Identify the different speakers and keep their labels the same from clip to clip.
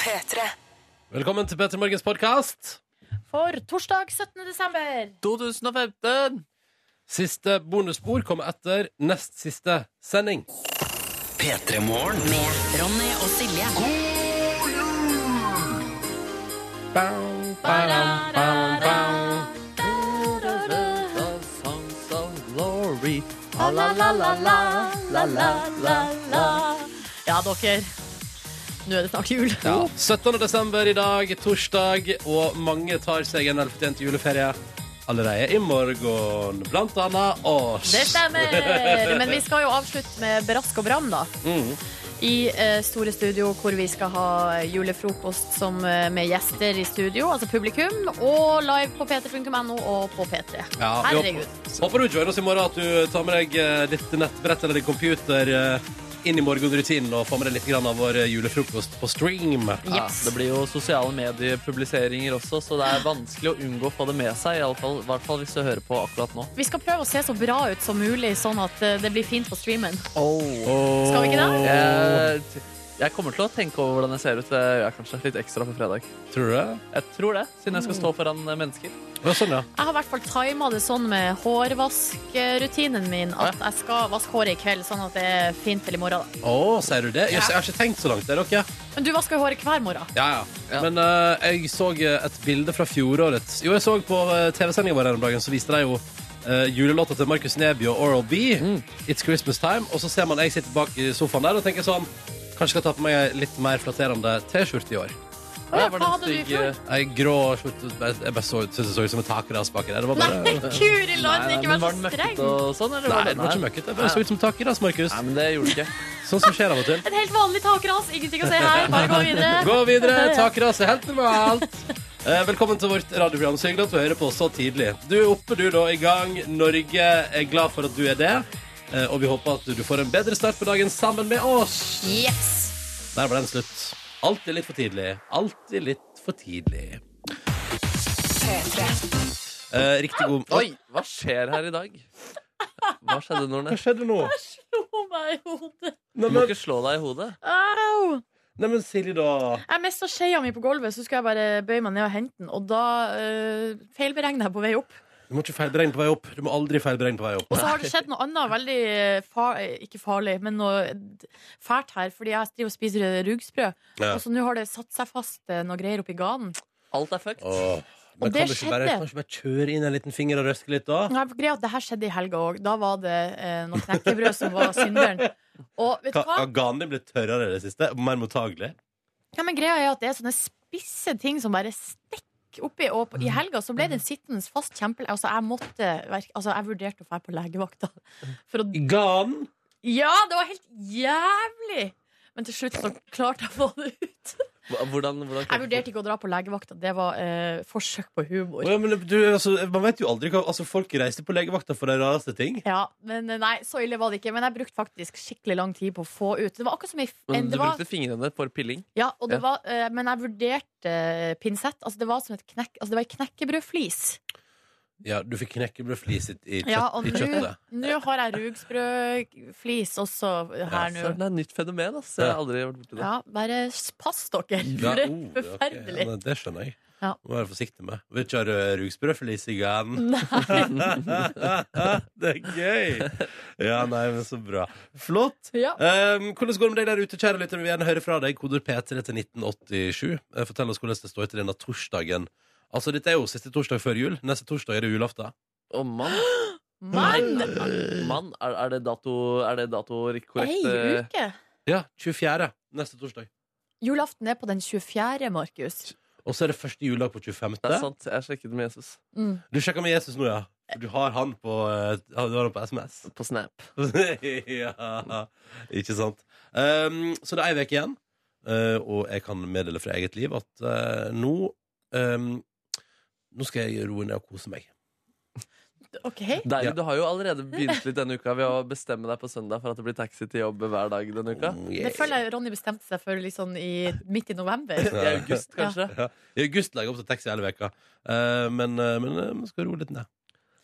Speaker 1: P3.
Speaker 2: Velkommen til Petter Morgens podkast.
Speaker 3: For torsdag 17. desember.
Speaker 4: 2015!
Speaker 2: Siste bonusspor kommer etter nest siste sending.
Speaker 5: Med Ronny og Silje.
Speaker 4: Songs of glory.
Speaker 3: Ja, dere. Nå er det snart jul.
Speaker 2: Ja. 17. desember i dag, torsdag, og mange tar seg en velfortjent juleferie allerede i morgen. Blant annet oss.
Speaker 3: Det stemmer. Men vi skal jo avslutte med brask og bram, da.
Speaker 2: Mm.
Speaker 3: I eh, Store Studio, hvor vi skal ha julefrokost som, eh, med gjester i studio, altså publikum, og live på p3.no og på P3.
Speaker 2: Ja, vi
Speaker 3: Herregud.
Speaker 2: Håper du joiner oss i morgen, at du tar med deg eh, ditt nettbrett eller din computer eh, inn i morgenrutinen og får med deg litt grann av vår eh, julefrokost på stream.
Speaker 4: Ja,
Speaker 3: Yes.
Speaker 4: det blir jo sosiale mediepubliseringer også, så det er vanskelig å unngå å få det med seg. I alle fall, hvert fall hvis du hører på akkurat nå.
Speaker 3: Vi skal prøve å se så bra ut som mulig, sånn at eh, det blir fint på streamen.
Speaker 2: Åh.
Speaker 3: Skal vi ikke det?
Speaker 4: Jeg, jeg kommer til å tenke over hvordan jeg ser ut. Det gjør jeg kanskje litt ekstra på fredag.
Speaker 2: Tror du det?
Speaker 4: Jeg tror det, siden jeg skal stå foran eh, mennesker.
Speaker 2: Ja, sånn, ja.
Speaker 3: Jeg har i hvert fall tima det sånn med hårvaskrutinen min at jeg skal vaske håret i kveld, sånn at det er fint til i morgen. da.
Speaker 2: Å, sier du det? Jøss, jeg har ikke tenkt så langt. Det er dere.
Speaker 3: Men du vasker jo håret hver morgen.
Speaker 2: Ja, ja.
Speaker 4: Ja.
Speaker 2: Men eh, jeg så eh, et bilde fra fjorårets Jo, jeg så på eh, TV-sendinga vår her om dagen, så viste de jo eh, julelåta til Markus Neby og Oral B.
Speaker 3: Mm.
Speaker 2: It's Christmas Time. Og så ser man jeg sitter bak i sofaen der og tenker sånn Kanskje skal jeg ta på meg ei litt mer flatterende T-skjorte i år.
Speaker 3: Å ja,
Speaker 4: Der var
Speaker 3: hva
Speaker 4: det
Speaker 3: hadde du i
Speaker 4: stygg,
Speaker 3: fjor?
Speaker 4: eh,
Speaker 2: Ei grå skjorte Jeg jeg bare så ut synes jeg så ut som en takedass baki der. Det var bare
Speaker 3: Nei, Guri land,
Speaker 4: nei,
Speaker 3: ikke
Speaker 4: men
Speaker 3: vær så
Speaker 4: var den
Speaker 3: streng.
Speaker 4: møkkete og sånn, eller?
Speaker 2: Nei, det var ikke møkkete. Det bare så ut som takedass, Markus.
Speaker 4: Nei, men det gjorde det ikke.
Speaker 2: Sånn som skjer av og til.
Speaker 3: Et helt vanlig takras. Ingenting å se her. Bare gå videre.
Speaker 2: Gå videre, takk raset, helt normalt Eh, Velkommen til vårt radioprogram Så hyggelig at du hører på så tidlig Du er oppe du da i gang Norge er glad for at du er det Eh, Og vi håper at du får en bedre start på dagen sammen med oss
Speaker 3: Yes.
Speaker 2: Der var den slutt Altid litt for tidlig Altid litt for tidlig Eh, Riktig god
Speaker 4: Oi, hva skjer her i dag? Hva skjedde, Norne?
Speaker 2: skjedde nå?
Speaker 3: Slo meg i hodet.
Speaker 4: Du må ikke slå deg i hodet.
Speaker 3: Au!
Speaker 2: Neimen Silje da
Speaker 3: Jeg mista skjea mi på gulvet, så skulle jeg bare bøye meg ned og hente den. Og da uh, feilberegna jeg på vei opp.
Speaker 2: Du må ikke feilberegne på vei opp Du må aldri feilberegne på vei opp
Speaker 3: Og så har det skjedd noe annet veldig eh, far, eh, Ikke farlig, men noe d- fælt her. Fordi jeg driver og spiser eh, rugsprø.
Speaker 2: Ja.
Speaker 3: Og så nå har det satt seg fast eh, noe greier oppi ganen.
Speaker 4: Alt er fucked.
Speaker 2: Åh, Men
Speaker 3: Og
Speaker 2: kan
Speaker 3: det
Speaker 2: du ikke bare,
Speaker 3: skjedde.
Speaker 2: kan du ikke bare kjøre inn en liten finger og røske litt da?
Speaker 3: Og jeg greia at Det her skjedde i helga òg. Da var det eh, noe knekkebrød som var synderen. Og vet du
Speaker 2: Ka-
Speaker 3: hva?
Speaker 2: Har ganen din blitt tørrere i det siste? Mer mottagelig?
Speaker 3: Ja, men greia er at det er sånne spisse ting som bare stikker oppi. Og
Speaker 4: Mm.
Speaker 3: på, i helga så ble den sittende fast kjempelenge. Altså, jeg måtte verk- Altså, jeg vurderte å dra på legevakta
Speaker 4: Mm.
Speaker 3: for å
Speaker 2: Ganen?
Speaker 3: Ja, det var helt jævlig! Men til slutt så klarte jeg å få det ut.
Speaker 4: Hva- Hvordan, hvordan
Speaker 3: Jeg vurderte ikke å dra på legevakta. Det var eh, forsøk på humor.
Speaker 2: Ja, men du, altså, man vet jo aldri hva altså, Folk reiser på legevakta for de rareste ting.
Speaker 3: Ja, men eh, nei, så ille var det ikke. Men jeg brukte faktisk skikkelig lang tid på å få ut. Det var akkurat som i
Speaker 4: Men
Speaker 3: det
Speaker 4: du
Speaker 3: var,
Speaker 4: brukte fingrene for pilling.
Speaker 3: ja, og det
Speaker 4: Ja.
Speaker 3: var, eh, Men jeg vurderte eh, pinsett. Altså, det var som et knekk... Altså, det var ei knekkebrødflis.
Speaker 2: Ja, Du fikk knekkebrødflis i, i, kjøtt,
Speaker 3: Ja, og
Speaker 2: i kjøttet.
Speaker 3: nå har jeg rugsprøflis også her
Speaker 4: Så
Speaker 3: nå.
Speaker 4: det er et nytt fenomen. Ass. Jeg har aldri vært borti det.
Speaker 3: Ja, bare pass dere.
Speaker 2: Ja,
Speaker 3: For det er
Speaker 2: oh, ja, ok.
Speaker 3: forferdelig.
Speaker 2: Ja, det skjønner jeg.
Speaker 3: Ja.
Speaker 2: Må være forsiktig med. Vil ikke ha rød rugsprøflis i ganen.
Speaker 3: Nei.
Speaker 2: det er gøy! Ja, nei, men så bra. Flott.
Speaker 3: Ja.
Speaker 2: Um, hvordan går det med deg der ute, kjære lytter? Vi vil gjerne høre fra deg. Koder P3 til 1987. Eh, Fortell oss hvordan det står til denne torsdagen. Altså, Dette er jo siste torsdag før jul. Neste torsdag er det julaften.
Speaker 4: Å, mann.
Speaker 3: Mann!
Speaker 4: Er- mann, er, er det dato Er det dato
Speaker 3: Ei
Speaker 4: korrekt? eh,
Speaker 3: uke!
Speaker 2: Ja, 24. Neste torsdag.
Speaker 3: Julaften er på den 24., Markus.
Speaker 2: Og så er det første juledag på 25.
Speaker 4: Det er sant. Jeg sjekket med Jesus
Speaker 3: Mm.
Speaker 2: Du sjekker med Jesus nå, ja. For du har han på, eh, du har han på SMS.
Speaker 4: på Snap.
Speaker 2: ja, ikke sant. Um, så det er ei uke igjen, eh, og jeg kan meddele fra eget liv at eh, nå ehm, Nå skal jeg roe ned og kose meg.
Speaker 3: OK.
Speaker 4: Deilig.
Speaker 2: Ja.
Speaker 4: Du har jo allerede begynt litt denne uka ved å bestemme deg på søndag for at det blir taxi til jobb hver dag denne uka.
Speaker 2: Mm,
Speaker 3: Det
Speaker 2: yeah.
Speaker 3: føler jeg Ronny bestemte seg for litt sånn i, midt i november.
Speaker 4: I august, kanskje.
Speaker 2: I august legger jeg opp til taxi hele veka, Eh, men, eh, men eh, jeg skal roe litt ned.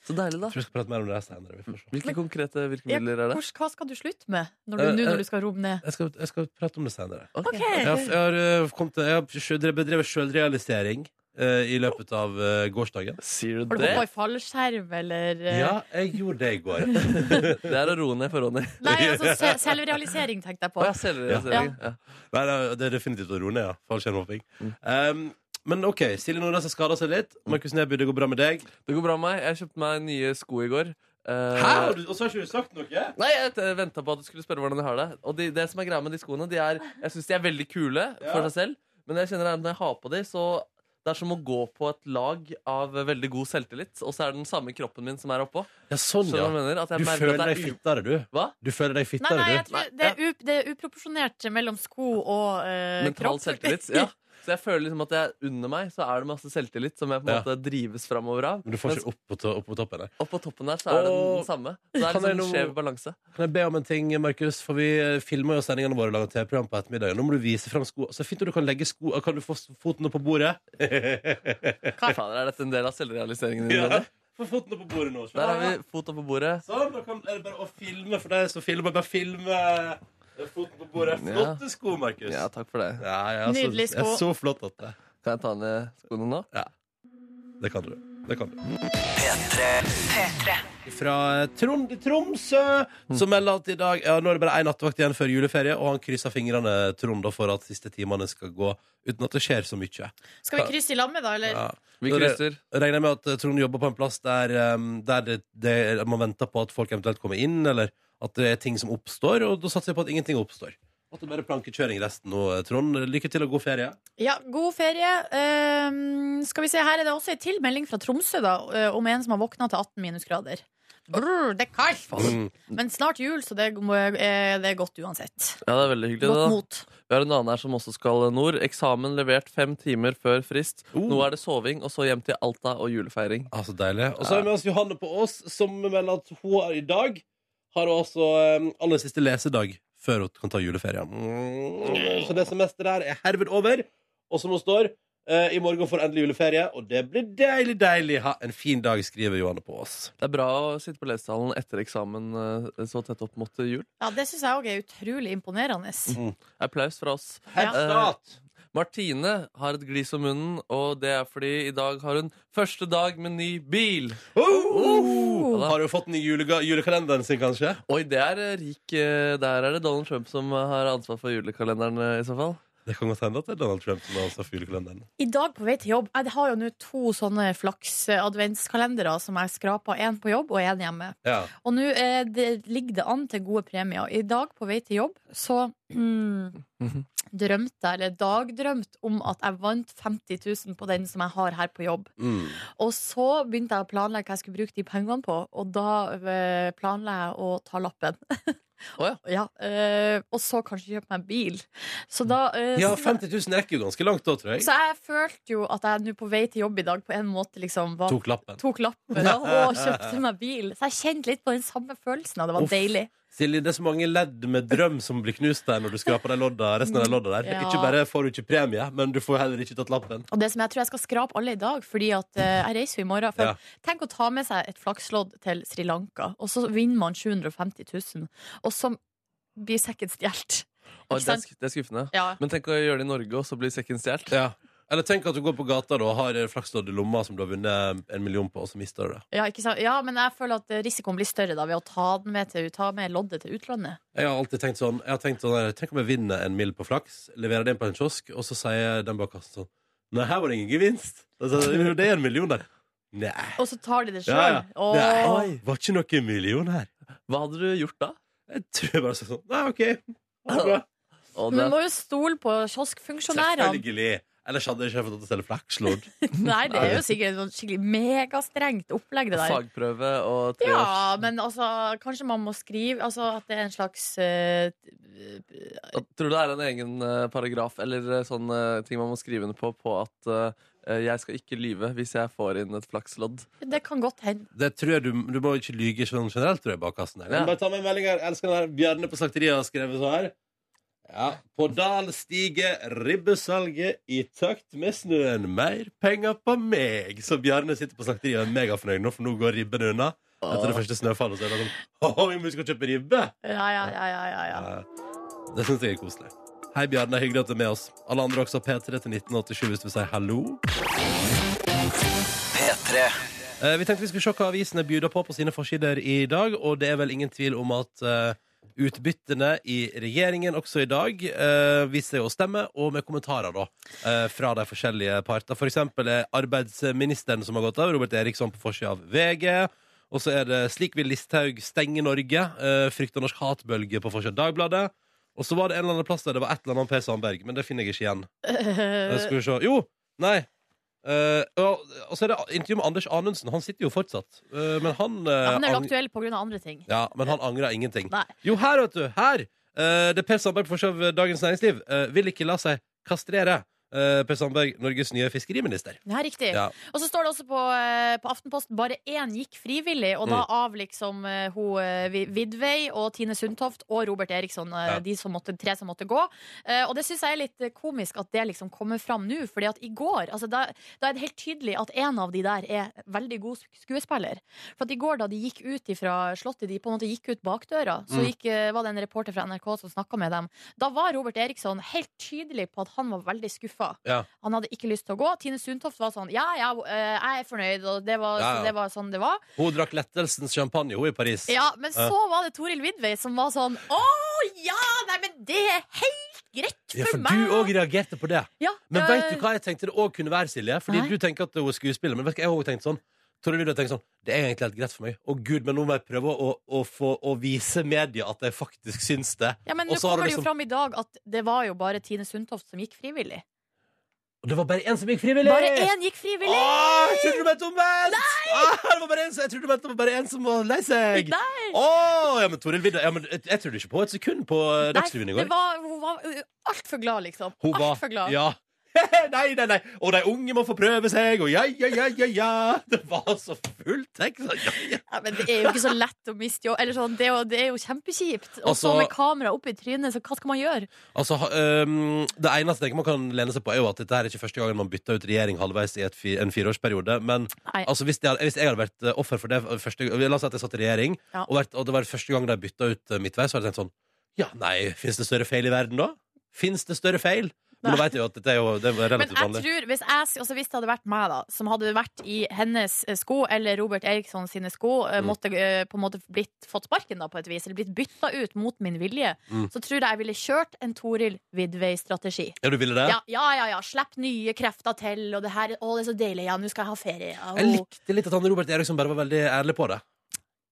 Speaker 4: Så deilig, da.
Speaker 2: Jeg tror vi skal prate mer om det senere. Vi får se.
Speaker 4: Hvilke konkrete
Speaker 3: Ja,
Speaker 4: virkemidler er det?
Speaker 3: hvor- Hva skal du slutte med når du,
Speaker 2: Eh,
Speaker 3: nå
Speaker 2: eh,
Speaker 3: når du skal roe ned?
Speaker 2: Jeg skal, jeg skal prate om det senere.
Speaker 3: Ok.
Speaker 2: Jeg har, jeg har, øh, kommet til, jeg har sjø- drevet- bedrevet sjølrealisering øh, i løpet av øh, gårsdagen.
Speaker 4: Sier
Speaker 3: Har
Speaker 4: du
Speaker 3: du
Speaker 4: det?
Speaker 3: hoppa i fallskjerm, eller eh,
Speaker 2: Ja, jeg gjorde det i går.
Speaker 4: Det er å roe ned for Ronny.
Speaker 3: Nei, altså se- selvrealisering tenkte jeg på.
Speaker 4: Å, ja, selvrealisering. Ja. Mm.
Speaker 2: Nei, det er- det er definitivt å roe ned, ja. Fallskjermhopping. Um, men OK, Silje Nordnes har skada seg litt. Markus Neby, det går bra med deg.
Speaker 4: Det går bra med meg. Jeg kjøpte meg nye sko i går. Eh,
Speaker 2: Hæ? Og du- Og så har ikke du sagt noe?
Speaker 4: Nei, jeg venta på at du skulle spørre hvordan jeg har det. Og de, det som er greia med de skoene, de er, jeg syns de er veldig kule
Speaker 2: Ja.
Speaker 4: for seg selv, men jeg kjenner at når jeg har på de, så det er som å gå på et lag av veldig god selvtillit, og så er det den samme kroppen min som er oppå.
Speaker 2: Ja, sånn,
Speaker 4: Skjønner du hva jeg
Speaker 2: ja.
Speaker 4: mener? At
Speaker 2: Du
Speaker 4: jeg merker
Speaker 2: føler
Speaker 4: at
Speaker 2: deg
Speaker 4: det er u-
Speaker 2: fittere, du.
Speaker 4: Hva?
Speaker 2: Du
Speaker 3: Nei,
Speaker 2: føler deg
Speaker 3: nei,
Speaker 2: fittere,
Speaker 3: jeg
Speaker 2: du.
Speaker 3: tror det er, u, det er uproporsjonert mellom sko og eh,
Speaker 4: Mental
Speaker 3: kropp.
Speaker 4: selvtillit. Ja. Så jeg føler liksom at jeg, under meg så er det masse selvtillit som jeg på en
Speaker 2: Ja.
Speaker 4: måte drives framover av.
Speaker 2: Men du får
Speaker 4: Mens
Speaker 2: ikke opp på, to opp på toppen. her.
Speaker 4: oppå toppen der så er det
Speaker 2: Og-
Speaker 4: den samme. Så det er liksom
Speaker 2: Kan jeg
Speaker 4: en
Speaker 2: nå-
Speaker 4: skjev balanse.
Speaker 2: Kan jeg be om en ting, Markus? For vi eh, filmer jo sendingene våre og lager TV-program på ettermiddagen. Nå må du vise fram sko. Så fint om du kan legge sko Kan du få s- foten opp på bordet?
Speaker 4: Hva faen, er dette en del av selvrealiseringen din?
Speaker 2: ja.
Speaker 4: Ronny?
Speaker 2: Få foten opp på bordet nå.
Speaker 4: Der har vi fot oppå bordet.
Speaker 2: Sånn, da kan, er det bare å filme for deg som filmer. Bare filme eh, foten på bordet.
Speaker 4: Ja.
Speaker 2: Flotte sko, Markus.
Speaker 4: Ja, takk for det.
Speaker 2: Ja, ja, så-
Speaker 3: Nydelig sko.
Speaker 2: ja, Så flott at det
Speaker 4: Kan jeg ta ned skoene Eh, nå?
Speaker 2: Det kan du. Det kan du. Fra eh, Trond i Tromsø,
Speaker 4: Mm.
Speaker 2: som melder at i dag ja, Nå er det bare én nattevakt igjen før juleferie, og han krysser fingrene Trond da, for at siste timene skal gå uten at det skjer så mye.
Speaker 3: Skal vi krysse i lammet, da, eller?
Speaker 2: Ja.
Speaker 4: Vi
Speaker 2: Når det-
Speaker 4: krysser.
Speaker 2: Regner jeg med at eh, Trond jobber på en plass der, eh, der det, det, man venter på at folk eventuelt kommer inn, eller at det er ting som oppstår, og da satser jeg på at ingenting oppstår. At det bare er plankekjøring resten nå, eh, Trond. Lykke til og god ferie.
Speaker 3: Ja, god ferie. Ehm, skal vi se, her er det også en tilmelding fra Tromsø da, eh, om en som har våkna til 18 minusgrader. Brr, det er kaldt, folk.
Speaker 2: Mm.
Speaker 3: Men snart jul, så det, må- eh, det er godt uansett.
Speaker 4: Ja, det er veldig hyggelig.
Speaker 3: Godt
Speaker 4: det da.
Speaker 3: mot.
Speaker 4: Vi har en annen her som også skal nord. Eksamen levert fem timer før frist.
Speaker 2: Oh.
Speaker 4: Nå er det soving, og så hjem til Alta og julefeiring.
Speaker 2: Ah, så deilig. Og så har vi med oss Johanne på Ås, som melder at hun er i dag har også eh, aller siste lesedag før hun kan ta juleferie. Mm. Så det semesteret her er herved over. Og som hun står, eh, i morgen får endelig juleferie, og det blir deilig, deilig. Ha en fin dag, skriver Johanne på Ås.
Speaker 4: Det er bra å sitte på lesesalen etter eksamen eh, så tett opp mot jul.
Speaker 3: Ja, det syns jeg òg er utrolig imponerende.
Speaker 2: Mm.
Speaker 4: Applaus fra oss.
Speaker 3: Herr
Speaker 4: Eh,
Speaker 2: Stat.
Speaker 4: Martine har et glis om munnen, og det er fordi i dag har hun første dag med ny bil.
Speaker 3: Uh!
Speaker 4: Uh!
Speaker 2: Oh! Har du fått den i julega- julekalenderen sin, kanskje?
Speaker 4: Oi, det er eh, rik eh, Der er det Donald Trump som eh, har ansvar for julekalenderen, eh, i så fall.
Speaker 2: Det kan godt hende at det er Donald Trump som har ansvar for julekalenderen.
Speaker 3: I dag på vei til jobb Jeg har jo nå to sånne flaks-adventskalendere som jeg skraper. Én på jobb og én hjemme.
Speaker 2: Ja.
Speaker 3: Og nå eh, det ligger det an til gode premier. I dag på vei til jobb så mm, drømte jeg, eller dagdrømte, om at jeg vant 50 000 på den som jeg har her på jobb.
Speaker 2: Mm.
Speaker 3: Og så begynte jeg å planlegge hva jeg skulle bruke de pengene på, og da eh, planla jeg å ta lappen.
Speaker 4: Å
Speaker 3: ja. eh, og så kanskje kjøpe meg en bil. Så da eh,
Speaker 2: ja, 50 000 rekker jo ganske langt da, tror jeg.
Speaker 3: Så jeg følte jo at jeg nå på vei til jobb i dag på en måte liksom var
Speaker 2: Tok lappen.
Speaker 3: tok lappen og kjøpte meg bil. Så jeg kjente litt på den samme følelsen, og det var
Speaker 2: Uff.
Speaker 3: deilig.
Speaker 2: Silje, det er så mange ledd med drøm som blir knust der når du skraper de lodda, resten av de lodda der.
Speaker 3: Ja.
Speaker 2: Ikke bare får du ikke premie, men du får heller ikke tatt lappen.
Speaker 3: Og det som jeg tror jeg skal skrape alle i dag, fordi at eh, jeg reiser jo i morgen. For
Speaker 2: Ja.
Speaker 3: Tenk å ta med seg et flakslodd til Sri Lanka, og så vinner man 750 000. Og så blir sekken stjålet. Ikke
Speaker 4: Oi, det, er,
Speaker 3: sant?
Speaker 4: sk- det er skuffende.
Speaker 3: Ja.
Speaker 4: Men tenk å gjøre det i Norge, og så blir sekken stjålet.
Speaker 2: Ja. Eller tenk at du går på gata da, og har flakslodd i lomma som du har vunnet en million på, og så mister du det.
Speaker 3: Ja, ikke sant? ja, men jeg føler at risikoen blir større da ved å ta, den med til, ta med loddet til utlandet.
Speaker 2: Jeg har alltid tenkt sånn, jeg har tenkt sånn der, Tenk om jeg vinner en mill på flaks, leverer det inn på en kiosk, og så sier den bak kassen sånn Nei, her var det ingen gevinst. Altså, jo, det er en million der. Nei.
Speaker 3: Og så tar de det
Speaker 2: Ja, ja.
Speaker 3: sjøl. Og
Speaker 2: Nei. Var ikke noe million her.
Speaker 4: Hva hadde du gjort da?
Speaker 2: Jeg tror jeg bare sa sånn Nei, OK. Ha det bra.
Speaker 4: Å,
Speaker 3: Men
Speaker 4: det
Speaker 3: man må jo stole på kioskfunksjonærene.
Speaker 2: Selvfølgelig. Ellers hadde jeg ikke fått lov til å selge flakslodd.
Speaker 3: Nei, det er jo sikkert et skikkelig megastrengt opplegg, det der.
Speaker 4: Fagprøve og tre års
Speaker 3: Ja, men altså, kanskje man må skrive altså, at det er en slags eh,
Speaker 4: At- Tror du det er en egen eh, paragraf eller eh, sånn eh, ting man må skrive under på på at eh, jeg skal ikke lyve hvis jeg får inn et flakslodd?
Speaker 3: Det kan godt hende.
Speaker 2: Det tror jeg du, du må ikke lyge sånn generelt, tror jeg, bak kassen. her.
Speaker 4: Ja.
Speaker 2: Bare ta med en melding her. Jeg elsker den her. Bjarne på slakteriet har skrevet så her. Ja. På dal stiger ribbesalget i takt med snøen. Mer penger på meg! Så Bjarne sitter på slakteriet og er megafornøyd nå, for nå går ribbene unna. Etter det første snøfallet så er det sånn Å, vi må huske å kjøpe ribbe!
Speaker 3: Ja, ja, ja, ja, ja, ja.
Speaker 2: Eh, Det syns jeg er koselig. Hei, Bjarne. Hyggelig at du er med oss. Alle andre også. P3 til 1987 hvis du vil si hallo.
Speaker 1: P3
Speaker 2: Eh, Vi tenkte vi skulle se hva avisene byr på på sine forsider i dag, og det er vel ingen tvil om at eh, utbyttene i regjeringen også i dag eh, viser seg å stemme, og med kommentarer da, eh, fra de forskjellige parter. For eksempel er arbeidsministeren som har gått av, Robert Eriksson på forsida av VG. Og så er det 'Slik vil Listhaug stenge Norge', eh, 'Frykter norsk hatbølge' på forsida av Dagbladet. Og så var det en eller annen plass der det var et eller annet om Per Sandberg, men det finner jeg ikke igjen. Eh, skal vi se. Jo! Nei. Eh, og, og så er det intervju med Anders Anundsen. Han sitter jo fortsatt. Eh, men han eh,
Speaker 3: Han er vel
Speaker 2: ang-
Speaker 3: aktuell pga. andre ting.
Speaker 2: ja, men han angrer ingenting.
Speaker 3: Nei.
Speaker 2: Jo, her, vet du! Her! Eh, det er Per Sandberg på forsøv Dagens Næringsliv. Eh, vil ikke la seg kastrere. Eh, per Sandberg, Norges nye fiskeriminister.
Speaker 3: Ja, riktig.
Speaker 2: Ja.
Speaker 3: Og så står det også på, eh, på Aftenposten bare én gikk frivillig, og
Speaker 2: Mm.
Speaker 3: da av liksom eh, hun eh, Vi- Vidvei og Tine Sundtoft og Robert Eriksson, eh,
Speaker 2: Ja.
Speaker 3: de som måtte, tre som måtte gå. Eh, Og det syns jeg er litt eh, komisk at det liksom kommer fram nå, fordi at i går altså da, da er det helt tydelig at en av de der er veldig god sk- skuespiller. For at i går, da de gikk ut fra Slottet, de på en måte gikk ut bakdøra, så
Speaker 2: Mm.
Speaker 3: gikk, eh, var det en reporter fra NRK som snakka med dem. Da var Robert Eriksson helt tydelig på at han var veldig skuffa.
Speaker 2: Ja.
Speaker 3: Han hadde ikke lyst til å gå. Tine Sundtoft var sånn Ja, ja, eh, jeg er fornøyd, og det var,
Speaker 2: Ja, ja.
Speaker 3: Så det var sånn det var.
Speaker 2: Hun drakk lettelsens champagne, hun, i Paris.
Speaker 3: Ja, Men så var det Toril Vidvei som var sånn Å ja, nei, men det er helt greit for,
Speaker 2: Eh, Ja, for
Speaker 3: meg!
Speaker 2: du òg reagerte på det.
Speaker 3: Ja,
Speaker 2: Men
Speaker 3: eh,
Speaker 2: vet du hva jeg tenkte det òg kunne være, Silje? Fordi
Speaker 3: Nei.
Speaker 2: du tenker at hun er skuespiller, men vet du hva jeg òg tenkte sånn? Tore Lydia tenkte sånn Det er egentlig helt greit for meg. Å gud, men nå må jeg prøve å, å, få, å vise media at jeg faktisk syns det.
Speaker 3: Ja, men
Speaker 2: Og
Speaker 3: Nå
Speaker 2: så har du
Speaker 3: kommer det jo
Speaker 2: liksom-
Speaker 3: fram i dag at det var jo bare Tine Sundtoft som gikk frivillig.
Speaker 2: Og det var bare én som gikk frivillig!
Speaker 3: Bare én gikk frivillig!
Speaker 2: Åh, jeg trodde du mente omvendt! Åh, det Ah, var bare en som- Jeg trodde du mente det var bare én som var lei seg!
Speaker 3: Nei,
Speaker 2: Åh, ja, men Toril Vidda ja, men jeg, jeg trodde ikke på et sekund på eh,
Speaker 3: nei,
Speaker 2: Dagsrevyen i
Speaker 3: det
Speaker 2: går.
Speaker 3: var, hun var altfor glad, liksom.
Speaker 2: Hun var
Speaker 3: Altfor glad.
Speaker 2: Ja. nei, nei, nei. Og de unge må få prøve seg, og ja, ja, ja, ja, ja. Det var så fullt tekst. Ja, ja.
Speaker 3: Ja, men det er jo ikke så lett å miste jobb. Eller sånn, det, er jo, det er jo kjempekjipt. Og så
Speaker 2: Altså-
Speaker 3: med kamera opp i trynet, så hva skal man gjøre?
Speaker 2: Altså, ha- øhm, Det eneste jeg tenker man kan lene seg på, er jo at dette her er ikke første gangen man bytter ut regjering halvveis i et fi, en fireårsperiode. Men
Speaker 3: Nei.
Speaker 2: altså, hvis, det hadde, hvis jeg hadde vært eh, offer for det første, øh, La oss si at jeg satt i regjering,
Speaker 3: Ja.
Speaker 2: og, vært, og det var første gang de bytta ut eh, midtveis, så hadde jeg tenkt sånn Ja, nei, fins det større feil i verden da? Fins det større feil? Men nå
Speaker 3: Nei.
Speaker 2: vet jeg jo at dette er jo det er
Speaker 3: Men
Speaker 2: relativt
Speaker 3: jeg
Speaker 2: vanlig.
Speaker 3: tror, hvis, jeg, altså hvis det hadde vært meg, da, som hadde vært i hennes eh, sko, eller Robert Eriksson sine sko, eh,
Speaker 2: Mm.
Speaker 3: måtte eh, på en måte blitt fått sparken da, på et vis, eller blitt bytta ut mot min vilje,
Speaker 2: Mm.
Speaker 3: så tror jeg jeg ville kjørt en Toril Vidvei-strategi.
Speaker 2: Ja, du ville det?
Speaker 3: Ja, ja, ja, ja. Slipp nye krefter til, og det her Å, det er så deilig. Ja, nå skal jeg ha ferie. Ja,
Speaker 2: Jeg likte litt at han Robert Eriksson bare var veldig ærlig på det.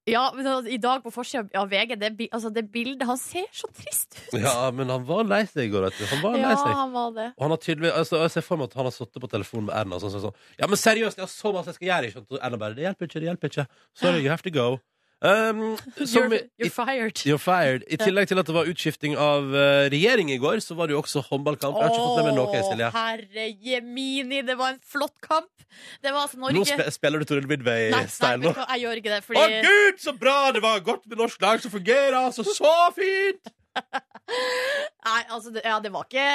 Speaker 3: Ja, men altså, I dag på forsida av VG, det, bi- altså, det bildet Han ser så trist ut.
Speaker 2: Ja, men han var lei seg i går, vet du. Han var
Speaker 3: Ja,
Speaker 2: lei seg.
Speaker 3: han var det.
Speaker 2: Og han har tydelig, altså, jeg ser for meg at han har sittet på telefonen med Erna og sånn, sånn, sånn. Ja, men seriøst, jeg har så masse jeg skal gjøre. Ikke? sant? Og Erna bare Det hjelper ikke, det hjelper ikke. Sorry, you have to go. Um, som,
Speaker 3: You're, you're fired.
Speaker 2: You're fired. I tillegg til at det var utskifting av eh, regjering i går, så var det jo også håndballkamp. Jeg har ikke fått med meg noe,
Speaker 3: Åh,
Speaker 2: Silje.
Speaker 3: Herre jemini, det var en flott kamp. Det var altså Norge
Speaker 2: Nå spe- spiller du Toril
Speaker 3: Nei, nei,
Speaker 2: Vidvei-style
Speaker 3: vet
Speaker 2: nå.
Speaker 3: du hva, jeg gjør ikke det.
Speaker 2: Å
Speaker 3: Fordi
Speaker 2: gud, så bra! Det var godt med norsk lag som fungerer! Altså, så fint!
Speaker 3: nei, altså, det, ja, det, var ikke,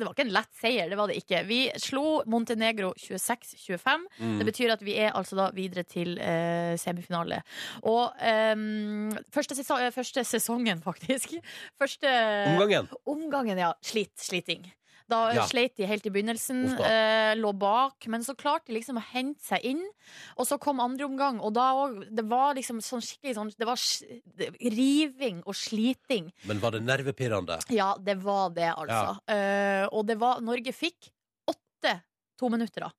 Speaker 3: det var ikke en lett seier. Det var det ikke. Vi slo Montenegro 26-25.
Speaker 2: Mm.
Speaker 3: Det betyr at vi er altså da videre til eh, semifinale. Og ehm, første, sesong, eh, første sesongen, faktisk. Første
Speaker 2: Omgangen.
Speaker 3: Omgangen, ja. Slit, sliting. Da
Speaker 2: Ja.
Speaker 3: sleit de helt i begynnelsen,
Speaker 2: Uff da.
Speaker 3: eh, lå bak, men så klarte de liksom å hente seg inn. Og så kom andre omgang, og da òg Det var liksom sånn skikkelig sånn Det var s- det- riving og sliting.
Speaker 2: Men var det nervepirrende?
Speaker 3: Ja, det var det, altså. Eh, og det var Norge fikk åtte to minutter, da.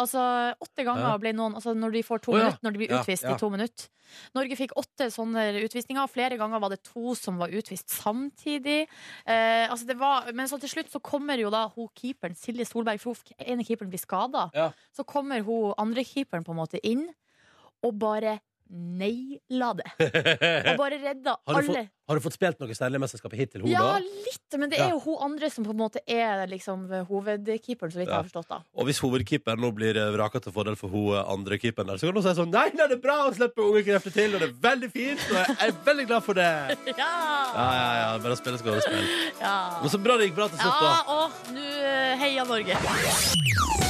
Speaker 3: Altså åtte ganger
Speaker 2: Ja.
Speaker 3: ble noen Altså når de får to
Speaker 2: Å, ja.
Speaker 3: minutter, når de blir
Speaker 2: Ja,
Speaker 3: utvist
Speaker 2: ja.
Speaker 3: i to minutter. Norge fikk åtte sånne utvisninger. Flere ganger var det to som var utvist samtidig. Eh, altså det var, men så til slutt så kommer jo da hun keeperen, Silje Solberg, for hun- ene keeperen blir skada.
Speaker 2: Ja.
Speaker 3: Så kommer hun andre keeperen på en måte inn og bare naila det. Og bare redda
Speaker 2: Har du,
Speaker 3: alle.
Speaker 2: fått, har du fått spilt noe Steinerlig mesterskap hittil, hun,
Speaker 3: Ja,
Speaker 2: da?
Speaker 3: litt, men det
Speaker 2: Ja.
Speaker 3: er jo hun andre som på en måte er liksom hovedkeeperen, så vidt jeg
Speaker 2: Ja.
Speaker 3: har forstått. da
Speaker 2: Og hvis hovedkeeperen nå blir eh, vraka til fordel for hun eh, andre keeperen der, så kan hun si sånn Nei, nei, det er bra å slippe unge krefter til, og det er veldig fint, og jeg er veldig glad for det. Ja,
Speaker 3: Ja!
Speaker 2: ja, ja. Bare spille skuespill.
Speaker 3: Ja,
Speaker 2: Men så bra det gikk bra til slutt, da.
Speaker 3: ja og nå eh, heia Norge.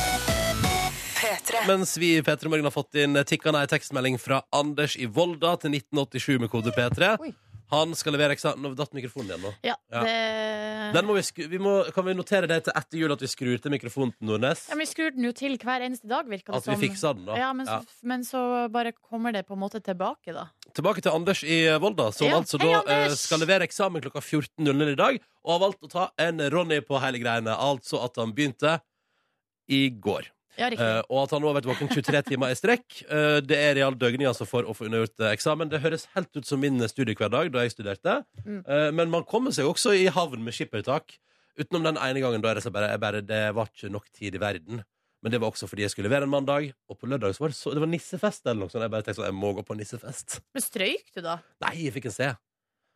Speaker 2: Mens vi i P3 Morgen har fått inn tikkende en tekstmelding fra Anders i Volda til 1987 med kode P3.
Speaker 3: Oi.
Speaker 2: Han skal levere eksamen Nå datt mikrofonen igjen, nå.
Speaker 3: Ja,
Speaker 2: Ja.
Speaker 3: det
Speaker 2: Den må vi skru, vi må, kan vi notere det til etter jul at vi skrur til mikrofonen til Nordnes?
Speaker 3: ja, men Vi skrur den jo til hver eneste dag, virker det
Speaker 2: At vi fikser den, da.
Speaker 3: Ja, men, så-
Speaker 2: Ja.
Speaker 3: men så bare kommer det på en måte tilbake, da.
Speaker 2: Tilbake til Anders i Volda, som
Speaker 3: Ja.
Speaker 2: altså
Speaker 3: Hei,
Speaker 2: da eh,
Speaker 3: Anders!
Speaker 2: skal levere eksamen klokka 14.00 i dag. Og har valgt å ta en Ronny på hele greiene. Altså at han begynte i går.
Speaker 3: Ja, riktig.
Speaker 2: Eh, og at han nå har vært våken 23 timer i strekk. Eh, det er real døgning altså for å få unnagjort eh, eksamen. Det høres helt ut som min studiehverdag da jeg studerte.
Speaker 3: Mm.
Speaker 2: Eh, men man kommer seg også i havn med skippertak. Utenom den ene gangen da jeg så bare, jeg bare, det var ikke nok tid i verden. Men det var også fordi jeg skulle levere en mandag, og på lørdag så var det, så, det var nissefest eller noe sånt. Jeg bare tenkte sånn, jeg må gå på nissefest.
Speaker 3: men strøyk du, da?
Speaker 2: Nei, jeg fikk en C.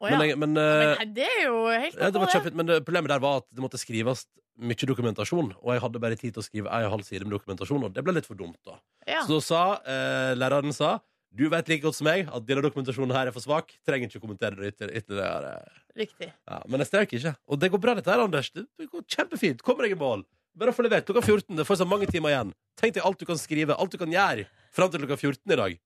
Speaker 3: Å ja.
Speaker 2: Men,
Speaker 3: Men,
Speaker 2: jeg, men, eh,
Speaker 3: nei, det er jo helt
Speaker 2: ja, det var
Speaker 3: oppå, det.
Speaker 2: kjempefint, men det, problemet der var at det måtte skrives mye dokumentasjon, og jeg hadde bare tid til å skrive en og en halv side med dokumentasjon, og det ble litt for dumt da.
Speaker 3: Ja.
Speaker 2: Så sa eh, læreren sa Du vet like godt som meg at denne dokumentasjonen her er for svak. Trenger ikke å kommentere det ytter, ytterligere.
Speaker 3: Riktig.
Speaker 2: Ja, men jeg strøk ikke. Og det går bra, dette her, Anders. Det det går kjempefint. Kommer deg i mål. Bare få levert klokka 14. Det får så mange timer igjen. Tenk deg alt du kan skrive, alt du kan gjøre fram til klokka 14 i dag.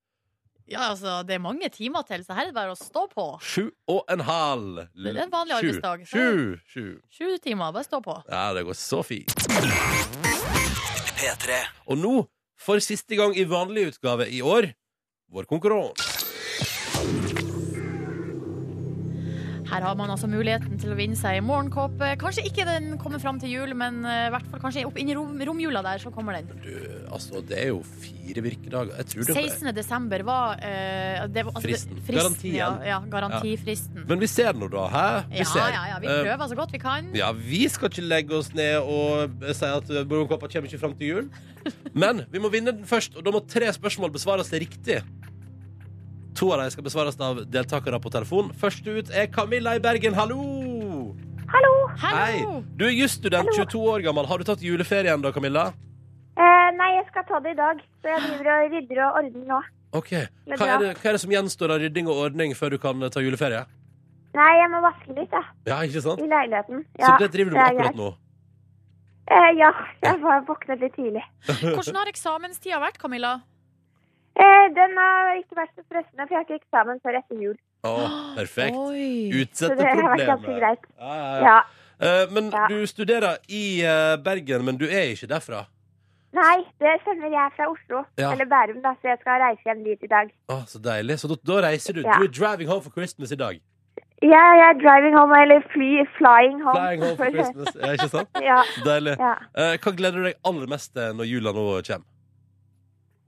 Speaker 3: Ja, altså, det er mange timer til, så her er det bare å stå på.
Speaker 2: Sju og en halv.
Speaker 3: Det er en vanlig
Speaker 2: Sju.
Speaker 3: arbeidsdag, så-
Speaker 2: Sju. Sju.
Speaker 3: Sju timer, bare stå på.
Speaker 2: Ja, det går så fint. Og nå, for siste gang i vanlig utgave i år, vår konkurranse.
Speaker 3: Her har man altså muligheten til å vinne seg en morgenkåpe. Kanskje ikke den kommer fram til jul, men eh, i hvert fall kanskje opp inn i rom, romjula der, så kommer den.
Speaker 2: Du, altså, det er jo fire virkedager. Jeg tror det
Speaker 3: 16. desember var, eh, altså, det var det-
Speaker 2: Fristen.
Speaker 3: fristen.
Speaker 2: Garantien.
Speaker 3: Ja, ja, garantifristen.
Speaker 2: Men vi ser nå, da. Hæ? Vi
Speaker 3: Ja,
Speaker 2: ser.
Speaker 3: ja, ja. Vi
Speaker 2: Eh,
Speaker 3: prøver altså. så godt vi kan.
Speaker 2: ja, vi skal ikke legge oss ned og si at Morgenkåpa kommer ikke fram til jul. Men vi må vinne den først, og da må tre spørsmål besvares riktig. To av dem skal besvares av deltakere på telefon. Først ut er Camilla i Bergen. Hallo! Hei.
Speaker 3: Hallo!
Speaker 2: Du er jusstudent, 22 år gammel. Har du tatt juleferie ennå, Camilla?
Speaker 1: Eh, nei, jeg skal ta det i dag, så jeg driver og rydder og ordner nå.
Speaker 2: Ok.
Speaker 1: Men
Speaker 2: Hva
Speaker 1: bra.
Speaker 2: er, det, hva er det som gjenstår av rydding og ordning før du kan eh, ta juleferie?
Speaker 1: Nei, jeg må vaske litt, jeg.
Speaker 2: Ja, ikke sant?
Speaker 1: I leiligheten.
Speaker 2: Sånn. Så det driver du med
Speaker 1: det er greit.
Speaker 2: akkurat nå?
Speaker 1: Eh, ja, jeg var våknet litt tidlig.
Speaker 3: Hvordan har eksamenstida vært, Camilla?
Speaker 1: Eh, den har ikke vært så stressende, for jeg har ikke eksamen før etter jul.
Speaker 2: Å, perfekt.
Speaker 3: Oi.
Speaker 1: Så
Speaker 2: Utsette
Speaker 1: det har vært
Speaker 2: problemet.
Speaker 1: ganske greit.
Speaker 2: Ja, ja, ja.
Speaker 1: Ja.
Speaker 2: Eh, men
Speaker 1: Ja.
Speaker 2: du studerer i eh, Bergen, men du er ikke derfra.
Speaker 1: Nei, det stemmer. Jeg er fra Oslo.
Speaker 2: Ja.
Speaker 1: Eller Bærum, da, så jeg skal reise hjem dit i dag.
Speaker 2: Å, så deilig. Så da, da reiser du.
Speaker 1: Ja.
Speaker 2: Du er driving home for Christmas i dag.
Speaker 1: Ja, jeg er driving home, eller fly, flying home.
Speaker 2: Flying home for Christmas. Ja, ikke sant?
Speaker 1: ja,
Speaker 2: Så deilig.
Speaker 1: ja.
Speaker 2: Eh, hva gleder du deg aller mest til når jula nå kommer?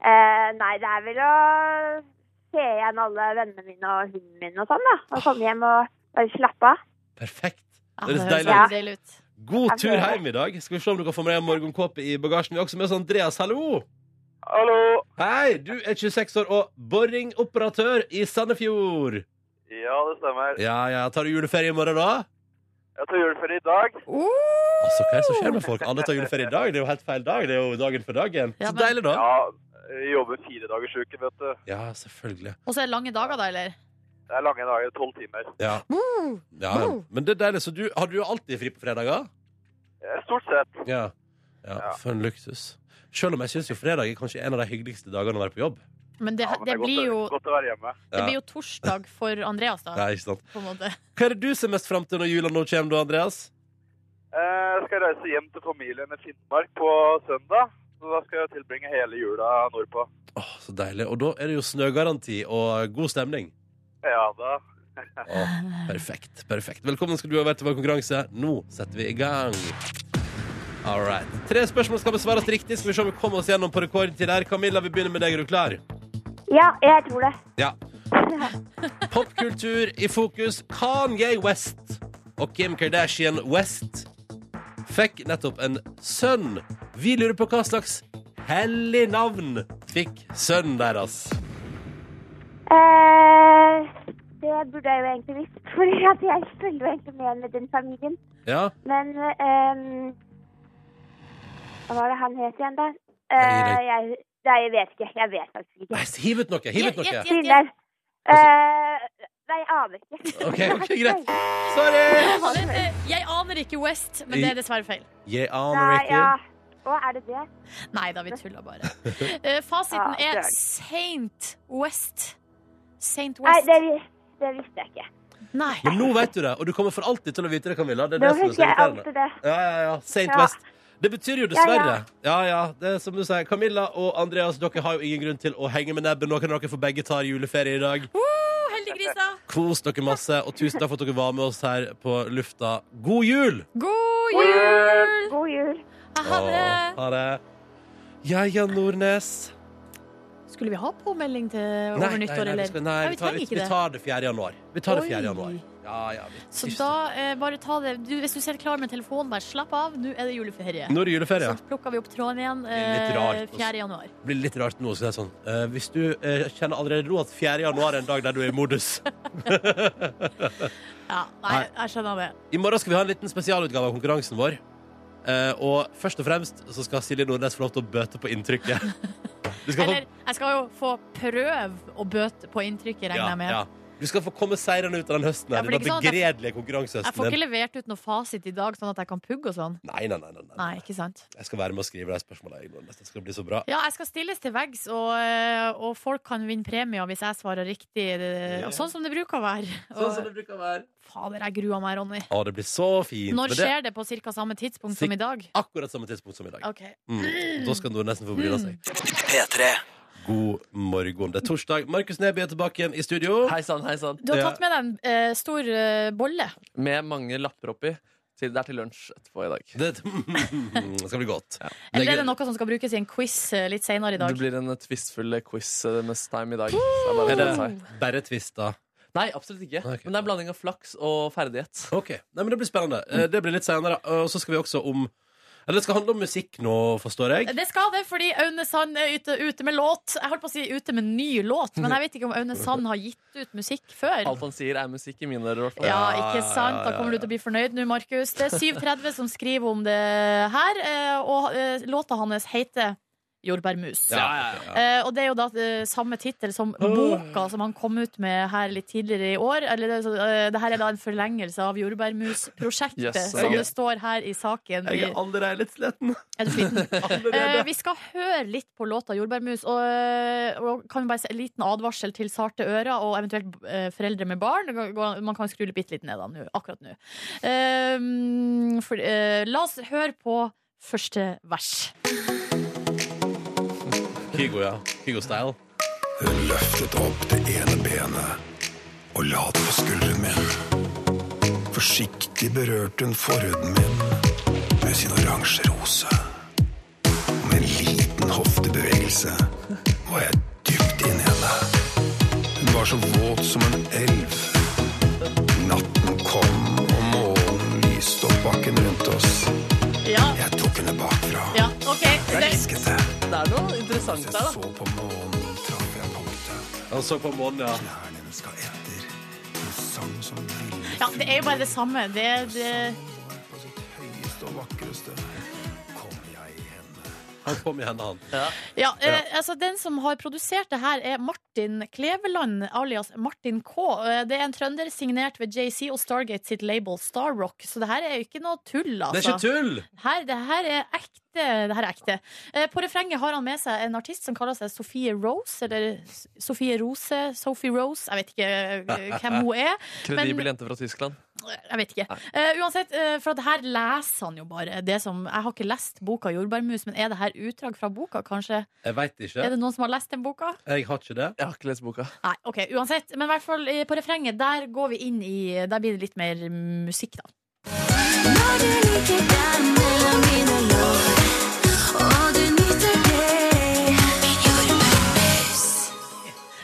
Speaker 1: Eh, nei, det er vel å se igjen alle vennene mine og hunden min og sånn, da. Og komme hjem og bare slappe av.
Speaker 2: Perfekt.
Speaker 3: Ja, Ah,
Speaker 2: Det
Speaker 3: det
Speaker 2: er så
Speaker 3: høres
Speaker 2: deilig.
Speaker 3: veldig deilig ut.
Speaker 2: God
Speaker 1: Jeg
Speaker 3: Altså-
Speaker 2: tur
Speaker 1: prøver.
Speaker 2: hjem i dag. Skal vi se om du kan få med deg morgenkåpe i bagasjen. Vi har også med oss Andreas. Hallo!
Speaker 5: Hallo.
Speaker 2: Hei, du er 26 år og boringoperatør i Sandefjord.
Speaker 5: Ja, det stemmer.
Speaker 2: Ja, ja. Tar du juleferie i morgen, da?
Speaker 5: Jeg tar juleferie i dag.
Speaker 2: Altså, Hva er det som skjer med folk? Alle tar juleferie i dag. Det er jo helt feil dag. Det er jo dagen for dagen.
Speaker 3: Ja,
Speaker 2: Så
Speaker 3: men-
Speaker 2: deilig, da.
Speaker 5: Ja, jeg jobber fire dagers uke, vet du.
Speaker 2: Ja, selvfølgelig.
Speaker 3: Og så er det lange dager, da, eller?
Speaker 5: Det er lange dager, tolv timer.
Speaker 2: Ja. ja. ja. Men det er deilig. Så du, har du alltid fri på fredager?
Speaker 5: Eh, Stort sett.
Speaker 2: Ja. ja.
Speaker 5: Ja.
Speaker 2: For en luksus. Selv om jeg syns jo fredag er kanskje en av de hyggeligste dagene å være på jobb.
Speaker 3: Men det,
Speaker 5: Ja, men
Speaker 3: det,
Speaker 5: er
Speaker 3: blir
Speaker 5: godt,
Speaker 3: jo,
Speaker 5: å- Godt å være hjemme.
Speaker 3: det
Speaker 2: Ja.
Speaker 3: blir jo torsdag for Andreas, da.
Speaker 2: Ja, ikke sant?
Speaker 3: På en måte.
Speaker 2: Hva er det du ser mest fram til når jula nå kommer, da, Andreas?
Speaker 5: Eh, Jeg skal reise hjem til familien i Finnmark på søndag. Så da skal jeg tilbringe hele jula nordpå.
Speaker 2: Åh, så deilig. Og da er det jo snøgaranti og god stemning.
Speaker 5: Ja, da.
Speaker 2: Åh, perfekt. perfekt. Velkommen skal du ha vært til vår konkurranse. Nå setter vi i gang. All right. Tre spørsmål skal besvares riktig. Skal vi se om vi kommer oss gjennom på rekordtid her. Camilla, vi begynner med deg. Er du klar?
Speaker 1: Ja, jeg tror det.
Speaker 2: Ja. Popkultur i fokus. Kanye West og Kim Kardashian West fikk nettopp en sønn. Vi lurer på hva slags hellig navn fikk sønnen deres.
Speaker 1: Eh, det burde jeg jo egentlig visst, for jeg følger jo egentlig med med den familien.
Speaker 2: Ja.
Speaker 1: Men ehm, Hva var det han het igjen, da? Eh,
Speaker 2: Nei,
Speaker 1: jeg, nei, jeg vet ikke. Jeg vet faktisk ikke.
Speaker 2: Nei, hiv ut noe! Hiv ut noe! Altså-
Speaker 3: Gjett, gjett, gjett.
Speaker 1: Thriller. Eh, nei, jeg aner ikke.
Speaker 2: Ok, ok, greit. Sorry!
Speaker 3: Jeg aner ikke West, men det er dessverre feil.
Speaker 2: Jeg aner
Speaker 1: Nei, ja.
Speaker 2: ikke.
Speaker 1: Å, er det Ah, det?
Speaker 3: Nei da, vi tuller bare. Eh, Fasiten
Speaker 1: Ja,
Speaker 3: er
Speaker 1: det er-
Speaker 3: Saint West. Saint
Speaker 1: Nei,
Speaker 3: West.
Speaker 1: det, vi- det visste jeg ikke.
Speaker 3: Nei.
Speaker 2: Men nå vet du det, og du kommer for alltid til å vite det, Camilla. Det er
Speaker 1: Nå
Speaker 2: det som er
Speaker 1: husker
Speaker 2: så
Speaker 1: jeg
Speaker 2: irriterende.
Speaker 1: alltid det.
Speaker 2: Ja, ja, ja. Saint
Speaker 1: Ja.
Speaker 2: West. Det betyr jo dessverre. Ja, ja. Det er som du sier. Camilla og Andreas, dere har jo ingen grunn til å henge med nebben. Noen av dere får begge tar juleferie i dag.
Speaker 3: Woo, heldiggrisa!
Speaker 2: Kos dere masse, og tusen takk for at dere var med oss her på lufta. God jul!
Speaker 3: God jul! Ah,
Speaker 1: God jul.
Speaker 3: Ha
Speaker 2: Å,
Speaker 3: det.
Speaker 2: Ha det. Ja, ja, Nordnes.
Speaker 3: Skulle vi ha påmelding til
Speaker 2: Nei,
Speaker 3: over
Speaker 2: nei,
Speaker 3: nyttår,
Speaker 2: nei, vi
Speaker 3: eller?
Speaker 2: skal, nei,
Speaker 3: Nei,
Speaker 2: vi, tar, vi,
Speaker 3: trenger ikke
Speaker 2: vi
Speaker 3: det.
Speaker 2: tar det 4. januar. Vi tar det 4.
Speaker 3: Oi.
Speaker 2: januar. Ja, ja, vi,
Speaker 3: Så da, eh, bare ta det du, Hvis du sitter klar med telefonen, bare slapp av. Nå er det juleferie.
Speaker 2: Nå er det juleferie.
Speaker 3: Så plukker vi opp tråden igjen
Speaker 2: Det er litt
Speaker 3: eh,
Speaker 2: rart, altså.
Speaker 3: 4. januar.
Speaker 2: Det blir litt rart nå å si det sånn. Eh, hvis du eh, kjenner allerede nå at 4. januar er en dag der du er i modus
Speaker 3: Ja, nei,
Speaker 2: Nei.
Speaker 3: jeg skjønner det.
Speaker 2: I morgen skal vi ha en liten spesialutgave av konkurransen vår. Eh, og først og fremst så skal Silje Nordnes få lov til å bøte på inntrykket. Du skal få,
Speaker 3: Eller, jeg skal jo få prøve å bøte på inntrykket, regner jeg med.
Speaker 2: ja. Du skal få komme seirende ut av den høsten.
Speaker 3: Ja,
Speaker 2: her,
Speaker 3: for det er
Speaker 2: den
Speaker 3: ikke sånn at jeg-
Speaker 2: begredelige
Speaker 3: Jeg får
Speaker 2: konkurransehøsten.
Speaker 3: ikke
Speaker 2: din.
Speaker 3: levert ut noe fasit i dag, sånn at jeg kan pugge og sånn.
Speaker 2: Nei, nei, nei, nei, nei.
Speaker 3: Nei, ikke sant.
Speaker 2: Jeg skal være med og skrive de spørsmålene. jeg, Nordnes. Det skal bli så bra.
Speaker 3: Ja, jeg skal stilles til veggs, og, eh, og folk kan vinne premier hvis jeg svarer riktig. Det- og Sånn som det bruker å være.
Speaker 4: Sånn som
Speaker 3: Og,
Speaker 4: det bruker å være.
Speaker 3: fader, jeg gruer meg, Ronny.
Speaker 2: Å, det blir så fint.
Speaker 3: Når
Speaker 2: Men det er
Speaker 3: skjer det på ca. samme tidspunkt som i dag?
Speaker 2: Akkurat samme tidspunkt som i dag.
Speaker 3: Ok.
Speaker 2: Mm. Da skal Nordnesen få bryne seg. God morgen. Det er torsdag. Markus Neby er tilbake igjen i studio.
Speaker 4: Hei sann, Sånn, hei sann.
Speaker 3: Du har
Speaker 2: Ja.
Speaker 3: tatt med deg en eh, stor eh, bolle.
Speaker 4: Med mange lapper oppi. Til, det er til lunsj etterpå i dag.
Speaker 2: Det skal bli godt.
Speaker 3: Eller er
Speaker 2: Legger-
Speaker 3: det noe som skal brukes i en quiz eh, litt senere i dag?
Speaker 4: Det blir en eh, tvistfull eh, quiz eh, must time i dag. Så det
Speaker 2: Er
Speaker 4: er bare å glede
Speaker 2: det
Speaker 4: seg.
Speaker 2: bare tvister?
Speaker 4: Nei, absolutt ikke.
Speaker 2: Ok.
Speaker 4: Men det er en blanding av flaks og ferdighet.
Speaker 2: Ok, Nei, men Det blir spennende. Eh, Det blir litt senere. Og så skal vi også om Eller det skal handle om musikk nå, forstår jeg.
Speaker 3: Det skal det, fordi Aune Sand er ute, ute med låt. Jeg holdt på å si ute med ny låt, men jeg vet ikke om Aune Sand har gitt ut musikk før.
Speaker 4: Alt han sier, er musikk i mine ører. i hvert fall.
Speaker 3: Ja,
Speaker 2: Ja,
Speaker 3: ikke sant?
Speaker 2: ja,
Speaker 3: Da kommer
Speaker 2: ja,
Speaker 3: du til å bli fornøyd nå, Markus. Det er 7.30 som skriver om det her, eh, og eh, låta hans heter Jordbærmus.
Speaker 2: ja,
Speaker 3: Eh, Og det er jo da eh, samme tittel som boka som han kom ut med her litt tidligere i år. Eller, det er så- eh, det her er da en forlengelse av Jordbærmus-prosjektet,
Speaker 4: Yes,
Speaker 3: som
Speaker 2: jeg-
Speaker 3: det står her i saken.
Speaker 2: Jeg er
Speaker 3: I,
Speaker 2: allerede litt sliten.
Speaker 3: er du sliten? Eh,
Speaker 2: Allerede.
Speaker 3: vi skal høre litt på låta 'Jordbærmus'. Og, eh, og kan vi bare si en liten advarsel til sarte ører og eventuelt eh, foreldre med barn. Det går- Man kan skru bitte litt ned da, nå, akkurat nå. Eh, for, eh, la oss høre på første vers.
Speaker 2: Kygo, ja. Kygo-style.
Speaker 6: Hun løftet opp det ene benet og la det på skulderen min. Forsiktig berørte hun forhuden min med sin oransje rose. Og med en liten hoftebevegelse var jeg dypt inni henne. Hun var så våt som en elv. Natten kom, og månen lyste opp bakken rundt oss.
Speaker 3: Ja.
Speaker 6: Jeg tok henne bakfra.
Speaker 3: ja OK.
Speaker 6: Jeg
Speaker 3: Det,
Speaker 6: elsket det.
Speaker 4: Det er noe interessant
Speaker 6: Mens
Speaker 4: der,
Speaker 6: jeg
Speaker 4: da.
Speaker 6: så på månen,
Speaker 3: Altså.
Speaker 6: traff jeg punktet.
Speaker 2: Han så på månen, ja.
Speaker 6: Knærne hennes ga etter. Hun sang som ville
Speaker 3: ja, det er jo bare det samme. Det, det
Speaker 6: var på sitt høyeste og vakreste. Kom jeg i henne.
Speaker 2: Han kom i hendene, han.
Speaker 3: Ja, eh, altså Den som har produsert det her, er Martin Kleveland, alias Martin K. Eh, Det er en trønder signert ved JC og Stargate sitt label Starrock, så det her er jo ikke noe tull, altså.
Speaker 2: Det er ikke tull!
Speaker 3: Her, det her er ekte. Det her er ekte. Eh, på refrenget har han med seg en artist som kaller seg Sofie Rose, eller S- Sofie Rose, Sophie Rose, jeg vet ikke eh, hvem hun er.
Speaker 4: Kredibel jente fra Tyskland.
Speaker 3: Jeg vet ikke. Eh, uansett, eh, for at her leser han jo bare det som Jeg har ikke lest boka 'Jordbærmus', men er det her utdrag fra boka, kanskje?
Speaker 2: Jeg veit ikke.
Speaker 3: Er det noen som har lest den boka?
Speaker 2: Jeg har ikke det.
Speaker 4: Jeg har ikke lest boka.
Speaker 3: Nei, ok, uansett. Men i hvert fall eh, på refrenget, der går vi inn i Der blir det litt mer musikk, da.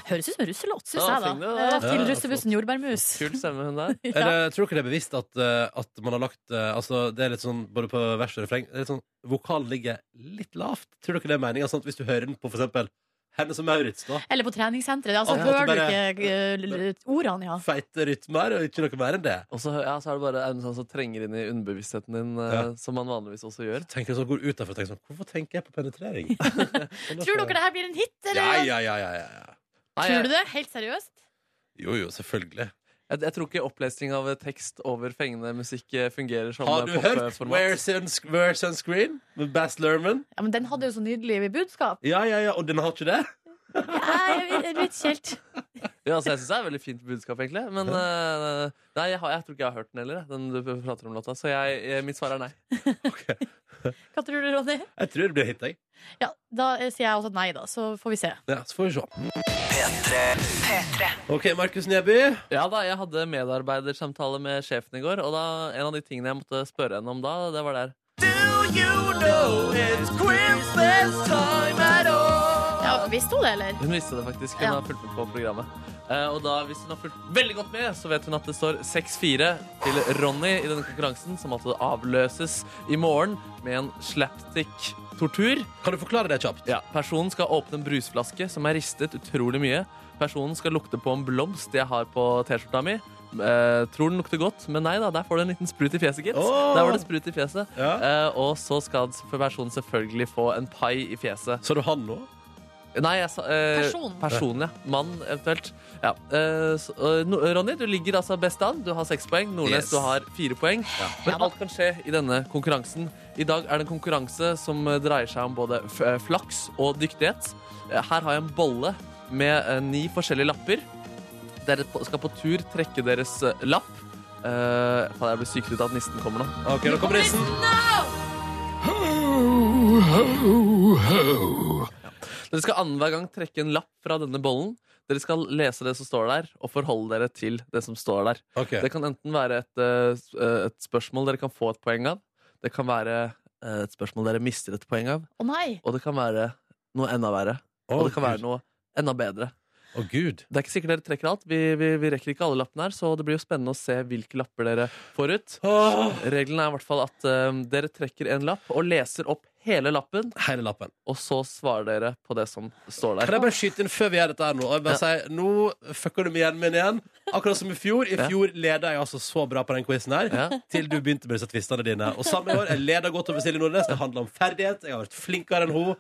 Speaker 3: Høres ut som en russelåt, syns
Speaker 4: Ja,
Speaker 3: jeg, da.
Speaker 4: syng Ah, det, da.
Speaker 3: Eh, Til
Speaker 2: Ja,
Speaker 3: russebussen Jordbærmus.
Speaker 4: Kul stemme, hun der.
Speaker 2: Er det, tror dere det er bevisst at, eh, at man har lagt eh, Altså, det er litt sånn både på vers og refreng det er litt sånn, Vokalen ligger litt lavt. Tror dere det er meninga? Sånn at hvis du hører den på for eksempel Hennes og Maurits, da.
Speaker 3: Eller på treningssenteret. Altså,
Speaker 2: Å, ja.
Speaker 3: hører
Speaker 2: At det
Speaker 3: du ikke eh, l- ordene, ja.
Speaker 2: Feite rytmer og ikke noe mer enn det.
Speaker 4: Og så, ja, så er det bare en sånn som trenger inn i underbevisstheten din, eh,
Speaker 2: Ja.
Speaker 4: som man vanligvis også gjør.
Speaker 2: Tenker jeg så går ut derfra og tenker sånn Hvorfor tenker jeg på penetrering?
Speaker 3: Tror dere det her blir en hit, eller?
Speaker 2: Ja, ja, ja, ja, ja.
Speaker 4: Nei,
Speaker 3: Tror du
Speaker 4: jeg,
Speaker 3: det? Helt seriøst?
Speaker 2: Jo, jo, selvfølgelig.
Speaker 4: jeg, jeg tror ikke opplesning av tekst over fengende musikk eh, fungerer som
Speaker 2: Har du
Speaker 4: eh,
Speaker 2: hørt
Speaker 4: popformat.
Speaker 2: Where Suns- Where Sunscreen med Bass Lerman?
Speaker 3: Ja, men den hadde jo så nydelig budskap.
Speaker 2: Ja, ja, ja, og den har ikke det?
Speaker 3: Nei, jeg vet- jeg vet ikke helt.
Speaker 4: Ja, altså, jeg syns det er et veldig fint budskap, egentlig. Men eh, nei, jeg, har, jeg tror ikke jeg har hørt den heller, jeg, den du prater om låta. Så jeg, eh, mitt svar er nei.
Speaker 3: Hva tror du, Ronny?
Speaker 2: Jeg tror det blir hit, jeg.
Speaker 3: Ja, da eh, sier jeg også nei, da. Så får vi se.
Speaker 2: Ja, så får vi se.
Speaker 4: Mm.
Speaker 2: OK, Markus Neby.
Speaker 4: Ja da, Jeg hadde medarbeidersamtale med sjefen i går, og da, en av de tingene jeg måtte spørre henne om da, det var der.
Speaker 3: Ja, Visste hun det, eller?
Speaker 4: Hun visste det faktisk. Hun
Speaker 3: Ja.
Speaker 4: har fulgt med på programmet. Eh, og da, hvis hun har fulgt veldig godt med, så vet hun at det står 6-4 til Ronny i denne konkurransen, som altså avløses i morgen med en slapstick-tortur.
Speaker 2: Kan du forklare det kjapt?
Speaker 4: Ja, Personen skal åpne en brusflaske som er ristet utrolig mye. Personen skal lukte på en blomst jeg har på T-skjorta mi. Eh, tror den lukter godt, men nei da, der får du en liten sprut i fjeset, gitt.
Speaker 2: Åh!
Speaker 4: Der var det sprut i fjeset.
Speaker 2: Ja.
Speaker 4: Eh, og så skal personen selvfølgelig få en pai i fjeset.
Speaker 2: Sa du han nå?
Speaker 4: Nei, jeg sa eh,
Speaker 3: Person.
Speaker 4: Person, ja. Mann, eventuelt. Ja. Eh, så, eh, no, Ronny, du ligger altså best an. Du har seks poeng. Nordnes,
Speaker 2: Yes.
Speaker 4: du har fire poeng.
Speaker 3: Ja,
Speaker 4: Men
Speaker 3: da.
Speaker 4: alt kan skje i denne konkurransen. I dag er det en konkurranse som eh, dreier seg om både f eh, flaks og dyktighet. Eh, Her har jeg en bolle med eh, ni forskjellige lapper. Dere på- skal på tur trekke deres eh, lapp. Eh, faen, jeg blir sykt ut av at nissen kommer nå.
Speaker 2: OK, nå kommer nissen.
Speaker 4: Dere skal annenhver gang trekke en lapp fra denne bollen. Dere skal lese det som står der, og forholde dere til det som står der.
Speaker 2: Ok.
Speaker 4: Det kan enten være et, eh, s- eh, et spørsmål dere kan få et poeng av. Det kan være eh, et spørsmål dere mister et poeng av.
Speaker 3: Å nei.
Speaker 4: Og det kan være noe enda verre.
Speaker 2: Å,
Speaker 4: Og det kan være
Speaker 2: Gud.
Speaker 4: noe enda bedre.
Speaker 2: Å, Gud.
Speaker 4: Det er ikke sikkert dere trekker alt. Vi, vi, vi rekker ikke alle lappene her, så det blir jo spennende å se hvilke lapper dere får ut.
Speaker 2: Åh.
Speaker 4: Reglene er i hvert fall at eh, dere trekker en lapp og leser opp hele lappen,
Speaker 2: Hele lappen.
Speaker 4: og så svarer dere på det som står
Speaker 2: Kan
Speaker 4: der.
Speaker 2: jeg bare skyte inn før vi gjør dette her nå? Og jeg bare si, Nå fucker du med hjelmen min igjen. Akkurat som i fjor. I
Speaker 4: Ja.
Speaker 2: fjor leda jeg altså så bra på den quizen her.
Speaker 4: Ja.
Speaker 2: Til du begynte med disse tvistene dine. Og samme år, jeg leda godt over Silje Nordnes. Det handler om ferdighet. Jeg har vært flinkere enn hun.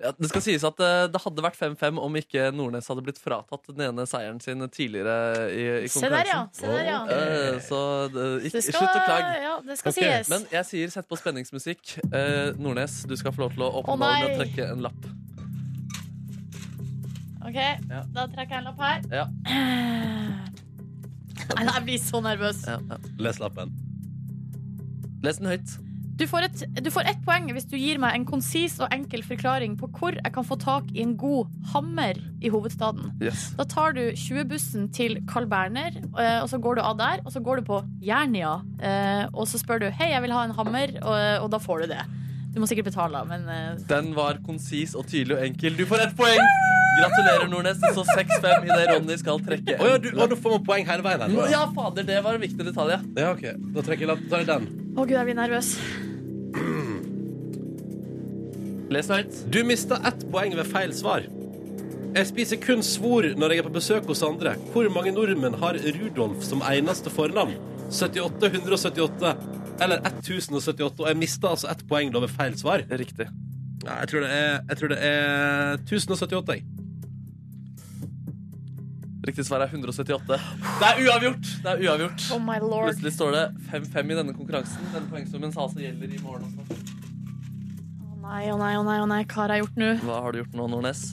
Speaker 4: Ja, det skal sies at eh, det hadde vært 5-5 om ikke Nordnes hadde blitt fratatt den ene seieren sin tidligere i, i
Speaker 3: Se der, ja.
Speaker 4: konkurransen.
Speaker 3: Se der, ja.
Speaker 4: Eh, så det- ikke,
Speaker 3: Det skal,
Speaker 4: slutt å klage.
Speaker 3: Ja, det skal
Speaker 2: Ok,
Speaker 3: sies.
Speaker 4: Men jeg sier sett på spenningsmusikk. Eh, Nordnes, du skal få lov til å åpne
Speaker 3: Å,
Speaker 4: ballen med å
Speaker 3: nei.
Speaker 4: trekke en lapp.
Speaker 3: OK, da trekker jeg en lapp her.
Speaker 4: Ja.
Speaker 3: Nei, jeg blir så nervøs.
Speaker 4: Ja, ja.
Speaker 2: Les lappen.
Speaker 4: Les den høyt.
Speaker 3: Du får, et, du får ett poeng hvis du gir meg en konsis og enkel forklaring på hvor jeg kan få tak i en god hammer i hovedstaden. Da tar du 20-bussen til Carl Berner, eh, og så går du av der, og så går du på Jernia. eh, Og så spør du 'Hei, jeg vil ha en hammer', og, og da får du det. Du må sikkert betale, men eh,
Speaker 4: Den var konsis og tydelig og enkel. Du får ett poeng! Gratulerer, Nordnes. Det står 6-5 idet Ronny skal trekke. en
Speaker 2: Å ja, du, å, nå får man poeng hele veien her. nå,
Speaker 4: lapp. Ja, fader, det var en viktig detalj. ja.
Speaker 2: Ja, ok. Da trekker jeg lapp. Tar jeg den.
Speaker 3: Å gud, jeg blir nervøs.
Speaker 4: Les den høyt.
Speaker 2: Du mista ett poeng ved feil svar. Jeg spiser kun svor når jeg er på besøk hos andre. Hvor mange nordmenn har Rudolf som eneste fornavn? 78, 178 eller 1078? Og jeg mista altså ett poeng da ved feil svar.
Speaker 4: Riktig.
Speaker 2: Nei, jeg tror det er, jeg tror det er 1078. jeg.
Speaker 4: Riktig svar er 178. Det er uavgjort! Det er uavgjort.
Speaker 3: Oh my lord.
Speaker 4: Plutselig står det 5-5 i denne konkurransen. Denne poengsummen sa altså gjelder i morgen også.
Speaker 3: Å nei, å nei, å nei, å nei, hva har jeg gjort nå?
Speaker 4: Hva har du gjort nå, Nordnes?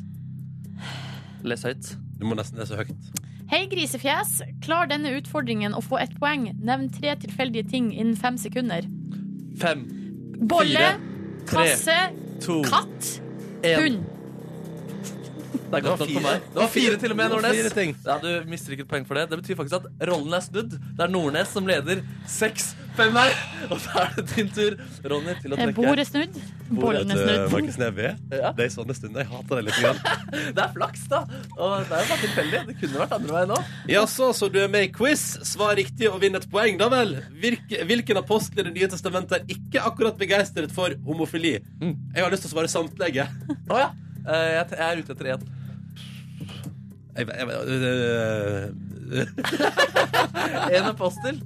Speaker 4: Les høyt.
Speaker 2: Du må nesten lese høyt.
Speaker 3: Hei, grisefjes. Klar denne utfordringen og få ett poeng. Nevn tre tilfeldige ting innen fem sekunder.
Speaker 4: Fem,
Speaker 3: Bolle,
Speaker 4: fire, tre,
Speaker 3: kasse,
Speaker 4: to,
Speaker 3: katt,
Speaker 4: en.
Speaker 3: hund.
Speaker 4: Det er godt nok for
Speaker 2: Det var fire.
Speaker 4: meg. Det var fire til og med,
Speaker 2: Det var fire
Speaker 4: Nordnes.
Speaker 2: ting.
Speaker 4: Ja, du mister ikke et poeng for det. Det betyr faktisk at rollen er snudd. Det er Nordnes som leder 6-5 her. Og så er det din tur, Ronny, til å
Speaker 3: Eh,
Speaker 4: trekke.
Speaker 3: Bordet snudd, bollen er snudd.
Speaker 2: Eh, Markus Neby.
Speaker 4: Ja.
Speaker 2: Det er sånne stunder. Jeg hater det litt. Grann.
Speaker 4: Det er flaks, da. Og det er jo bare tilfeldig. Det kunne vært andre veien òg.
Speaker 2: Jaså, så du er med i quiz? Svar riktig og vinn et poeng, da vel. Virke, hvilken apostel i Det nye testamentet er ikke akkurat
Speaker 4: Mm.
Speaker 2: begeistret for homofili? Jeg har lyst til å svare samtlige.
Speaker 4: Å ja. Eh, Jeg jeg er ute etter én.
Speaker 2: Jeg, jeg, øh, øh,
Speaker 4: En apostel.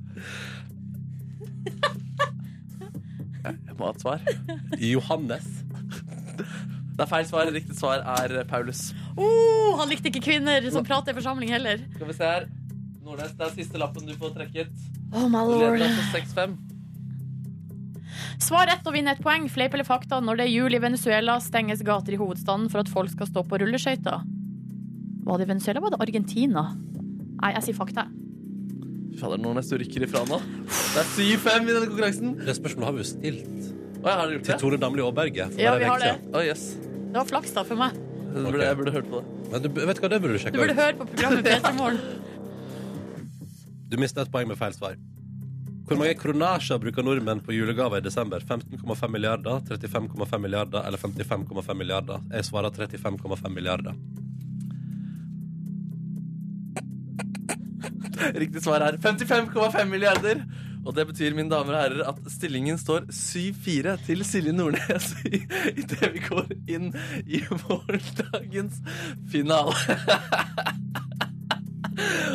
Speaker 4: Jeg må ha et svar.
Speaker 2: Johannes.
Speaker 4: Det er feil svar. Riktig svar er Paulus.
Speaker 3: Oh, han likte ikke kvinner som prater i forsamling heller.
Speaker 4: Skal vi se her. Nordnes, det er siste lappen du får trekket.
Speaker 3: Oh my
Speaker 4: Du leder
Speaker 3: lord
Speaker 4: deg på 6-5.
Speaker 3: Svar rett og vinn ett poeng. Fleip eller fakta? Når det er jul i Venezuela, stenges gater i hovedstaden for at folk skal stå på rulleskøyter. Var det Venezuela? Var det Argentina? Nei, jeg sier fakta.
Speaker 4: Fy fader, Nordnes, du rykker ifra nå. Det er 7-5 i denne konkurransen.
Speaker 2: Det spørsmålet har vi jo stilt
Speaker 4: Å, ja, har du gjort
Speaker 2: til
Speaker 4: det?
Speaker 2: Tone Damli Aaberge. for
Speaker 3: Ja,
Speaker 2: bare en
Speaker 3: vi har
Speaker 2: uke
Speaker 3: det.
Speaker 2: siden.
Speaker 4: Å, yes.
Speaker 3: Det var flaks da for meg.
Speaker 4: Jeg burde, jeg burde hørt på det.
Speaker 2: Men du, vet du hva, det burde du
Speaker 3: Du
Speaker 2: sjekke
Speaker 3: burde
Speaker 2: ut.
Speaker 3: høre på programmet Petermorgen.
Speaker 2: Du mistet et poeng med feil svar. Hvor mange kronasjer bruker nordmenn på julegaver i desember? 15,5 milliarder, 35,5 milliarder eller 55,5 milliarder? Jeg svarer 35,5 milliarder.
Speaker 4: Riktig svar er 55,5 milliarder. Og det betyr mine damer og herrer, at stillingen står 7-4 til Silje Nordnes i, i det vi går inn i morgendagens finale.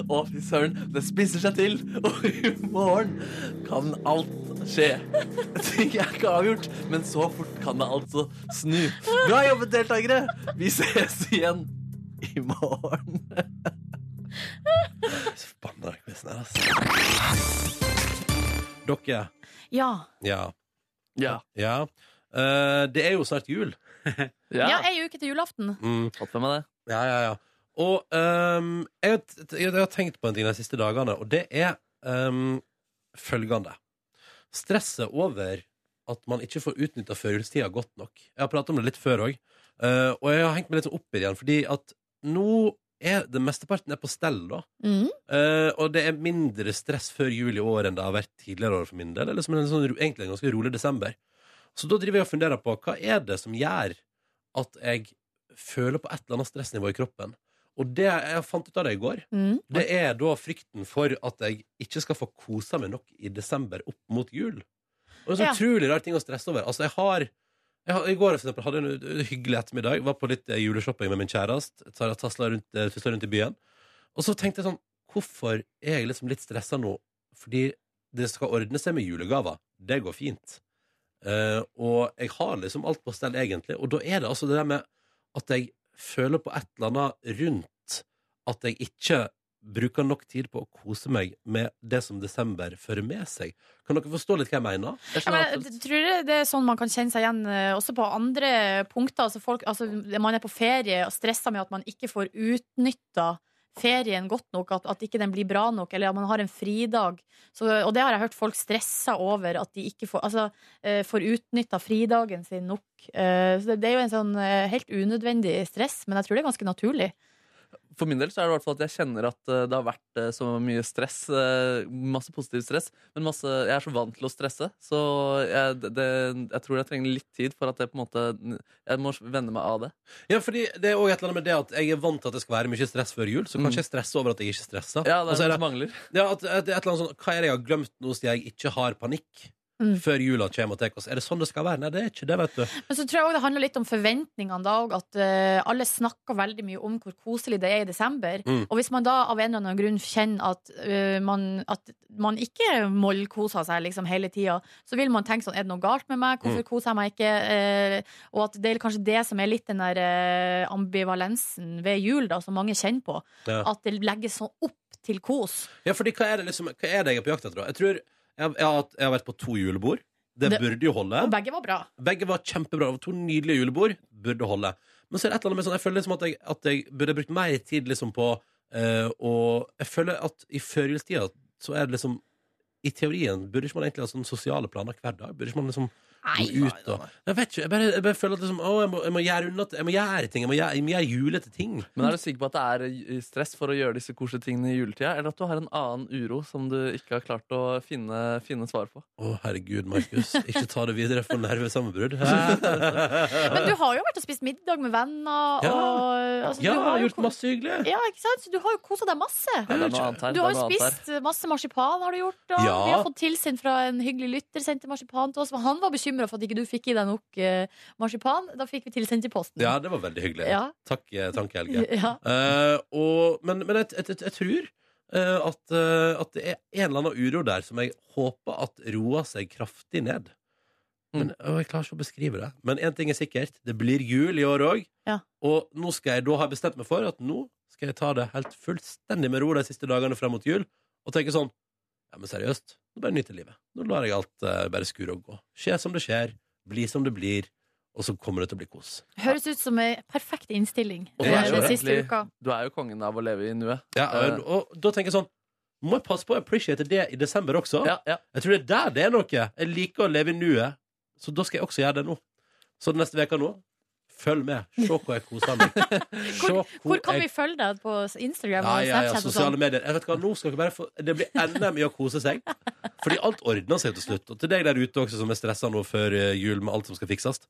Speaker 4: Å, fy søren, det spisser seg til, og i morgen kan alt skje. Ting er ikke avgjort, men så fort kan det altså snu. Bra jobbet, deltakere! Vi ses igjen i morgen.
Speaker 2: Så forbanna den quizen her, altså. Dere.
Speaker 3: Ja.
Speaker 2: Ja.
Speaker 4: Ja.
Speaker 2: Ja. Eh, det er jo snart jul.
Speaker 3: ja, ei uke til julaften.
Speaker 2: Mm.
Speaker 4: Fått med meg det.
Speaker 2: Ja, ja, ja. Og ehm, jeg, har t- jeg har tenkt på en ting de siste dagene, og det er ehm, følgende. Stresset over at man ikke får utnytta førjulstida godt nok. Jeg har pratet om det litt før òg, og jeg har hengt meg litt sånn opp i det igjen, fordi at nå er det mesteparten er på stell, da.
Speaker 3: Mm.
Speaker 2: Eh, og det er mindre stress før jul i år enn det har vært tidligere år for min del. Eller som en sånn, ro- egentlig en ganske rolig desember. Så da driver jeg og funderer på hva er det som gjør at jeg føler på et eller annet stressnivå i kroppen. Og det jeg fant ut av det i går,
Speaker 3: Mm.
Speaker 2: det er da frykten for at jeg ikke skal få kosa meg nok i desember opp mot jul. Og det er så
Speaker 3: Ja.
Speaker 2: utrolig rar ting å stresse over. Altså, jeg har jeg har, I går for eksempel, hadde jeg en uh, hyggelig ettermiddag. Var på litt eh, juleshopping med min kjæreste. tar- Tasla rundt, eh, tusla rundt i byen. Og så tenkte jeg sånn Hvorfor er jeg liksom litt stressa nå? Fordi det skal ordne seg med julegaver. Det går fint. Eh, og jeg har liksom alt på stell, egentlig. Og da er det altså det der med at jeg føler på et eller annet rundt at jeg ikke bruker nok tid på å kose meg med det som desember fører med seg. Kan dere forstå litt hva jeg mener? sånn
Speaker 4: Jeg
Speaker 3: Ja,
Speaker 4: skjønner
Speaker 3: men,
Speaker 4: absolutt.
Speaker 3: jeg tror det- det er sånn man kan kjenne seg igjen eh, også på andre punkter. Altså folk, altså, man er på ferie og stresser med at man ikke får utnytta ferien godt nok, at, at ikke den blir bra nok, eller at man har en fridag. Så, og det har jeg hørt folk stressa over, at de ikke får, altså, eh, får utnytta fridagen sin nok. Eh, så det, det er jo en sånn eh, helt unødvendig stress, men jeg tror det er ganske naturlig.
Speaker 4: For min del så er det i hvert fall at jeg kjenner at eh, det har vært eh, så mye stress. eh, Masse positivt stress, men masse, jeg er så vant til å stresse. Så jeg, det- det, jeg tror jeg trenger litt tid for at jeg på en måte Jeg må venne meg av det.
Speaker 2: Ja, fordi det er også et eller annet med det at jeg er vant til at det skal være mye stress før jul, så kanskje jeg stresser over at jeg ikke stresser.
Speaker 4: Ja, det
Speaker 2: Og så
Speaker 4: er
Speaker 2: er
Speaker 4: noe
Speaker 2: det,
Speaker 4: som mangler.
Speaker 2: ja, at, at det er et eller annet sånn, hva er det jeg har glemt nå siden jeg ikke har panikk?
Speaker 3: Mm.
Speaker 2: Før jula kommer og tar oss. Er det sånn det skal være? Nei, det er ikke det, vet du.
Speaker 3: Men så tror jeg også det handler litt om forventningene da og At eh, alle snakker veldig mye om hvor koselig det er i desember.
Speaker 2: Mm.
Speaker 3: Og hvis man da av en eller annen grunn kjenner at, eh, man, at man ikke mollkoser seg liksom hele tida, så vil man tenke sånn Er det noe galt med meg?
Speaker 2: Mm.
Speaker 3: Hvorfor koser jeg meg ikke? Eh, og at det er kanskje det som er litt den der eh, ambivalensen ved jul, da, som mange kjenner på.
Speaker 2: Ja.
Speaker 3: At det legges sånn opp til kos.
Speaker 2: Ja, fordi hva er det, liksom, hva er det jeg er på jakt etter? da? Jeg tror jeg, jeg, har, hatt- jeg har vært på to julebord. Det,
Speaker 3: Det-
Speaker 2: burde jo holde.
Speaker 3: Og begge var bra.
Speaker 2: Begge var kjempebra. Det var to nydelige julebord. Burde holde. Men så er det et eller annet med sånn, jeg føler liksom at jeg, at jeg burde brukt mer tid liksom på eh, Og jeg føler at i førjulstida så er det liksom I teorien burde ikke man egentlig ha sånne sosiale planer hver dag? Burde ikke man liksom
Speaker 3: Nei,
Speaker 2: gå ut og Jeg vet ikke. Jeg bare, jeg bare føler at liksom, å, jeg, må, jeg må gjøre unna Jeg må gjøre ting. Jeg må gjøre, jeg må gjøre julete ting.
Speaker 4: Men er du sikker på at det er eh, stress for å gjøre disse koselige tingene i juletida? Eller at du har en annen uro som du ikke har klart å finne, finne svar på?
Speaker 2: Å, herregud, Markus. Ikke ta det videre for nervesammenbrudd.
Speaker 3: Men du har jo vært og spist middag med venner.
Speaker 2: Ja.
Speaker 3: Og, altså,
Speaker 2: Ja,
Speaker 3: du
Speaker 2: jeg har
Speaker 3: jo
Speaker 2: gjort
Speaker 3: ko-
Speaker 2: masse hyggelig.
Speaker 3: Ja, ikke sant? Så du har jo kosa deg masse.
Speaker 4: Ja, det er noe annet her.
Speaker 3: Du
Speaker 4: det
Speaker 3: har jo
Speaker 4: er noe annet her.
Speaker 3: spist masse marsipan, har du gjort. Og
Speaker 2: Ja.
Speaker 3: Vi har fått tilsendt fra en hyggelig lytter, sendte marsipan til oss. Men han var bekymra for at ikke du fikk i deg nok eh, marsipan. Da fikk vi tilsendt i posten.
Speaker 2: Ja, det var veldig hyggelig.
Speaker 3: Ja.
Speaker 2: Takk, eh, Tanke Helge.
Speaker 3: Ja.
Speaker 2: Eh, og, men men jeg, jeg, jeg, jeg tror eh, at, eh, at det er en eller annen uro der som jeg håper at roer seg kraftig ned. Men, og jeg klarer ikke å beskrive det. Men én ting er sikkert, det blir jul i år òg.
Speaker 3: Ja.
Speaker 2: Og nå skal jeg, da har jeg bestemt meg for at nå skal jeg ta det helt fullstendig med ro de siste dagene frem mot jul, og tenke sånn Ja, men seriøst, nå bare nyter jeg livet. Nå lar jeg alt eh, bare skure og gå. Skje som det skjer, bli som det blir, og så kommer det til å bli kos.
Speaker 3: Høres ut som ei perfekt innstilling
Speaker 4: Og
Speaker 2: det
Speaker 3: eh,
Speaker 2: er jo
Speaker 3: den siste
Speaker 4: egentlig-
Speaker 3: uka.
Speaker 4: Du er jo kongen av å leve i nuet.
Speaker 2: Ja,
Speaker 4: Eh.
Speaker 2: og, og da tenker jeg sånn Må jeg passe på å appreciate det i desember også?
Speaker 4: Ja, ja.
Speaker 2: Jeg tror det er der det er noe. Jeg liker å leve i nuet, så da skal jeg også gjøre det nå. Så neste uke nå Følg med. Se hvor jeg koser meg. Se
Speaker 3: Hvor kan vi
Speaker 2: jeg-
Speaker 3: følge deg på Instagram
Speaker 2: ja,
Speaker 3: og
Speaker 2: ja, ja,
Speaker 3: Snapchat? og
Speaker 2: sosiale
Speaker 3: sånn?
Speaker 2: medier. Jeg vet hva, nå skal dere bare få, Det blir NM i å kose seg. Fordi alt ordner seg til slutt. Og til deg der ute også som er stressa nå før eh, jul med alt som skal fikses.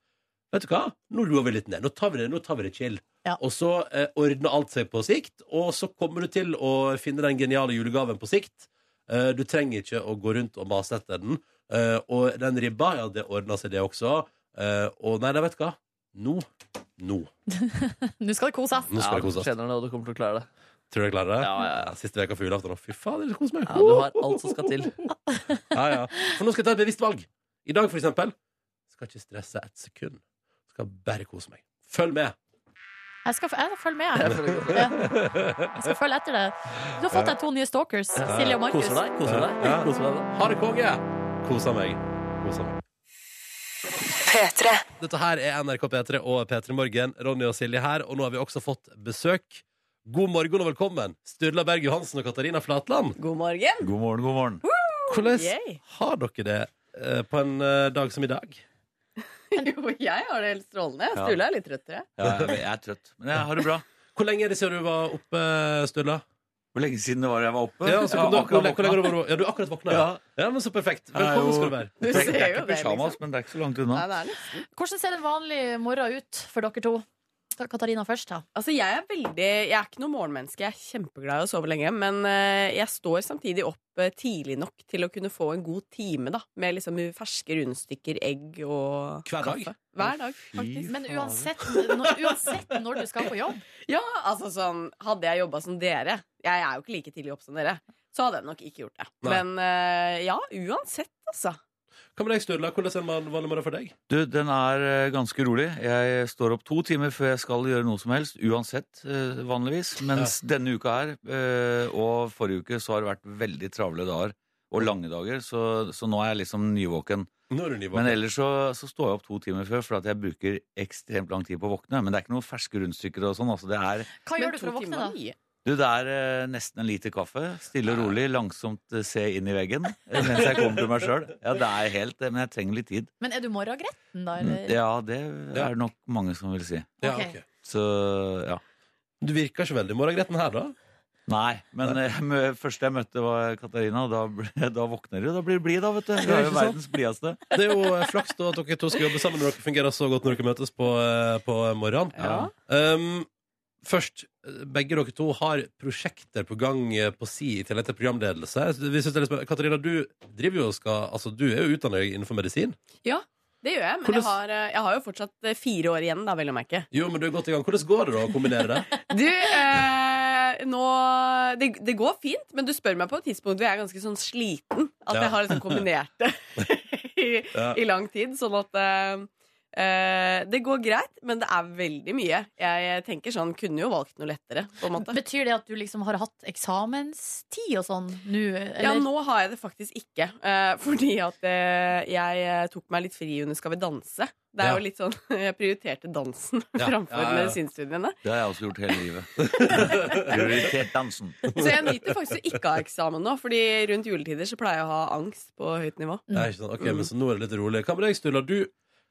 Speaker 2: Vet du hva? Nå roer vi litt ned. Nå tar vi det, nå tar vi det chill.
Speaker 3: Ja.
Speaker 2: Og så eh, ordner alt seg på sikt, og så kommer du til å finne den geniale julegaven på sikt. Eh, du trenger ikke å gå rundt og mase etter den. Eh, og den ribba, ja, det ordner seg, det også. Eh, og nei, nei, vet du hva? Nå. Nå.
Speaker 3: Nå skal det koses.
Speaker 2: Nå
Speaker 4: Ja,
Speaker 2: skal det
Speaker 4: du
Speaker 2: koses.
Speaker 4: kjenner det, og du kommer til å klare det.
Speaker 2: Tror du jeg klarer det?
Speaker 4: Ja, ja, ja.
Speaker 2: Siste veka for julaften. og Fy fader, kos meg.
Speaker 4: Ja, du har alt som skal til.
Speaker 2: Ja, ja. For nå skal jeg ta et bevisst valg. I dag, for eksempel, skal ikke stresse et sekund. Skal bare kose meg. Følg med.
Speaker 3: Jeg skal, jeg følge med. Jeg.
Speaker 4: Koser
Speaker 3: Ja. jeg skal følge etter det. Du har fått deg to nye stalkers, Silje og Markus.
Speaker 4: deg, koser deg.
Speaker 2: Ja.
Speaker 4: Koser deg da.
Speaker 2: Ha det, konge! Kosa meg. Kosa meg. Dette her er NRK P3 og P3 Morgen. Ronny og Silje her, og nå har vi også fått besøk. God morgen og velkommen, Sturla Berg Johansen og Katarina Flatland.
Speaker 7: God morgen.
Speaker 8: God morgen, god morgen.
Speaker 2: Hvordan
Speaker 7: Yay.
Speaker 2: har dere det eh, på en eh, dag som i dag?
Speaker 7: Jo, jeg har det helt strålende.
Speaker 8: Ja.
Speaker 7: Sturle er litt trøttere.
Speaker 8: Ja, jeg, jeg er trøtt, men jeg har det bra.
Speaker 2: Hvor lenge er det siden du var oppe, Sturla?
Speaker 8: Hvor lenge siden det var jeg var oppe?
Speaker 2: Ja, så kom du,
Speaker 8: Jeg har
Speaker 2: hvor,
Speaker 8: akkurat
Speaker 2: hvor lenge har du vært- ja, du har akkurat våkna. Ja. ja, men så perfekt. Velkommen skal du være.
Speaker 7: Du
Speaker 8: Det er
Speaker 7: ser jo
Speaker 8: ikke
Speaker 7: det,
Speaker 8: pysjamas,
Speaker 7: liksom.
Speaker 8: men det er ikke så langt unna.
Speaker 7: Nei, det er det.
Speaker 3: Hvordan ser en vanlig morgen ut for dere to? Ta Katarina først, da.
Speaker 7: Altså, jeg er veldig Jeg er ikke noe morgenmenneske. Jeg er kjempeglad i å sove lenge. Men eh, jeg står samtidig opp eh, tidlig nok til å kunne få en god time, da. Med liksom ferske rundstykker, egg og
Speaker 2: Hver dag?
Speaker 7: kaffe. Hver dag, faktisk.
Speaker 3: Men uansett, når- uansett når du skal på jobb
Speaker 7: Ja, altså sånn Hadde jeg jobba som dere Jeg er jo ikke like tidlig opp som dere. Så hadde jeg nok ikke gjort det.
Speaker 2: Nei.
Speaker 7: Men eh, ja, uansett, altså.
Speaker 2: Hva med deg, Sturla? Hvordan er en man- vanlig morgen for deg?
Speaker 8: Du, den er eh, ganske rolig. Jeg står opp to timer før jeg skal gjøre noe som helst, uansett, eh, vanligvis. Mens denne uka her, eh, og forrige uke, så har det vært veldig travle dager. Og lange dager, så, så nå er jeg liksom nyvåken.
Speaker 2: Når er du
Speaker 8: Men
Speaker 2: nivåken?
Speaker 8: ellers så, så står jeg opp to timer før, for at jeg bruker ekstremt lang tid på å våkne. Men det er ikke noen ferske rundstykker og sånn. Altså, det er
Speaker 3: Hva
Speaker 7: Men
Speaker 3: gjør du for
Speaker 7: to
Speaker 3: å våkne,
Speaker 7: timer
Speaker 3: da?
Speaker 7: er mye.
Speaker 8: Du, det er eh, nesten en liter kaffe. Stille og rolig, langsomt eh, se inn i veggen eh, mens jeg kommer til meg sjøl. Ja, det er helt det, men jeg trenger litt tid.
Speaker 3: Men er du morgengretten, da? Eller?
Speaker 8: Ja, det er det nok mange som vil si.
Speaker 2: Ja,
Speaker 3: Ok.
Speaker 2: ok.
Speaker 8: Så ja.
Speaker 2: Du virker ikke veldig morgengretten her, da.
Speaker 8: Nei, men eh, mø- første jeg møtte, var Katarina, og da, ble- da våkner du. Da blir du blid, da, vet du. Du er jo verdens blideste.
Speaker 2: Det er jo eh, flaks da at dere to skal jobbe sammen når dere fungerer så godt når dere møtes på, eh, på morgenen.
Speaker 8: Ja.
Speaker 2: Um, først, eh, begge dere to har prosjekter på gang eh, på si i tillegg til programledelse. Vi synes det er litt spennende. Katarina, du driver jo og skal Altså, du er jo utdannet innenfor medisin.
Speaker 7: Det gjør jeg, men
Speaker 2: Hvordan-
Speaker 7: jeg har, eh, jeg har jo fortsatt eh, fire år igjen, da, vel å merke.
Speaker 2: Jo, men du er godt i gang. Hvordan går det da å kombinere det?
Speaker 7: Du, eh, nå det, det går fint, men du spør meg på et tidspunkt hvor jeg er ganske sånn sliten. At
Speaker 2: Ja.
Speaker 7: jeg har liksom kombinert det i,
Speaker 2: Ja.
Speaker 7: i lang tid. Sånn at eh, eh, det går greit, men det er veldig mye. Jeg tenker sånn, kunne jo valgt noe lettere, på en måte.
Speaker 3: Betyr det at du liksom har hatt eksamenstid og sånn nå? eller?
Speaker 7: Ja, nå har jeg det faktisk ikke. eh, fordi at eh, jeg eh, tok meg litt fri under Skal vi danse. Det er
Speaker 2: Ja.
Speaker 7: jo litt sånn, Jeg prioriterte dansen
Speaker 2: Ja,
Speaker 7: framfor
Speaker 2: ja, ja, ja.
Speaker 7: medisinstudiene.
Speaker 8: Det har jeg også gjort hele livet. Prioritert dansen.
Speaker 7: Så jeg nyter faktisk å ikke ha eksamen nå, Fordi rundt juletider så pleier jeg å ha angst på høyt nivå.
Speaker 3: Mm.
Speaker 2: Nei, ikke sant. Ok, men så nå er det litt rolig. Hva med deg, Sturla? Du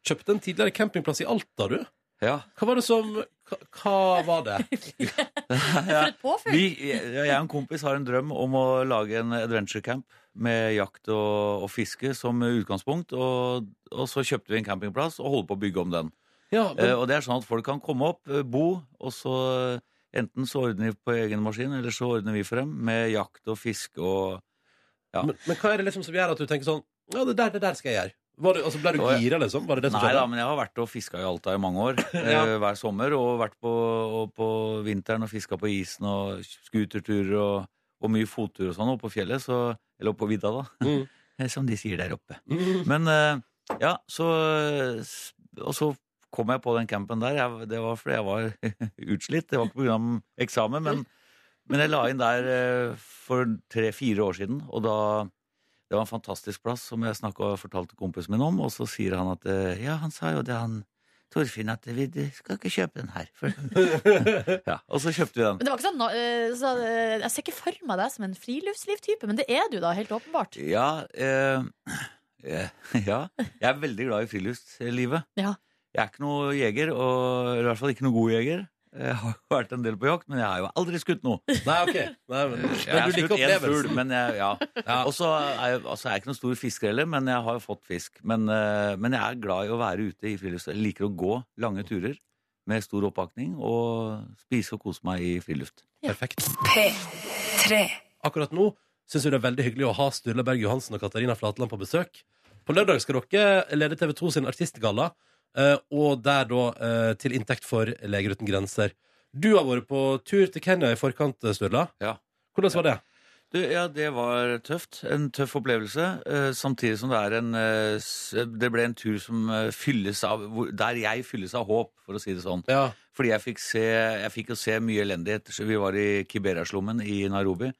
Speaker 2: kjøpte en tidligere campingplass i Alta, du.
Speaker 8: Ja.
Speaker 2: Hva var det som Hva, hva var det?
Speaker 3: For et påfyll!
Speaker 8: Vi, eh, jeg jeg og en kompis har en drøm om å lage en adventure camp med jakt og, og fiske som utgangspunkt. Og, og så kjøpte vi en campingplass og holder på å bygge om den.
Speaker 2: Ja, men,
Speaker 8: Eh, og det er sånn at folk kan komme opp, eh, bo, og så eh, enten så ordner de på egen maskin, eller så ordner vi for dem med jakt og fiske og
Speaker 2: men, men hva er det liksom som gjør at du tenker sånn Ja, det der, det der skal jeg gjøre. Var du, altså, ble du
Speaker 8: Å, ja.
Speaker 2: gira, liksom? Var det det som
Speaker 8: Nei da,
Speaker 2: skjedde?
Speaker 8: men jeg har vært og fiska i Alta i mange år.
Speaker 2: Ja.
Speaker 8: eh, Hver sommer. Og vært på, og på vinteren og fiska på isen og skuterturer og, og mye fottur og sånn oppe på fjellet. Så, eller oppe på vidda, da. eh,
Speaker 2: Mm.
Speaker 8: Som de sier der oppe.
Speaker 2: Mm.
Speaker 8: Men eh, ja, så s- Og så kom jeg på den campen der. Jeg, det var fordi jeg var utslitt. Det var ikke pga. eksamen, men, men jeg la inn der eh, for tre-fire år siden, og da det var en fantastisk plass, som jeg snakket og fortalte kompisen min om. Og så sier han at eh, Ja, han sa jo det, han Torfinn, at vi du skal ikke kjøpe den her. For... ja, og så kjøpte vi den.
Speaker 3: Men det var ikke sånn, eh, så, eh, Jeg ser ikke for meg deg som en friluftslivtype, men det er du da, helt åpenbart.
Speaker 8: Ja, eh, eh, ja. Jeg er veldig glad i friluftslivet.
Speaker 3: Ja.
Speaker 8: Jeg er ikke noe jeger, og, eller i hvert fall ikke noe god jeger. Jeg har jo vært en del på jakt, men jeg har jo aldri skutt noe.
Speaker 2: Nei, ok. Nei, men,
Speaker 8: Jeg har
Speaker 2: men du
Speaker 8: skutt
Speaker 2: liker
Speaker 8: én fugl,
Speaker 2: opplevelsen.
Speaker 8: men jeg, ja.
Speaker 2: Ja.
Speaker 8: Og så er jeg, altså, jeg er ikke noen stor fisker heller, men jeg har jo fått fisk. Men, eh, men jeg er glad i å være ute i friluftsliv. Jeg liker å gå lange turer med stor oppakning og spise og kose meg i friluft.
Speaker 2: Perfekt. Akkurat nå syns vi det er veldig hyggelig å ha Sturle Berg Johansen og Katarina Flatland på besøk. På lørdag skal dere lede TV 2 sin artistgalla, eh, og der da eh, til inntekt for Leger uten grenser. Du har vært på tur til Kenya i forkant, Sturla.
Speaker 8: Ja.
Speaker 2: Hvordan var det?
Speaker 8: Du, ja, det var tøft. En tøff opplevelse. eh, samtidig som det er en eh, s- Det ble en tur som eh, fylles av hvor- Der jeg fylles av håp, for å si det sånn.
Speaker 2: Ja.
Speaker 8: Fordi jeg fikk, se, jeg fikk jo se mye elendighet. Så Vi var i Kibera-slummen i Nairobi.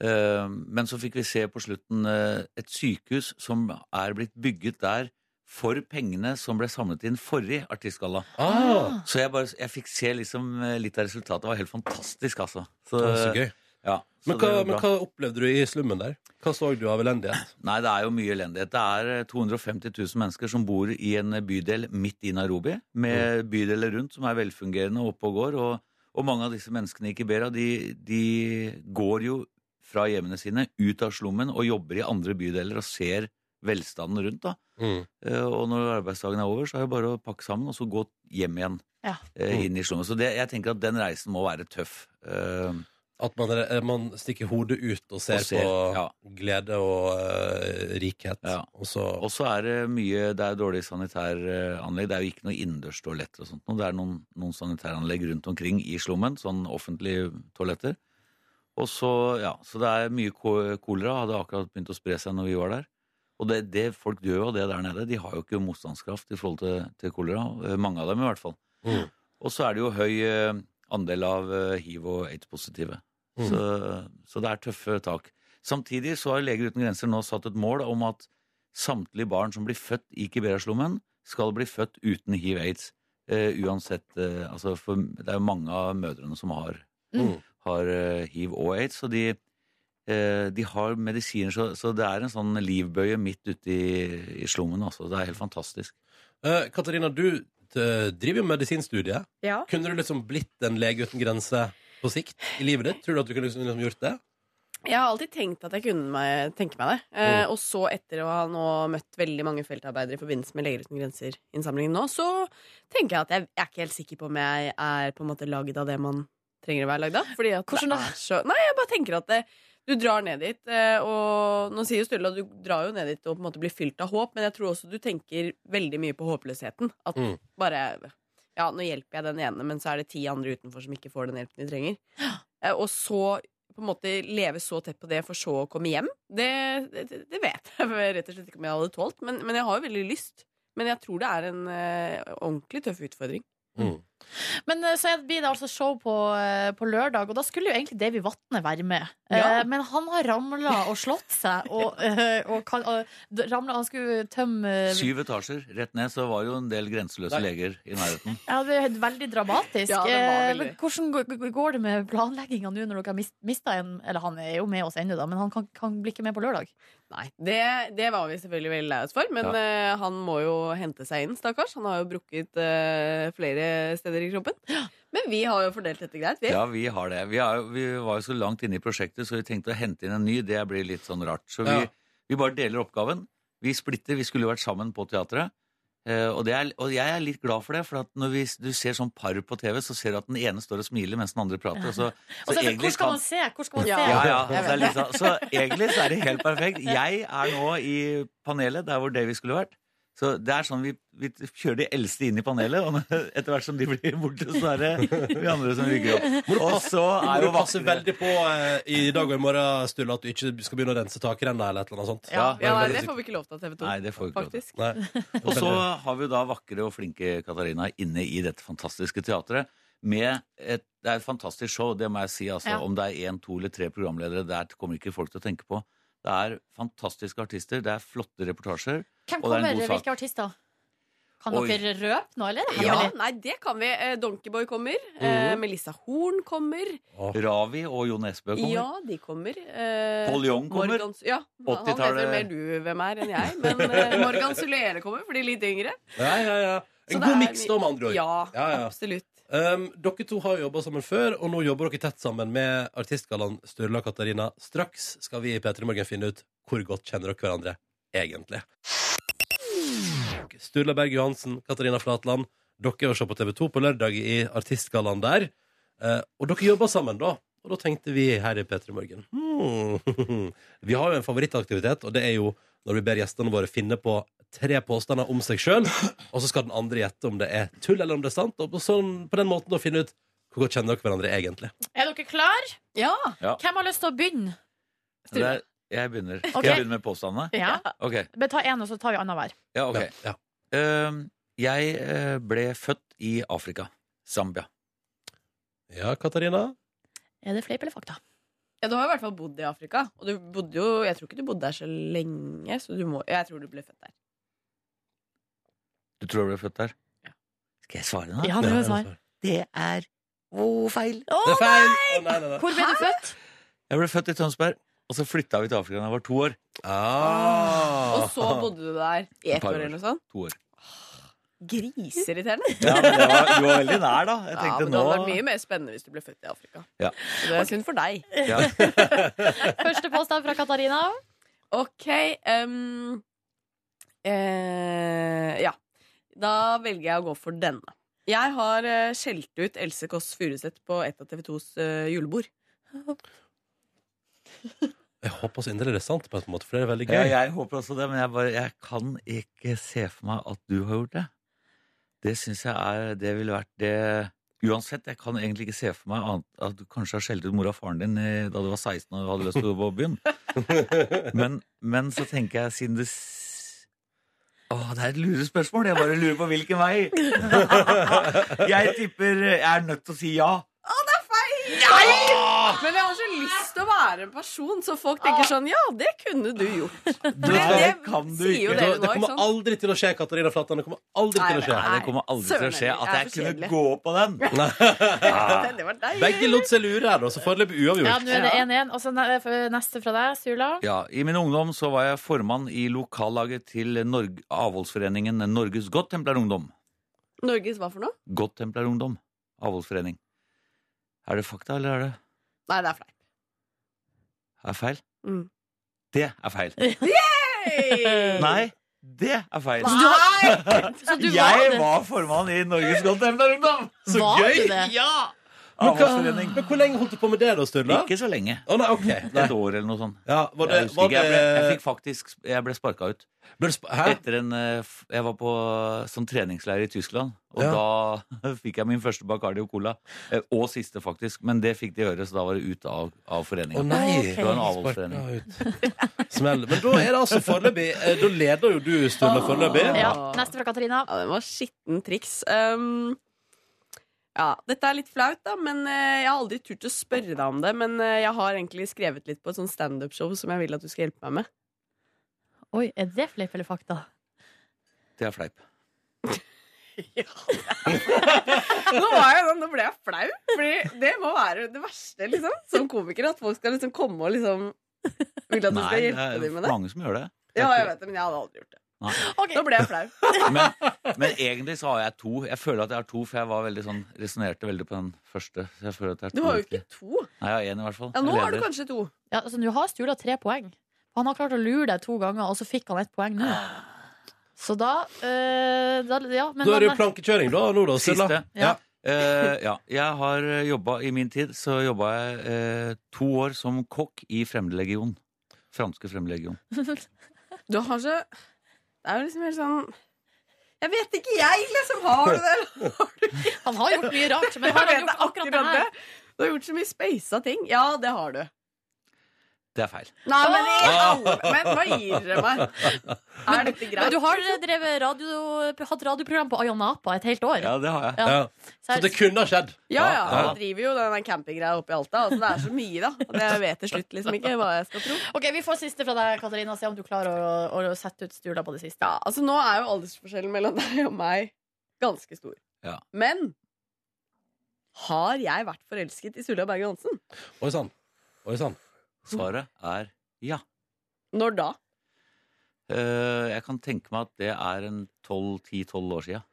Speaker 8: Eh, Men så fikk vi se på slutten eh, et sykehus som er blitt bygget der for pengene som ble samlet inn forrige artistgalla.
Speaker 2: Ah,
Speaker 8: Så jeg, bare, jeg fikk se liksom eh, litt av resultatet. Det var helt fantastisk, altså.
Speaker 2: det var så gøy.
Speaker 8: Ja, så
Speaker 2: Men
Speaker 8: det
Speaker 2: hva,
Speaker 8: var
Speaker 2: men
Speaker 8: bra.
Speaker 2: hva opplevde du i slummen der? Hva så du av elendighet?
Speaker 8: Nei, det er jo mye elendighet. Det er eh, 250 000 mennesker som bor i en eh, bydel midt i Nairobi, med bydeler rundt som er velfungerende og oppe og går. Og, og mange av disse menneskene i Kibera, de, de går jo fra hjemmene sine, ut av slummen og jobber i andre bydeler og ser velstanden rundt. da.
Speaker 2: Mm.
Speaker 8: Eh, Og når arbeidsdagen er over, så er det bare å pakke sammen og så gå hjem igjen.
Speaker 3: Ja.
Speaker 9: Mm.
Speaker 8: eh, Inn i slummen. Så det, jeg tenker at den reisen må være tøff. Eh,
Speaker 2: At man, er- man stikker hodet ut og ser,
Speaker 8: Og ser,
Speaker 2: på
Speaker 8: ja.
Speaker 2: glede og eh, rikhet.
Speaker 8: Ja.
Speaker 2: Og så,
Speaker 8: Og så er det mye Det er dårlig sanitæranlegg. Det er jo ikke noe innendørs toaletter og sånt. noe. Det er noen, noen sanitæranlegg rundt omkring i slummen, sånn offentlige toaletter. Og så, ja, så det er mye ko- kolera. Hadde akkurat begynt å spre seg når vi var der. Og det, det folk gjør jo det der nede. De har jo ikke motstandskraft i forhold til, til kolera. Eh, Mange av dem, i hvert fall.
Speaker 2: Mm.
Speaker 8: Og så er det jo høy eh, andel av eh, hiv- og aids-positive.
Speaker 2: Mm.
Speaker 8: Så, så det er tøffe tak. Samtidig så har Leger uten grenser nå satt et mål om at samtlige barn som blir født i Kibera-slummen, skal bli født uten hiv-aids. Eh, uansett, eh, altså for det er jo mange av mødrene som har,
Speaker 2: Mm.
Speaker 8: har eh, hiv og aids, så de, eh, de har medisiner, så, så det er en sånn livbøye midt ute i, i slummen, altså. Det er helt fantastisk.
Speaker 2: Eh, Katarina, du eh, driver jo medisinstudiet.
Speaker 7: Ja.
Speaker 2: Kunne du liksom blitt en lege uten grenser på sikt i livet ditt? Tror du at du kunne liksom, liksom gjort det?
Speaker 7: Jeg har alltid tenkt at jeg kunne meg, tenke meg det. Eh,
Speaker 2: Mm.
Speaker 7: Og så, etter å ha nå møtt veldig mange feltarbeidere i forbindelse med Leger uten grenser-innsamlingen nå, så tenker jeg at jeg, jeg er ikke helt sikker på om jeg er på en måte lagd av det man trenger å være lagd av. Fordi at
Speaker 3: Hvordan da?
Speaker 7: det er så Nei, jeg bare tenker at det, du drar ned dit, eh, og nå sier jo Sturle at du drar jo ned dit og på en måte blir fylt av håp, men jeg tror også du tenker veldig mye på håpløsheten. At
Speaker 2: Mm.
Speaker 7: bare Ja, nå hjelper jeg den ene, men så er det ti andre utenfor som ikke får den hjelpen de trenger. Eh, Og så på en måte leve så tett på det for så å komme hjem, det, det, det vet jeg rett og slett ikke om jeg hadde tålt. Men, men jeg har jo veldig lyst. Men jeg tror det er en eh, ordentlig tøff utfordring.
Speaker 3: Men eh, så blir det altså show på, eh, på lørdag, og da skulle jo egentlig Davy Vatne være med.
Speaker 7: Ja.
Speaker 3: Eh, Men han har ramla og slått seg, og, eh, og, kan- og d- ramlet- han skulle tømme eh,
Speaker 8: Syv etasjer rett ned, så var jo en del grenseløse
Speaker 2: Nei.
Speaker 8: leger i nærheten.
Speaker 3: Ja, det er veldig dramatisk.
Speaker 7: Ja, det var
Speaker 3: Eh,
Speaker 7: veldig.
Speaker 3: Men hvordan går- går- går det med planlegginga nå når dere har mis- mista en Eller han er jo med oss ennå, da, men han kan, kan bli ikke med på lørdag.
Speaker 7: Nei, Det, det var vi selvfølgelig veldig lei oss for, men
Speaker 8: Ja.
Speaker 7: eh, han må jo hente seg inn, stakkars. Han har jo brukket eh, flere steder i kroppen. Men vi har jo fordelt dette greit. Vi.
Speaker 8: Ja, vi har det. Vi, er, jo- vi var jo så langt inne i prosjektet, så vi tenkte å hente inn en ny. Det blir litt sånn rart. Så vi,
Speaker 2: Ja.
Speaker 8: vi bare deler oppgaven. Vi splitter. Vi skulle jo vært sammen på teatret. Eh, og, det er, og jeg er litt glad for det, for at når vi, du ser sånn par på TV, så ser du at den ene står og smiler mens den andre prater. Og altså, så,
Speaker 3: Og så, hvor skal man se? Hvor skal man
Speaker 7: Ja.
Speaker 3: se?
Speaker 8: ja, ja, og så, er det litt sånn, så egentlig så er det helt perfekt. Jeg er nå i panelet der hvor Davy skulle vært. Så det er sånn vi, vi kjører de eldste inn i panelet, og etter hvert som de blir borte, så er det vi andre som rykker opp. Og så
Speaker 2: Nei,
Speaker 8: er
Speaker 2: du
Speaker 8: jo
Speaker 2: passer
Speaker 8: vaktene
Speaker 2: veldig på eh, i dag og i morgen Sturle, at du ikke skal begynne å rense takrenna eller et eller annet sånt.
Speaker 7: Ja, ja,
Speaker 2: det er
Speaker 7: det
Speaker 2: veldig
Speaker 7: får vi ikke lov til av TV 2.
Speaker 8: Nei, det får vi ikke lov til.
Speaker 7: faktisk.
Speaker 2: Nei.
Speaker 8: Og så har vi jo da vakre og flinke Katarina inne i dette fantastiske teatret. Med et, det er et fantastisk show, det må jeg si. Altså,
Speaker 3: Ja.
Speaker 8: Om det er én, to eller tre programledere, det kommer ikke folk til å tenke på. Det er fantastiske artister, det er flotte reportasjer.
Speaker 3: Hvem
Speaker 8: Og det er en
Speaker 3: kommer?
Speaker 8: god sak.
Speaker 3: Hvilke artister? Kan
Speaker 8: Oi.
Speaker 3: dere røpe nå, eller?
Speaker 7: Ja,
Speaker 3: Hemmelig?
Speaker 7: nei, det kan vi. Eh, Donkeyboy kommer. Eh,
Speaker 8: Mhm.
Speaker 7: Melissa Horn kommer.
Speaker 8: Ravi og Jon Esbø kommer.
Speaker 7: Ja, de kommer. Eh,
Speaker 8: Pål Jong kommer.
Speaker 7: Morgans- ja, han vet
Speaker 8: 80-tallet.
Speaker 7: vel mer du hvem er enn jeg, men eh, Morgan Sulere kommer for de litt yngre.
Speaker 2: Ja, ja, ja.
Speaker 7: Så
Speaker 2: En
Speaker 7: det er
Speaker 2: god miks, da,
Speaker 7: mye-
Speaker 2: med andre ord.
Speaker 7: Ja,
Speaker 2: Ja, ja.
Speaker 7: absolutt.
Speaker 2: Um, dere to har jobba sammen før, og nå jobber dere tett sammen med artistgallaen Sturla og Katarina. Straks skal vi i P3 Morgen finne ut hvor godt kjenner dere hverandre egentlig. Sturla Berg Johansen, Katarina Flatland, dere var se på TV 2 på lørdag i artistgallaen der. Eh, og dere jobba sammen da. Og da tenkte vi her i P3 Morgen hmm. Vi har jo en favorittaktivitet, og det er jo når vi ber gjestene våre finne på tre påstander om seg sjøl. Og så skal den andre gjette om det er tull eller om det er sant. Og på sånn, på den måten å finne ut hvor godt kjenner dere hverandre egentlig.
Speaker 3: Er dere klar?
Speaker 7: Ja,
Speaker 3: Hvem har lyst til å begynne?
Speaker 8: Det er, jeg begynner. Skal
Speaker 3: Ok.
Speaker 8: jeg begynne med påstandene?
Speaker 3: Ja.
Speaker 8: Ok.
Speaker 3: Men ta én, og så tar vi annenhver.
Speaker 8: Ja, ok.
Speaker 2: Ja.
Speaker 8: Ehm, jeg eh, ble født i Afrika. Zambia.
Speaker 2: ja, Katarina?
Speaker 3: Er det fleip eller fakta?
Speaker 7: ja, du har i hvert fall bodd i Afrika. Og du bodde jo, jeg tror ikke du bodde der så lenge, så du må, jeg tror du ble født der.
Speaker 8: Du tror jeg ble født der? Skal jeg svare nå?
Speaker 3: Ja, det var svar.
Speaker 8: Det er oh, feil.
Speaker 3: Å,
Speaker 2: Det er feil! Å, nei, nei, nei.
Speaker 3: Hvor ble du født?
Speaker 8: Jeg ble født i Tønsberg, og så flytta vi til Afrika da jeg var to år.
Speaker 2: Ah.
Speaker 7: Og så bodde du der i
Speaker 8: Et
Speaker 7: ett
Speaker 8: par
Speaker 7: år
Speaker 8: år.
Speaker 7: eller noe sånt.
Speaker 8: To år.
Speaker 7: Griseirriterende.
Speaker 8: Ja, men det var, du var veldig nær, da. Jeg
Speaker 7: Ja,
Speaker 8: tenkte
Speaker 7: men det
Speaker 8: nå
Speaker 7: hadde vært mye mer spennende hvis du ble født i Afrika.
Speaker 8: Ja.
Speaker 7: Så det er synd for deg.
Speaker 8: ja.
Speaker 3: Første påstand fra Katarina.
Speaker 7: Ok ehm, eh, Ja. Da velger jeg å gå for denne. Jeg har eh, skjelt ut Else Kåss Furuseth på et av TV 2s eh, julebord.
Speaker 2: Jeg håper så inderlig det er sant, på en måte, for det er veldig gøy.
Speaker 8: ja, jeg håper også det, men jeg, bare, jeg kan ikke se for meg at du har gjort det. Det syns jeg er Det ville vært det Uansett, jeg kan egentlig ikke se for meg annet at du kanskje har skjelt ut mora og faren din eh, da du var 16 og hadde lyst til å gå på byen. Men, men så tenker jeg, siden du s- Å, det er et lurespørsmål. Jeg bare lurer på hvilken vei. Jeg tipper eh, Jeg er nødt til å si ja. Ah!
Speaker 7: Men jeg har så lyst til å være en person så folk tenker sånn Ja, det kunne du gjort.
Speaker 8: Nei, det kan du
Speaker 7: sier jo
Speaker 8: ikke.
Speaker 7: dere
Speaker 2: det,
Speaker 7: nå, ikke
Speaker 2: kommer
Speaker 7: sant?
Speaker 2: aldri til å skje, Katarina Flatland. Det kommer aldri til å skje.
Speaker 8: Nei, det kommer aldri til å skje
Speaker 7: Søren,
Speaker 8: at jeg
Speaker 7: jeg er
Speaker 8: kunne
Speaker 7: for kjedelig.
Speaker 8: gå på den.
Speaker 7: Det, det var deg.
Speaker 2: Begge lot seg lure her, da, så foreløpig
Speaker 3: Ja,
Speaker 2: uavgjort.
Speaker 3: nå er det 1-1. Og så ne- neste fra deg, Sula.
Speaker 8: Ja, I min ungdom så var jeg formann i lokallaget til Norg avholdsforeningen Norges Godttemplerungdom.
Speaker 7: Norges hva for noe?
Speaker 8: Godttemplerungdom. Avholdsforening. Er det fakta, eller er det
Speaker 7: Nei, det er fleip.
Speaker 8: er det feil?
Speaker 7: Mm.
Speaker 8: Det er feil.
Speaker 7: Hey!
Speaker 8: Nei, det er feil.
Speaker 3: Så du var
Speaker 8: Jeg
Speaker 3: det.
Speaker 8: var formann i Norges Godttemplerungdom!
Speaker 2: Så
Speaker 3: Var
Speaker 2: gøy!
Speaker 3: du det?
Speaker 8: Ja!
Speaker 2: Men, hva,
Speaker 8: Avholdsforening.
Speaker 2: men hvor lenge holdt du på med det, da, Sturla?
Speaker 8: Ikke så lenge.
Speaker 2: Å, nei, ok. Nei.
Speaker 8: Et år eller noe sånt.
Speaker 2: Ja, var det,
Speaker 8: Jeg, husker
Speaker 2: var
Speaker 8: ikke.
Speaker 2: det,
Speaker 8: jeg, ble, jeg fikk faktisk Jeg ble sparka ut.
Speaker 2: ble det sp- Hæ?
Speaker 8: Etter en, eh, f- jeg var på sånn treningsleir i Tyskland, og da fikk jeg min første Bacardi og Cola. eh, Og siste, faktisk. Men det fikk de høre, så da var det ute av, av
Speaker 2: Å
Speaker 8: foreninga.
Speaker 2: nei!
Speaker 8: Det var en
Speaker 2: Sparka
Speaker 8: avholdsforening.
Speaker 2: ut. Smell. Men da er det altså foreløpig eh, Da leder jo du, Sturla, foreløpig.
Speaker 3: Ja, neste fra Katarina.
Speaker 7: Ja, den var skitten triks. Um, ja, dette er litt flaut, da, men eh, jeg har aldri turt å spørre deg om det. Men eh, jeg har egentlig skrevet litt på et sånt standup-show som jeg vil at du skal hjelpe meg med.
Speaker 3: Oi, er det fleip eller fakta?
Speaker 8: Det er fleip.
Speaker 7: Nå, var jeg, sånn, nå ble jeg flau, Fordi det må være det verste liksom, som komiker. At folk skal liksom komme og liksom vil at du
Speaker 8: Nei,
Speaker 7: skal
Speaker 8: det
Speaker 7: hjelpe
Speaker 8: er
Speaker 7: dem med det.
Speaker 8: mange som gjør det.
Speaker 7: Ja, jeg vet det, men jeg hadde aldri gjort det.
Speaker 8: Nei.
Speaker 3: Ok.
Speaker 7: Nå ble jeg flau.
Speaker 8: Men, men egentlig så har jeg to. Jeg føler at jeg har to, for jeg var veldig sånn resonnerte veldig på den første. Så jeg føler at jeg har
Speaker 7: Du
Speaker 8: to
Speaker 7: har jo
Speaker 8: riktige.
Speaker 7: ikke to.
Speaker 8: Nei, jeg har én i hvert fall.
Speaker 7: Ja, nå
Speaker 8: Jeg
Speaker 7: har du
Speaker 8: leder.
Speaker 7: kanskje to.
Speaker 3: Ja, altså, Nå har Stula tre poeng. Han har klart å lure deg to ganger, og så fikk han ett poeng nå. Så da, eh, da Ja, men
Speaker 2: Da er det
Speaker 3: men-
Speaker 2: jo plankekjøring, da, nå, da, Sturla.
Speaker 8: Siste.
Speaker 3: Ja.
Speaker 8: Ja. Eh, ja. Jeg har jobba I min tid så jobba jeg eh, to år som kokk i Fremmedlegion. Franske Fremmedlegion.
Speaker 7: Du har så Det er jo liksom helt sånn Jeg vet ikke, jeg liksom. Har du det?
Speaker 3: Han har gjort mye rart, men har han gjort akkurat det her?
Speaker 7: Du har gjort så mye speisa ting. Ja, det har du.
Speaker 8: Det er feil. Ah!
Speaker 7: Nei, men, i alle, men hva gir dere meg? Er dette
Speaker 3: Men
Speaker 7: greit?
Speaker 3: du har drevet radio, hatt radioprogram på Ayanapa et helt år.
Speaker 8: Ja, det har jeg.
Speaker 3: Ja.
Speaker 2: Ja.
Speaker 3: Så
Speaker 2: Så
Speaker 3: er-
Speaker 2: det kunne ha skjedd.
Speaker 7: Ja, ja.
Speaker 8: Ja.
Speaker 7: Jeg driver jo den der campinggreia oppe i Alta. Altså, det er så mye, da. At jeg vet til slutt liksom ikke hva jeg skal tro.
Speaker 3: Ok, Vi får siste fra deg, Katarina. Se om du klarer å, å, å sette ut stula på det siste.
Speaker 7: Ja, altså Nå er jo aldersforskjellen mellom deg og meg ganske stor.
Speaker 8: Ja.
Speaker 7: Men har jeg vært forelsket i Sula Berge Hansen?
Speaker 2: Oi sann. Oi sann.
Speaker 8: Svaret er ja.
Speaker 7: Når da?
Speaker 8: Eh, jeg kan tenke meg at det er en 12, 10-12 år siden.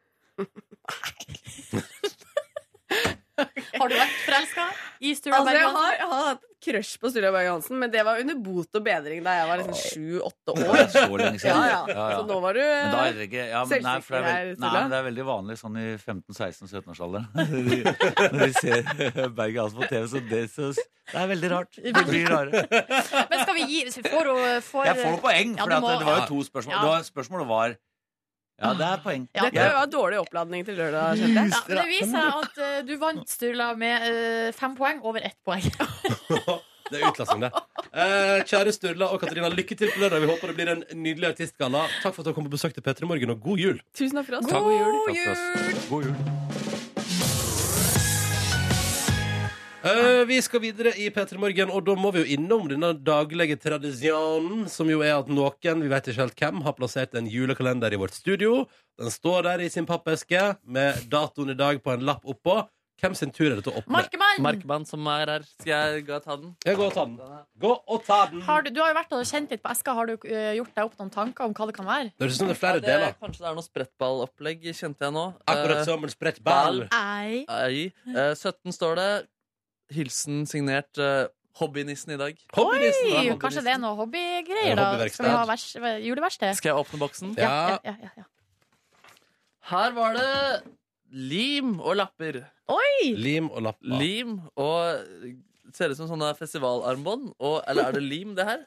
Speaker 3: Har du vært forelska i Sturla
Speaker 7: Altså, jeg
Speaker 3: Bergman?
Speaker 7: har, jeg har hatt et crush på Sula Berge Hansen, men det var under bot og bedring da jeg var liksom sju-åtte år.
Speaker 8: Så
Speaker 7: Ja,
Speaker 8: lenge siden.
Speaker 7: ja.
Speaker 8: Ja, ja.
Speaker 7: Så nå var du
Speaker 8: Men da er det ikke ja, men, nei,
Speaker 7: Selvsikker
Speaker 8: for det er veldig,
Speaker 7: her,
Speaker 8: nei,
Speaker 7: Tulla.
Speaker 8: men det er veldig vanlig sånn i 15-16-17-årsalderen. Når vi ser Berg Hansen på TV, så det, så det er veldig rart. Det blir rarere.
Speaker 3: Men skal vi gi så Får hun får,
Speaker 8: Jeg får noe poeng,
Speaker 3: Ja,
Speaker 8: for
Speaker 3: du
Speaker 8: at
Speaker 3: må-
Speaker 8: det var jo
Speaker 2: ja.
Speaker 8: to spørsmål.
Speaker 3: Ja.
Speaker 8: Det var, spørsmålet var Ja, det er poeng.
Speaker 3: Ja.
Speaker 7: Dette var dårlig oppladning til lørdag, skjønte jeg.
Speaker 3: ja, men Det viser seg at eh, du vant, Sturla, med eh, fem poeng over ett poeng.
Speaker 2: Det er utklassing, det. Eh, kjære Sturla og Katarina, lykke til på lørdag. Vi håper det blir en nydelig artistgalla. Takk for at dere kom på besøk til P3 Morgen, og god jul.
Speaker 7: Tusen takk for oss.
Speaker 3: God jul!
Speaker 8: Takk for oss. God jul.
Speaker 2: Eh, vi skal videre i P3 Morgen, og da må vi jo innom denne daglige tradisjonen, som jo er at noen, vi vet ikke helt hvem, har plassert en julekalender i vårt studio. Den står der i sin pappeske med datoen i dag på en lapp oppå. Hvem sin tur er det til å åpne?
Speaker 3: Markemann!
Speaker 4: Markmann som er her. Skal jeg gå og ta den?
Speaker 2: Ja, gå og ta den. Gå og ta den!
Speaker 3: Har du, du har jo vært og kjent litt på eska. Har du eh, gjort deg opp noen tanker om hva det kan være?
Speaker 2: Det høres ut som det er
Speaker 4: Ja,
Speaker 2: flere
Speaker 4: det,
Speaker 2: deler.
Speaker 4: kanskje det er noe sprettballopplegg, kjente jeg nå.
Speaker 2: Akkurat som en spredt ball.
Speaker 3: Ei.
Speaker 4: Eh, ei. Eh, 17 står det. Hilsen signert eh, hobbynissen i dag.
Speaker 2: Hobbynissen.
Speaker 3: Oi,
Speaker 2: da.
Speaker 4: hobbyverksted.
Speaker 3: Kanskje det er noe hobbygreier, da?
Speaker 2: Hobbyverksted.
Speaker 3: Skal vi ha vers, juleverksted?
Speaker 4: Skal jeg åpne boksen?
Speaker 2: Ja.
Speaker 3: Ja, ja, ja, ja.
Speaker 4: Her var det lim og lapper.
Speaker 3: Oi!
Speaker 2: Lim og lapp.
Speaker 4: Lim og Ser ut som sånne festivalarmbånd. Og, eller er det lim, det her?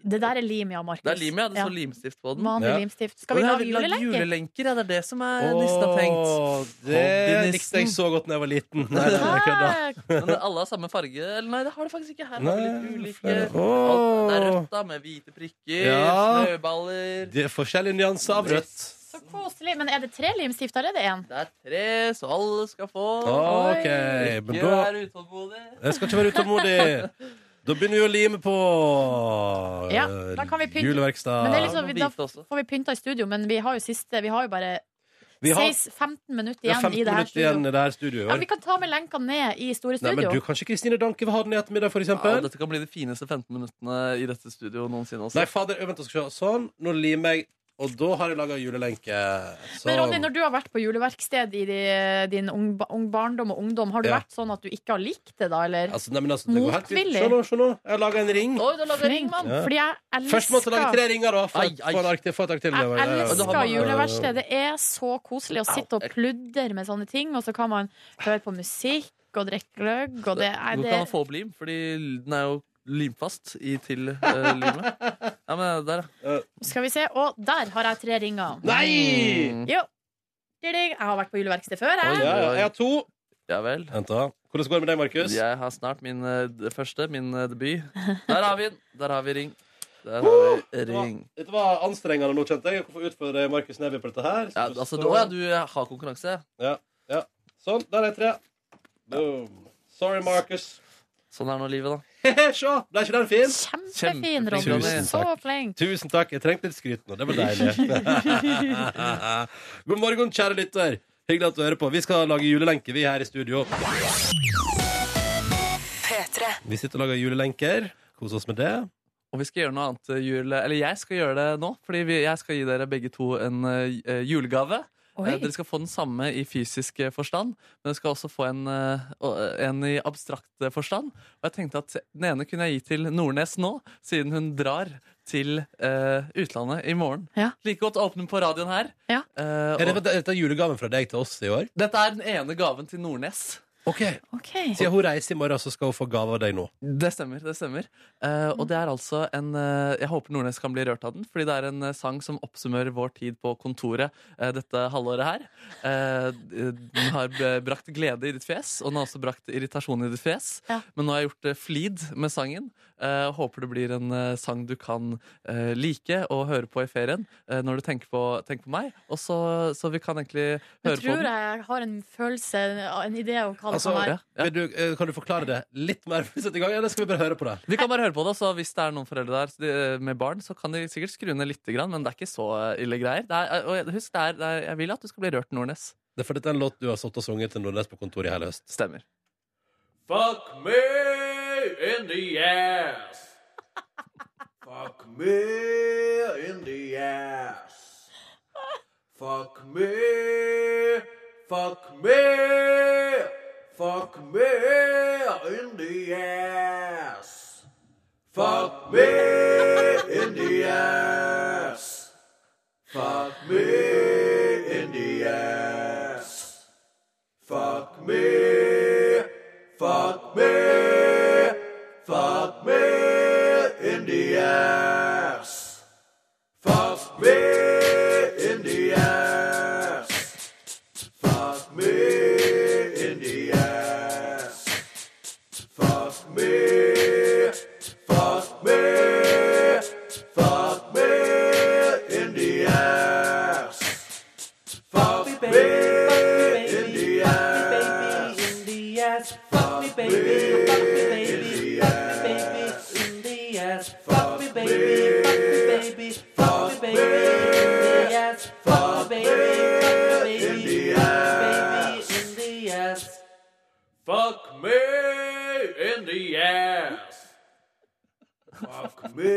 Speaker 3: Det der er lim, ja, Markus.
Speaker 4: Det er lim, ja. Det
Speaker 3: Ja.
Speaker 4: står limstift på den.
Speaker 3: Vanlig
Speaker 2: Ja.
Speaker 3: limstift. Skal vi
Speaker 4: Å, ja,
Speaker 3: lage julelenker?
Speaker 4: julelenker? Ja, det er det som er nissen har tenkt.
Speaker 2: Det
Speaker 4: Hobbynissen.
Speaker 2: likte jeg så godt da jeg var liten. Nei, nei, nei, kødda.
Speaker 3: Hæ?
Speaker 4: Men alle har samme farge? Eller nei, det har de faktisk ikke. Her har de litt
Speaker 2: Nei,
Speaker 4: ulike
Speaker 2: flere.
Speaker 4: Alt- Det er
Speaker 2: Åh.
Speaker 4: rødt, da, med hvite prikker,
Speaker 2: Ja.
Speaker 4: snøballer
Speaker 2: Det er forskjellige nyanser av rødt.
Speaker 3: Så koselig. Men er det tre limstift, eller er det én?
Speaker 4: Det er tre, så alle skal få.
Speaker 2: OK, men
Speaker 4: Ikke
Speaker 2: da
Speaker 4: vær utålmodig.
Speaker 2: Jeg skal ikke være utålmodig. Da begynner vi å lime på
Speaker 3: Ja,
Speaker 2: eh,
Speaker 3: da kan vi pynte. Men det er
Speaker 2: juleverkstad.
Speaker 3: litt sånn-
Speaker 4: Ja,
Speaker 3: da-
Speaker 4: hvite også.
Speaker 3: Får vi pynta i studio, men vi har jo siste Vi har jo bare
Speaker 2: Vi har
Speaker 3: 16 15 minutter
Speaker 2: vi har
Speaker 3: igjen
Speaker 2: 15
Speaker 3: i det her
Speaker 2: minutter igjen
Speaker 3: studioet.
Speaker 2: i det her studioet i
Speaker 3: Ja,
Speaker 2: år.
Speaker 3: vi kan ta med lenka ned i store
Speaker 2: Nei, men
Speaker 3: studio.
Speaker 2: du, Kanskje Kristine Danke vil ha den i ettermiddag, for
Speaker 4: Ja,
Speaker 2: eksempel?
Speaker 4: dette kan bli de fineste 15 minuttene i dette studioet noensinne. Også.
Speaker 2: Nei, fader, vent, jeg skal se. Sånn, nå limer jeg. Og da har jeg laga julelenke.
Speaker 3: Men
Speaker 2: Sånn.
Speaker 3: Ronny, når du har vært på juleverksted i de- din ung, ba- ung barndom og ungdom, har du
Speaker 2: Ja.
Speaker 3: vært sånn at du ikke har likt det, da, eller?
Speaker 2: Altså, nei, men altså, det går helt fint.
Speaker 3: Motvillig.
Speaker 2: Se nå, se nå. Jeg har laga en ring.
Speaker 4: Oi, du har laget
Speaker 3: Flink,
Speaker 4: ring, mann!
Speaker 2: Ja.
Speaker 3: Fordi jeg
Speaker 2: Først måtte jeg lage
Speaker 3: elsker
Speaker 2: tre ringer, da. For,
Speaker 4: Ai,
Speaker 2: at-
Speaker 4: ai.
Speaker 2: for, en ark til- for et ark til.
Speaker 3: jeg
Speaker 2: Ja, ja, ja.
Speaker 4: Da har
Speaker 3: elsker
Speaker 4: man- eh,
Speaker 3: juleverksted. Det er så koselig å sitte og pludre med sånne ting, og så kan man høre på musikk og drikke gløgg, og det er eh,
Speaker 4: Går
Speaker 3: det
Speaker 4: ikke an å få opp lim, fordi den er jo limfast i, til eh, limet. Ja, men der, ja.
Speaker 3: Skal vi se. Og der har jeg tre ringer.
Speaker 2: Nei!
Speaker 4: Mm.
Speaker 3: Jo. Jeg har vært på juleverksted før,
Speaker 2: Ja,
Speaker 3: jeg.
Speaker 2: ja, jeg har to.
Speaker 4: Ja vel.
Speaker 2: Vent da. Hvordan går det med deg, Markus?
Speaker 4: Jeg har snart min eh, d- første, min eh, debut. Der har vi den! Der har vi ring. Der har vi
Speaker 2: Det var-
Speaker 4: ring.
Speaker 2: Dette var anstrengende nå, kjente jeg. Jeg får utfordre Markus Neby på dette her.
Speaker 4: Ja,
Speaker 2: Skal du
Speaker 4: altså,
Speaker 2: stå-
Speaker 4: du, å, ja, du har konkurranse.
Speaker 2: Sånn, der er tre. Boom. Sorry, Markus.
Speaker 4: Sånn er nå livet, da.
Speaker 2: He-he, se! Ble ikke den fin?
Speaker 3: Kjempefin,
Speaker 4: Kjempeflink,
Speaker 3: Ronny.
Speaker 2: Ronny.
Speaker 3: Så flink.
Speaker 2: Tusen takk. Jeg trengte litt skryt nå. Det var deilig. God morgen, kjære lytter. Hyggelig at du hører på. Vi skal lage julelenke, vi her i studio. Vi sitter og lager julelenker. Kos oss med det.
Speaker 4: Og vi skal gjøre noe annet eh, jul... Eller jeg skal gjøre det nå, fordi vi, jeg skal gi dere begge to en eh, eh, julegave.
Speaker 3: Oi.
Speaker 4: Eh, Dere skal få den samme i fysisk eh, forstand, men dere skal også få en, eh, å- en i abstrakt eh, forstand. Og jeg tenkte at den ene kunne jeg gi til Nordnes nå, siden hun drar til eh, utlandet i morgen.
Speaker 3: Ja.
Speaker 4: Like godt å åpne på radioen her.
Speaker 3: Ja.
Speaker 4: Eh,
Speaker 2: Er
Speaker 4: og
Speaker 2: dette, er dette julegaven fra deg til oss i år?
Speaker 4: dette er den ene gaven til Nordnes.
Speaker 2: Ok,
Speaker 3: Ok.
Speaker 2: Siden hun reiser i morgen, så skal hun få gave av deg nå.
Speaker 4: Det stemmer. det stemmer Eh, Og det er altså en eh, Jeg håper Nordnes kan bli rørt av den, fordi det er en eh, sang som oppsummerer vår tid på kontoret eh, dette halvåret her. Eh, den har b- brakt glede i ditt fjes, og den har også brakt irritasjon i ditt fjes.
Speaker 3: Ja.
Speaker 4: Men nå har jeg gjort eh, flid med sangen. Eh, håper det blir en eh, sang du kan eh, like og høre på i ferien eh, når du tenker på, tenker på meg. Og så, så vi kan egentlig
Speaker 3: Jeg
Speaker 4: høre på
Speaker 3: tror
Speaker 4: den.
Speaker 3: jeg har en følelse, en idé om hva det
Speaker 2: Altså,
Speaker 3: kan være.
Speaker 4: Ja, ja.
Speaker 2: Vil du, eh, kan du forklare det litt mer før vi setter i gang, eller skal vi bare høre på det?
Speaker 4: Vi kan bare høre på det, så hvis det er noen foreldre der så de- eh, med barn, så kan de sikkert skru ned litt, grann, men det er ikke så eh, ille greier. Det er, og jeg- husk, det er, det er, jeg vil at du skal bli rørt, Nordnes.
Speaker 2: Det er fordi det er en låt du har stått og sunget til Nordnes på kontoret i hele høst.
Speaker 4: Stemmer.
Speaker 10: Fuck me in the ass. Fuck me in the ass. Fuck me. Fuck me. Fuck me in the ass. Fuck me in the ass. Fuck me in the ass. Fuck me. Fuck me. Fuck me in the ass. Fuck me in the ass. Fuck me in the ass. Fuck me. Fuck me. Fuck me in the ass. Fuck me, baby, in the ass. Fuck me, baby, fuck me, baby, fuck me, baby, in the ass. Fuck me, baby, fuck me, baby, fuck me, baby, in the ass. Fuck me, baby, fuck me, baby, in the ass. in the ass. Fuck me in the ass. Fuck me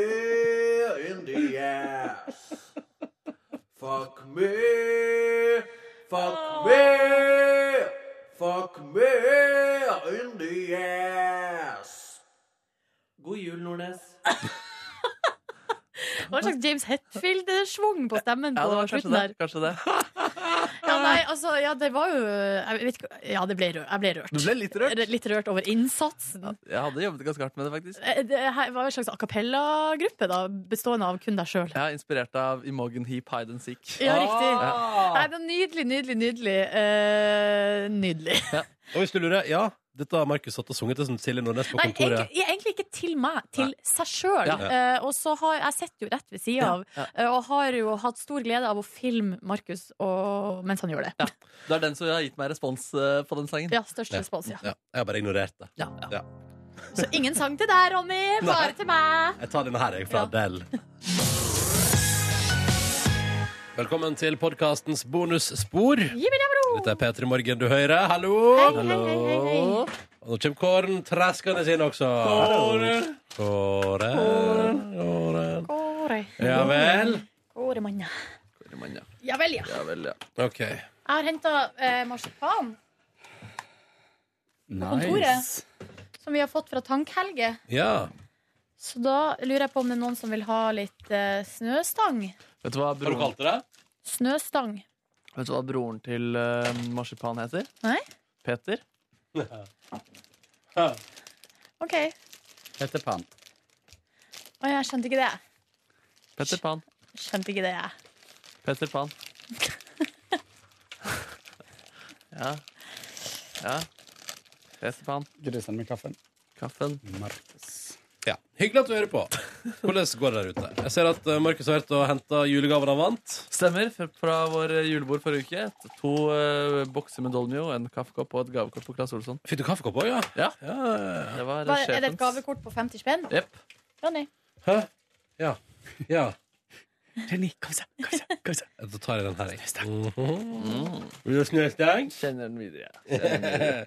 Speaker 10: in the ass. Fuck me. Fuck me. Fuck me in the ass. God jul, Nordnes.
Speaker 3: Hva slags James Hetfield-svung på stemmen på
Speaker 4: Ja, det var
Speaker 3: slutten
Speaker 4: kanskje det.
Speaker 3: der?
Speaker 4: Kanskje det.
Speaker 3: Ja, nei, altså, ja, det var jo Jeg vet ikke Ja, det ble rørt. Jeg ble rørt.
Speaker 4: Du ble litt rørt.
Speaker 3: Litt rørt over innsatsen.
Speaker 4: Jeg hadde jobbet ganske hardt med det, faktisk.
Speaker 3: Eh, Det her var en slags a cappella-gruppe, da, bestående av kun deg sjøl.
Speaker 4: Jeg er inspirert av Imogen Heap Hide and Seek.
Speaker 3: Ja, riktig. Nei, det er nydelig, nydelig, nydelig. Eh, nydelig.
Speaker 2: Og hvis du lurer, ja, dette har Markus satt og sunget sånn til Silje Nordnes på
Speaker 3: Nei, egentlig,
Speaker 2: kontoret.
Speaker 3: ja, egentlig ikke til meg, til seg sjøl.
Speaker 4: Ja.
Speaker 3: Eh, og så har jeg sitter jo rett ved sida av, eh, og har jo hatt stor glede av å filme Markus og, mens han gjør det. Ja,
Speaker 4: Det er den som har gitt meg respons eh, på den sangen.
Speaker 3: størst
Speaker 2: Ja.
Speaker 3: respons, ja.
Speaker 2: Ja, jeg har bare ignorert det.
Speaker 4: Ja, ja.
Speaker 3: Så ingen sang til deg, Ronny, bare til meg.
Speaker 2: Jeg tar denne her, jeg, fra
Speaker 3: Ja.
Speaker 2: Adele. Velkommen til podkastens bonusspor. Dette er P3 Morgen du hører. Hallo!
Speaker 3: Hei, hei, hei, hei, hei.
Speaker 2: Hallo. Og nå kommer Kåren traskende inn også. Kåren. Kåren. Kåren.
Speaker 3: Kåre,
Speaker 2: Ja vel.
Speaker 3: Kåre mann.
Speaker 4: Mann, ja.
Speaker 3: Ja vel, ja.
Speaker 4: Ja, vel, ja.
Speaker 2: OK.
Speaker 3: Jeg har henta eh, marsipan på kontoret,
Speaker 11: Nice.
Speaker 3: som vi har fått fra Tank-Helge.
Speaker 2: Ja.
Speaker 3: Så da lurer jeg på om det er noen som vil ha litt eh, snøstang.
Speaker 4: Vet, du hva broren,
Speaker 2: det det?
Speaker 3: Snøstang.
Speaker 4: vet du hva broren til eh, marsipan heter?
Speaker 3: Nei?
Speaker 4: Peter.
Speaker 3: OK.
Speaker 11: Peter Pan.
Speaker 3: Å, jeg skjønte ikke det.
Speaker 4: Peter Pan.
Speaker 3: Skjønte ikke det, jeg.
Speaker 4: Peter Pan. ja. Ja. Peter Pan.
Speaker 11: Grisen med kaffen.
Speaker 4: Kaffen.
Speaker 11: Markus.
Speaker 2: Ja. Hyggelig at du hører på. Hvordan går det der ute? Jeg ser at eh, Markus har vært og henta julegaven han vant.
Speaker 4: Stemmer. fra- Fra vår eh, julebord forrige uke. To eh, bokser med Dolmio, en kaffekopp og et gavekort på Claes Olsson.
Speaker 2: Fikk du kaffekopp òg, ja?
Speaker 4: Ja.
Speaker 2: Ja, ja,
Speaker 4: Det
Speaker 3: Hva,
Speaker 4: var eh, sjefens.
Speaker 3: er det et gavekort på 50 spenn?
Speaker 4: Jepp.
Speaker 3: Ronny?
Speaker 2: ja. Hæ? Ja. ja.
Speaker 11: Jenny, kom se, kom se, kom se.
Speaker 2: Da tar jeg den her, jeg. Vil du ha snøstang?
Speaker 4: Kjenner den videre. Jeg. Kjenner den videre.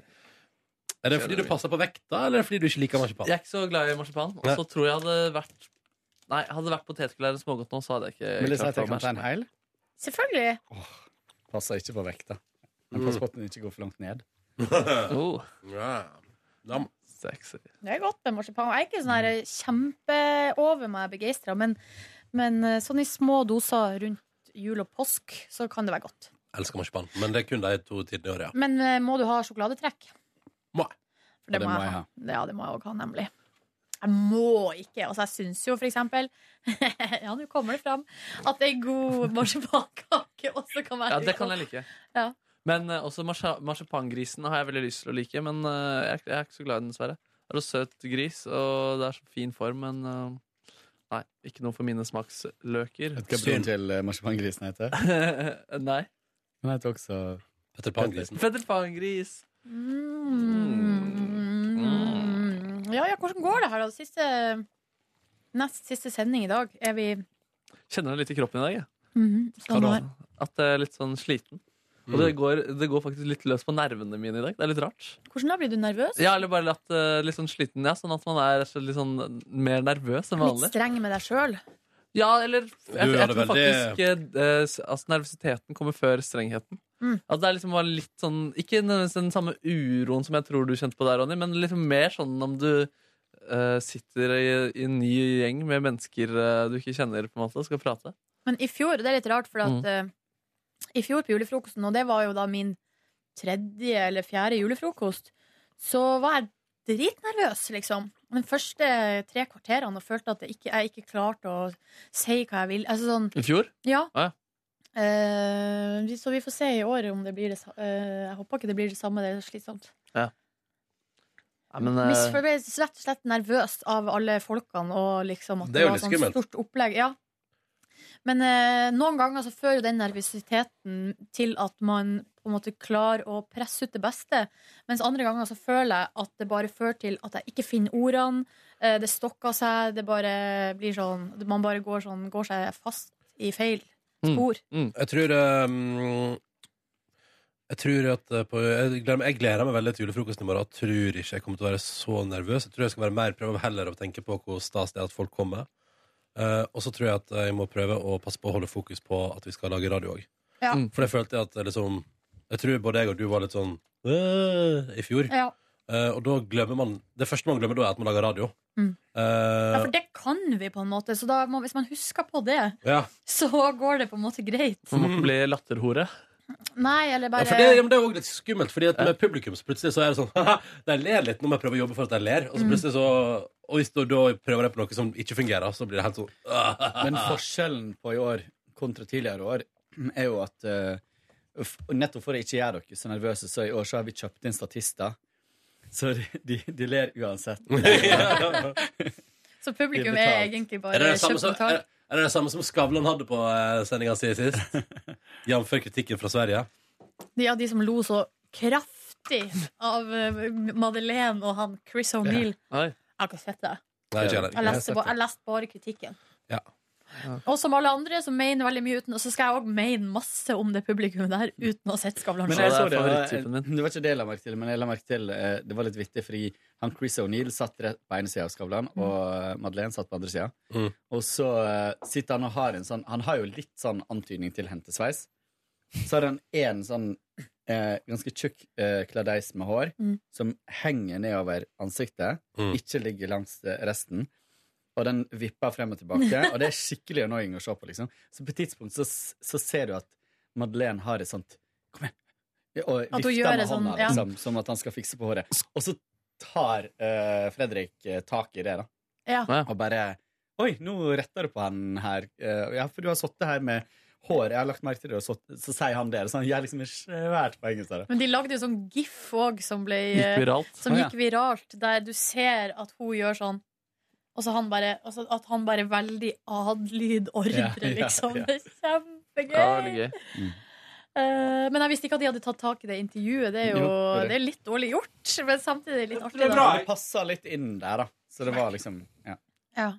Speaker 2: Er det fordi du passer på vekta, eller er det fordi du ikke liker marsipan?
Speaker 4: jeg er ikke så glad i marsipan. Og så tror jeg hadde vært Nei, hadde det vært potetgull eller smågodt nå, så hadde jeg ikke
Speaker 11: Vil du si at jeg
Speaker 4: å
Speaker 11: kan ta en
Speaker 4: matche.
Speaker 11: heil?
Speaker 3: Selvfølgelig.
Speaker 11: Passer ikke på vekta. Men pass på at den ikke går for langt ned.
Speaker 4: Oh,
Speaker 2: Ja. Nam.
Speaker 4: sexy.
Speaker 3: Det er godt med marsipan. Jeg er ikke sånn her kjempeover meg begeistra, men, men eh, sånn i små doser rundt jul og påsk, så kan det være godt.
Speaker 2: Elsker marsipan, men det er kun de to tidene i året, ja.
Speaker 3: Men eh, må du ha sjokoladetrekk?
Speaker 11: Må jeg.
Speaker 3: For det, må jeg ha. Ja, det må jeg òg ha, nemlig. Jeg må ikke. Altså, jeg syns jo for eksempel Ja, nå kommer det fram at ei god marsipankake også kan være
Speaker 4: Ja, det kan jeg like.
Speaker 3: Ja.
Speaker 4: Men eh, også marsa- marsipangrisen har jeg veldig lyst til å like, men eh, jeg, er- jeg er ikke så glad i den, dessverre. Det er en søt gris, og det er så fin form, men eh, nei, ikke noe for mine smaksløker.
Speaker 11: Vet du hva broren til eh, marsipangrisen heter?
Speaker 4: nei.
Speaker 11: Han heter også
Speaker 2: Petter Pan-grisen.
Speaker 4: Fetterpangris.
Speaker 3: Mm. Ja, ja, hvordan går det her, da? Siste, nest siste sending i dag. Er vi
Speaker 4: Kjenner det litt i kroppen i dag, jeg.
Speaker 3: Mhm, standard.
Speaker 4: At jeg er litt sånn sliten. Og
Speaker 2: Mm.
Speaker 4: det går, det går faktisk litt løs på nervene mine i dag. Det er litt rart.
Speaker 3: Hvordan da? Blir du nervøs?
Speaker 4: Ja, eller bare at, eh, litt sånn sliten, ja. Sånn at man er så litt sånn mer nervøs enn
Speaker 3: Litt
Speaker 4: vanlig.
Speaker 3: streng med deg sjøl?
Speaker 4: Ja, eller jeg, jeg,
Speaker 2: Du er
Speaker 4: tror
Speaker 2: veldig-
Speaker 4: faktisk eh, s- altså, nervøsiteten kommer før strengheten.
Speaker 3: Mm.
Speaker 4: At det er liksom bare litt sånn Ikke nødvendigvis den samme uroen som jeg tror du kjente på der, Ronny, men liksom mer sånn om du eh, sitter i, i en ny gjeng med mennesker eh, du ikke kjenner, på en måte, og skal prate.
Speaker 3: Men i fjor, det er litt rart, for at eh, i fjor på julefrokosten, og det var jo da min tredje eller fjerde julefrokost, så var jeg dritnervøs, liksom. De første tre kvarterene og følte at jeg ikke, jeg ikke klarte å si hva jeg vil. Altså sånn
Speaker 4: I fjor?
Speaker 3: Ja.
Speaker 4: Ah,
Speaker 3: Eh, vi- så vi får se i år om det blir det samme. jeg håper ikke det blir det samme. Det er slitsomt.
Speaker 4: Nei, men, eh,
Speaker 3: Misfor- ble rett og slett nervøs av alle folkene og liksom at
Speaker 2: Det
Speaker 3: det,
Speaker 2: er jo
Speaker 3: var
Speaker 2: litt
Speaker 3: sånn
Speaker 2: skummelt.
Speaker 3: stort opplegg. Ja. Men eh, noen ganger så fører jo den nervøsiteten til at man på en måte klarer å presse ut det beste, mens andre ganger så føler jeg at det bare fører til at jeg ikke finner ordene, eh, det stokker seg, det bare blir sånn Man bare går sånn, går seg fast i feil
Speaker 4: Mm.
Speaker 3: spor.
Speaker 2: Jeg tror ehm, Jeg tror at eh, på, jeg, gleder meg, jeg gleder meg veldig til julefrokosten i morgen. Jeg tror ikke jeg kommer til å være så nervøs. Jeg tror jeg skal være mer prøve heller å tenke på hvor stas det er at folk kommer. Eh, og så tror jeg at jeg må prøve å passe på å holde fokus på at vi skal lage radio òg.
Speaker 3: Ja.
Speaker 4: Mm.
Speaker 2: For det følte jeg at eh, liksom Jeg tror både jeg og du var litt sånn «Øh», i fjor.
Speaker 3: Ja.
Speaker 2: Eh, og da glemmer man Det første man glemmer da, er at man lager radio.
Speaker 3: Mm.
Speaker 2: Eh,
Speaker 3: Ja, for det kan vi på en måte, så da må, hvis man husker på det,
Speaker 2: ja. Mhm.
Speaker 3: så går det på en måte greit.
Speaker 4: Man må ikke bli latterhore.
Speaker 3: Nei, eller
Speaker 2: Mm. Ja,
Speaker 3: bare
Speaker 2: for det, ja, men det er òg litt skummelt, Fordi at med publikum så plutselig så er det sånn «Haha, De ler litt når jeg prøver å jobbe for at de ler,
Speaker 3: Mm.
Speaker 2: og så plutselig så Og hvis du da prøver jeg på noe som ikke fungerer, så blir det helt sånn «Ah».
Speaker 11: Men forskjellen på i år kontra tidligere år er jo at eh, f- nettopp for å ikke gjøre dere så nervøse, så i år så har vi kjøpt inn statister. Så de, de, de ler uansett.
Speaker 3: Så publikum
Speaker 11: Blir betalt.
Speaker 3: er egentlig bare
Speaker 2: Er det det samme som, er,
Speaker 3: kjøpmental.
Speaker 2: er det det samme som Skavlan hadde på eh, sendinga si sist? Jf. kritikken fra Sverige.
Speaker 3: De, ja, de som lo så kraftig av eh, Madeleine og han Chris O'Neill.
Speaker 4: Oi.
Speaker 3: Jeg har ikke sett det.
Speaker 2: Nei, ikke
Speaker 3: Jeg
Speaker 2: heller.
Speaker 3: leste, ba, jeg leste bare kritikken.
Speaker 2: Ja.
Speaker 3: Og som alle andre som mener veldig mye uten, og så skal jeg òg mene masse om det publikummet der uten å ha sett Skavlan.
Speaker 11: Men
Speaker 4: Så
Speaker 11: jeg
Speaker 4: det
Speaker 11: så
Speaker 4: er
Speaker 11: det,
Speaker 4: favoritttypen
Speaker 11: var, det var ikke det jeg la merke til, men jeg la merke til eh, det var litt vittig, fordi han Chris O'Neill satt rett på ene sida av Skavlan, og eh, Madeleine satt på andre sida.
Speaker 2: Mm.
Speaker 11: Og så eh, sitter han og har en sånn Han har jo litt sånn antydning til hentesveis. Så har han én sånn eh, ganske tjukk eh, kladeis med hår
Speaker 3: Mm.
Speaker 11: som henger nedover ansiktet,
Speaker 2: Mm.
Speaker 11: ikke ligger langs eh, resten. Og den vipper frem og tilbake, og det er skikkelig annoying å se på. liksom. Så på et tidspunkt så, s- så ser du at Madeleine har et sånt Kom igjen! Og
Speaker 3: hun
Speaker 11: vifter
Speaker 3: gjør
Speaker 11: med
Speaker 3: det sånn,
Speaker 11: hånda,
Speaker 3: ja.
Speaker 11: liksom, som at han skal fikse på håret. Og så tar eh, Fredrik eh, tak i det, da.
Speaker 3: Ja.
Speaker 11: Og bare Oi, nå retter du på han her. Eh, ja, for du har sittet her med hår. Jeg har lagt merke til det, og så, så sier han det. Så han gjør liksom et svært poeng ut av det.
Speaker 3: Men de lagde jo sånn gif òg, som ble eh,
Speaker 4: Gikk viralt.
Speaker 3: Som
Speaker 11: Å, ja.
Speaker 3: gikk viralt, der du ser at hun gjør sånn Og så han bare, og så at han bare veldig adlyd ordre,
Speaker 11: Ja, ja,
Speaker 3: liksom.
Speaker 11: ja.
Speaker 3: Det er
Speaker 4: Ja, veldig
Speaker 3: kjempegøy!
Speaker 4: gøy.
Speaker 3: Eh, men jeg visste ikke at de hadde tatt tak i det intervjuet. Det er jo
Speaker 11: Jo, det er det.
Speaker 3: det er litt dårlig gjort, men samtidig litt artig.
Speaker 11: Men
Speaker 3: Da.
Speaker 11: det passer litt inn der, da. Så det var liksom Ja.
Speaker 3: Ja.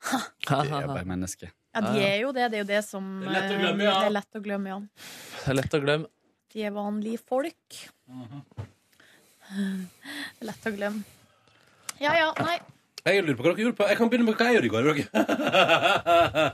Speaker 11: Det er bare menneske.
Speaker 3: ja, de er jo det. Det er jo det som
Speaker 2: Det er lett å glemme,
Speaker 3: eh,
Speaker 2: ja.
Speaker 3: det er lett å glemme, ja.
Speaker 4: Det er lett å glemme.
Speaker 3: De er vanlige folk. Det er lett å glemme. Ja ja, nei.
Speaker 2: Jeg lurer på hva dere gjorde på Jeg kan begynne med hva jeg gjorde i går. dere.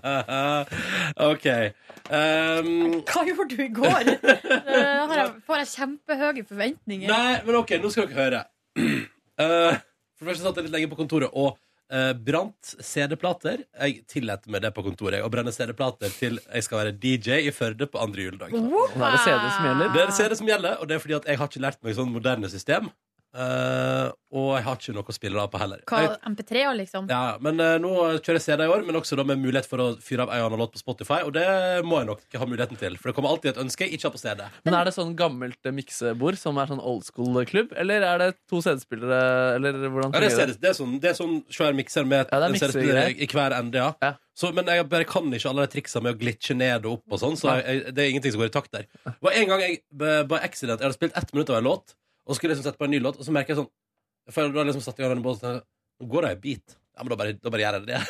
Speaker 2: OK. ehm, Um,
Speaker 3: Hva gjorde du i går? Eh, har jeg, får jeg kjempehøye forventninger?
Speaker 2: Nei, men ok, nå skal dere høre. Eh, for det første satt jeg litt lenge på kontoret, og eh, brant CD-plater. Jeg tillater meg det på kontoret. jeg, Å brenne CD-plater til jeg skal være DJ i Førde på andre juledag.
Speaker 4: Nå Sånn er det CD som gjelder.
Speaker 2: Det er CD som gjelder, og det er fordi at jeg har ikke lært meg sånn moderne system. eh, og jeg har ikke noe å spille av på heller.
Speaker 3: Hva,
Speaker 2: Jeg,
Speaker 3: MP3-er, liksom?
Speaker 2: ja, men eh, nå kjører jeg CD i år, men også da med mulighet for å fyre av en og annen låt på Spotify. Og det må jeg nok ha muligheten til, for det kommer alltid et ønske jeg ikke har på CD.
Speaker 4: Men er det sånn gammelt eh, miksebord som er sånn old school-klubb, eller er det to CD-spillere, eller hvordan
Speaker 2: Ja, det,
Speaker 4: fungerer
Speaker 2: er, det, er sånn, det er sånn svær mikser med
Speaker 4: Ja, det er
Speaker 2: en
Speaker 4: mikser-
Speaker 2: CD-spiller i hver ende, ja.
Speaker 4: Ja.
Speaker 2: Så, men jeg bare kan ikke alle de triksa med å glitche ned og opp og sånn, så jeg, jeg, det er ingenting som går i takt der. Det var en gang jeg b- by accident Jeg hadde spilt ett minutt av en låt, og så skulle jeg liksom sette på en ny låt, og så merker jeg sånn For da har jeg liksom satt i gang denne båten, og tenkte, nå går det en bit. Ja, men da bare, da bare gjør jeg det.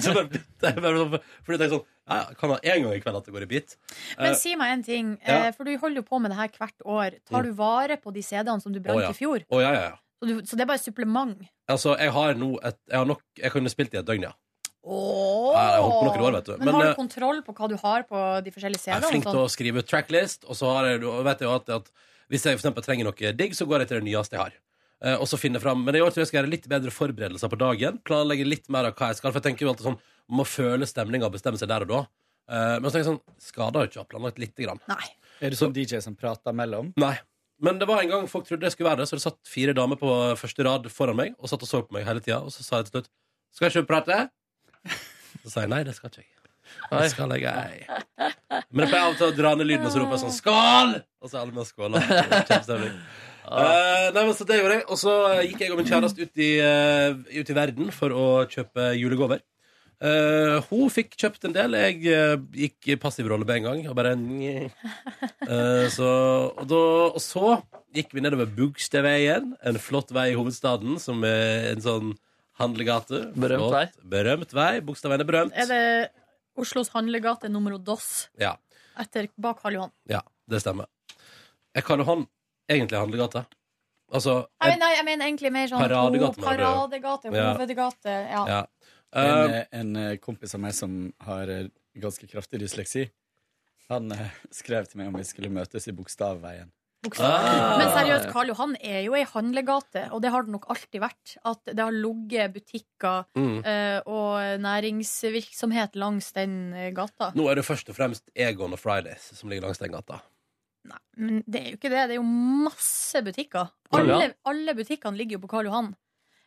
Speaker 2: så bare, det er bare, fordi jeg tenker sånn ja, ja, Kan ha én gang i kveld at det går i bit.
Speaker 3: Men
Speaker 2: Eh,
Speaker 3: si meg en ting,
Speaker 2: ja. Mm.
Speaker 3: eh, for du holder jo på med det her hvert år. Tar du vare på de CD-ene som du brant
Speaker 2: Å, ja.
Speaker 3: i fjor?
Speaker 2: Å, ja, ja, ja.
Speaker 3: Så, du, så det er bare supplement?
Speaker 2: Altså, jeg har nå et Jeg har nok Jeg kunne spilt i et døgn, ja.
Speaker 3: Oh.
Speaker 2: Ja, jeg har holdt på noen år, vet du.
Speaker 3: Men,
Speaker 2: Men,
Speaker 3: har
Speaker 2: eh,
Speaker 3: du kontroll på hva du har på de forskjellige
Speaker 2: Jeg er
Speaker 3: CD-ene?
Speaker 2: flink til å skrive ut tracklist, og så har jeg, og vet jeg jo alltid at hvis jeg for eksempel trenger noe digg, så går jeg til det nyeste jeg har. Eh, og så finner jeg fram. Men i år tror jeg skal gjøre litt bedre forberedelser på dagen. Planlegge litt mer av hva jeg skal. For jeg tenker jo alltid sånn Må føle stemninga og bestemme seg der og da. Eh, men så tenker jeg sånn Skader jo ikke å ha planlagt lite grann.
Speaker 3: Nei.
Speaker 11: Er du sånn DJ som prater mellom?
Speaker 2: Nei. Men det var en gang folk trodde jeg skulle være det, så det satt fire damer på første rad foran meg og satt og så på meg hele tida, og så sa jeg til slutt Skal ikke du prate? Så sa jeg nei, det skal ikke jeg. Det skal jeg ei. Men jeg pleier av og til å dra ned lyden og så roper jeg sånn Skål! Og så er alle med og skåler. Kjempestemning. Eh, nei, men så det gjorde jeg. Og så gikk jeg og min kjæreste ut i, eh, ut i verden for å kjøpe julegaver. Eh, hun fikk kjøpt en del. Jeg eh, gikk i passivrolle med en gang. Og bare Eh, så, og, da, og så gikk vi nedover Bugstadveien, en flott vei i hovedstaden, som er en sånn handlegate.
Speaker 4: Berømt
Speaker 2: Flott,
Speaker 4: vei.
Speaker 2: Berømt vei. Bogstadveien er berømt.
Speaker 3: Er det Oslos handlegate nummer dos
Speaker 2: Ja,
Speaker 3: etter bak Karl Johan?
Speaker 2: ja, det stemmer. Jeg kaller han egentlig handlegate. Altså
Speaker 3: Jeg mener, nei, jeg mener egentlig mer sånn ho-
Speaker 2: Paradegate, mener du?
Speaker 3: paradegate
Speaker 2: Ja.
Speaker 3: hovedgate. Ja.
Speaker 2: Ja.
Speaker 11: En,
Speaker 2: eh,
Speaker 11: eh, en eh, kompis av meg som har eh, ganske kraftig dysleksi, han eh, skrev til meg om vi skulle møtes i Bogstavveien.
Speaker 2: ah.
Speaker 3: Men seriøst, Karl Johan er jo ei handlegate, og det har det nok alltid vært. At det har ligget butikker
Speaker 2: Mm.
Speaker 3: eh, og næringsvirksomhet langs den eh, gata.
Speaker 2: Nå er det først og fremst Egon og Fridays som ligger langs den gata.
Speaker 3: Nei, men det er jo ikke det. Det er jo masse butikker.
Speaker 4: Karl Johan?
Speaker 3: Alle, alle butikkene ligger jo på Karl Johan.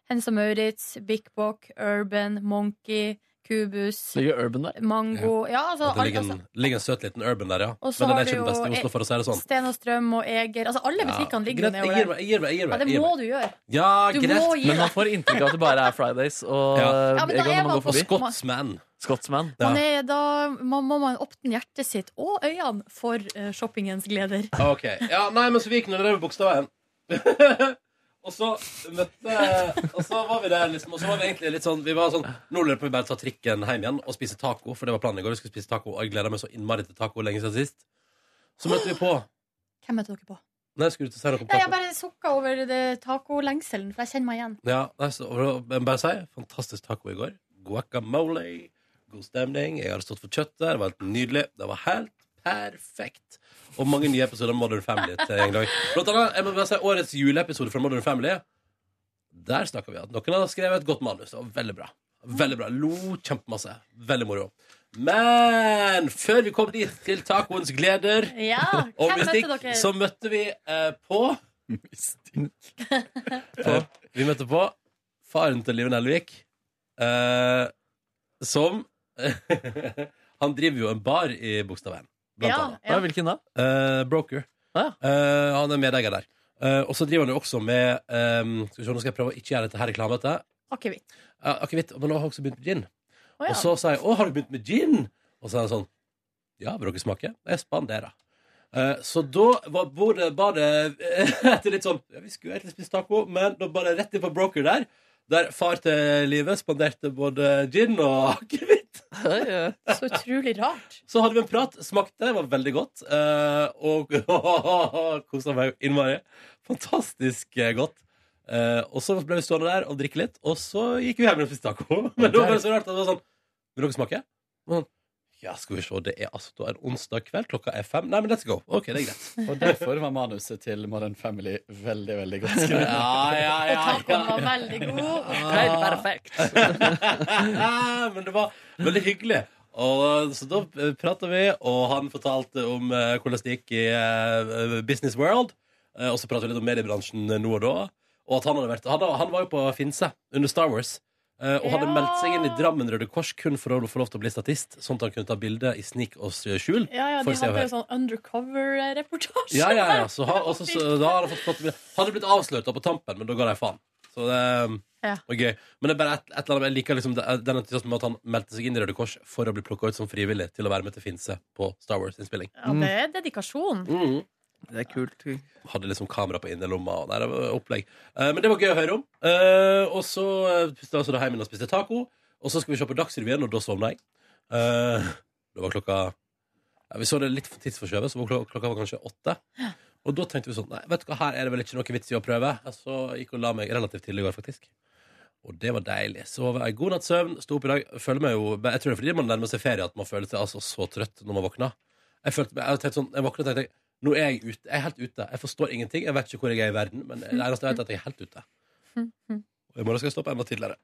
Speaker 3: Hennes og Maurits, Big Bock, Urban, Monkey, Kubus,
Speaker 4: Ligger Urban der?
Speaker 3: Mango Ja, altså,
Speaker 2: At det
Speaker 3: alle,
Speaker 2: ligger
Speaker 3: altså
Speaker 2: en, ligger en søt liten urban der, ja.
Speaker 3: Og så
Speaker 2: Men den
Speaker 3: har
Speaker 2: er
Speaker 3: du
Speaker 2: ikke den
Speaker 3: jo E-
Speaker 2: beste i Oslo, for å si det sånn.
Speaker 3: Sten og Strøm og Eger Altså, alle butikkene ligger jo
Speaker 2: greit, jeg
Speaker 3: nedover
Speaker 2: gir
Speaker 3: der.
Speaker 2: meg, jeg gir meg, jeg gir
Speaker 3: Ja,
Speaker 2: meg.
Speaker 3: det
Speaker 2: jeg gir
Speaker 3: må
Speaker 2: meg.
Speaker 3: du gjøre.
Speaker 2: Ja,
Speaker 3: Du
Speaker 2: greit.
Speaker 3: må gi deg.
Speaker 4: Men man får inntrykk av at det bare er Fridays og
Speaker 2: Ja.
Speaker 3: Ja, men da er
Speaker 4: Egon når man
Speaker 3: man
Speaker 4: går
Speaker 2: Og
Speaker 4: forbi.
Speaker 3: på-
Speaker 2: Scotsman.
Speaker 4: Scotsman.
Speaker 2: Ja.
Speaker 3: Man er da man, må man åpne hjertet sitt og øynene for eh, shoppingens gleder.
Speaker 2: Ah, Ok, ja, nei, men så vi gikk ned den bokstaven Og så møtte Og så var vi der liksom Og så var vi egentlig litt sånn Vi var sånn Nå lurer jeg på om vi bare tar trikken hjem igjen Og spise taco For det var planen i går Vi skulle spise taco Og jeg gleder meg så innmari til taco Lenge siden sist Så møtte vi på
Speaker 3: Hvem møter dere på?
Speaker 2: Nei, skulle du til å si noe om
Speaker 3: Nei, jeg
Speaker 2: taco?
Speaker 3: bare sukka over det tacolengselen, for jeg kjenner meg igjen.
Speaker 2: Ja, nei, så, og da må jeg bare si Fantastisk taco i går Guacamole God stemning Jeg hadde stått for kjøttet Det var helt nydelig Det var helt perfekt Og mange nye episoder av Modern Family til en dag Blant annet, jeg må bare si Årets juleepisode fra Modern Family Der snakker vi at Noen hadde skrevet et godt manus Det var veldig bra Veldig bra Lo kjempemasse Veldig moro Men før vi kom dit til tacoens gleder
Speaker 3: Ja,
Speaker 2: og
Speaker 3: Ah, hvem
Speaker 2: mystikk,
Speaker 3: møtte dere?
Speaker 2: så møtte vi eh, på Eh, Vi møtte på faren til Liven Elvik, eh, som Han driver jo en bar i Bogstadveien, blant
Speaker 3: ja,
Speaker 2: annet.
Speaker 4: Ja.
Speaker 3: ja.
Speaker 4: Hvilken da?
Speaker 2: Eh, broker.
Speaker 4: Ah,
Speaker 2: Eh, han er medeier der. Eh, og så driver han jo også med eh, Skal vi se, nå skal jeg prøve å ikke gjøre dette her reklamete.
Speaker 3: Akevitt.
Speaker 2: Eh, Akevitt. Men nå har jeg også begynt med gin.
Speaker 3: Å ja.
Speaker 2: Og så sa jeg 'Å, har du begynt med gin?' Og så er han sånn 'Ja, vil dere smake?' Jeg spanderer. Eh, så da var bordet bare etter litt sånn ja, Vi skulle egentlig spise taco, men da bare rett inn på broker der. Der far til livet spanderte både gin og akevitt.
Speaker 4: ja.
Speaker 3: Så utrolig rart.
Speaker 2: Så hadde vi en prat, smakte, det var veldig godt. eh, og kosa meg innmari. Fantastisk eh, godt. Eh, og så ble vi stående der og drikke litt, og så gikk vi hjem og spiste taco. Men det var bare så rart at det var sånn Vil dere smake? Og sånn, Ja, skal vi se. Det er altså da en onsdag kveld. Klokka er fem. Nei, men let's go. OK, det er greit.
Speaker 11: Og derfor var manuset til Modern Family veldig, veldig godt skrevet.
Speaker 2: Ja, ja,
Speaker 3: Og tacoen var veldig god.
Speaker 4: Helt perfekt.
Speaker 2: Ah, men det var veldig hyggelig. Og, eh, så da prata vi, og han fortalte om eh, hvordan det gikk i eh, Business World. Eh, og så prata vi litt om mediebransjen eh, nå og da. Og at han hadde vært Han, han var jo på Finse under Star Wars. eh, og hadde
Speaker 3: Ja.
Speaker 2: meldt seg inn i Drammen Røde Kors kun for å få lov til å bli statist. Sånn at han kunne ta bilde i snik og skjul.
Speaker 3: Ja, ja,
Speaker 2: Får
Speaker 3: de
Speaker 2: se og
Speaker 3: hadde
Speaker 2: høre.
Speaker 3: jo sånn undercover-reportasje.
Speaker 2: Ja, ja, ja. Så, har- også, så da har han fått, fått Han hadde blitt avslørt da på tampen, men da ga de faen. Så det
Speaker 3: Ja.
Speaker 2: var gøy. Men det er bare et, et eller annet Jeg liker liksom det- den entusiasmen med at han meldte seg inn i Røde Kors for å bli plukka ut som frivillig til å være med til Finse på Star Wars-innspilling.
Speaker 3: Ja, det
Speaker 2: Mm.
Speaker 3: er dedikasjon.
Speaker 4: Mm. Det er kult.
Speaker 2: Hadde liksom kamera på innerlomma og nei, det var opplegg. Eh, men det var gøy å høre om. Eh, og så eh, spiste jeg altså da hjem igjen og spiste taco. Og så skal vi se på Dagsrevyen, og da sovna jeg. Eh, det var klokka ja, Vi så det litt for tidsforskjøvet, så var klok- klokka var kanskje åtte. Og da tenkte vi sånn, nei, vet du hva, her er det vel ikke noe vits i å prøve. Jeg Så gikk og la meg relativt tidlig i går, faktisk. Og det var deilig. Sov en god natts søvn, sto opp i dag. Føler meg jo, jeg tror det er fordi man nærmer seg ferie at man føler seg altså så trøtt når man våkner. Jeg følte meg, jeg tenkte sånn, jeg våknet og tenkte, nå er jeg ute, jeg er helt ute. Jeg forstår ingenting, jeg vet ikke hvor jeg er i verden, men det eneste jeg vet er at jeg er helt ute. Og i morgen skal jeg stå opp enda tidligere.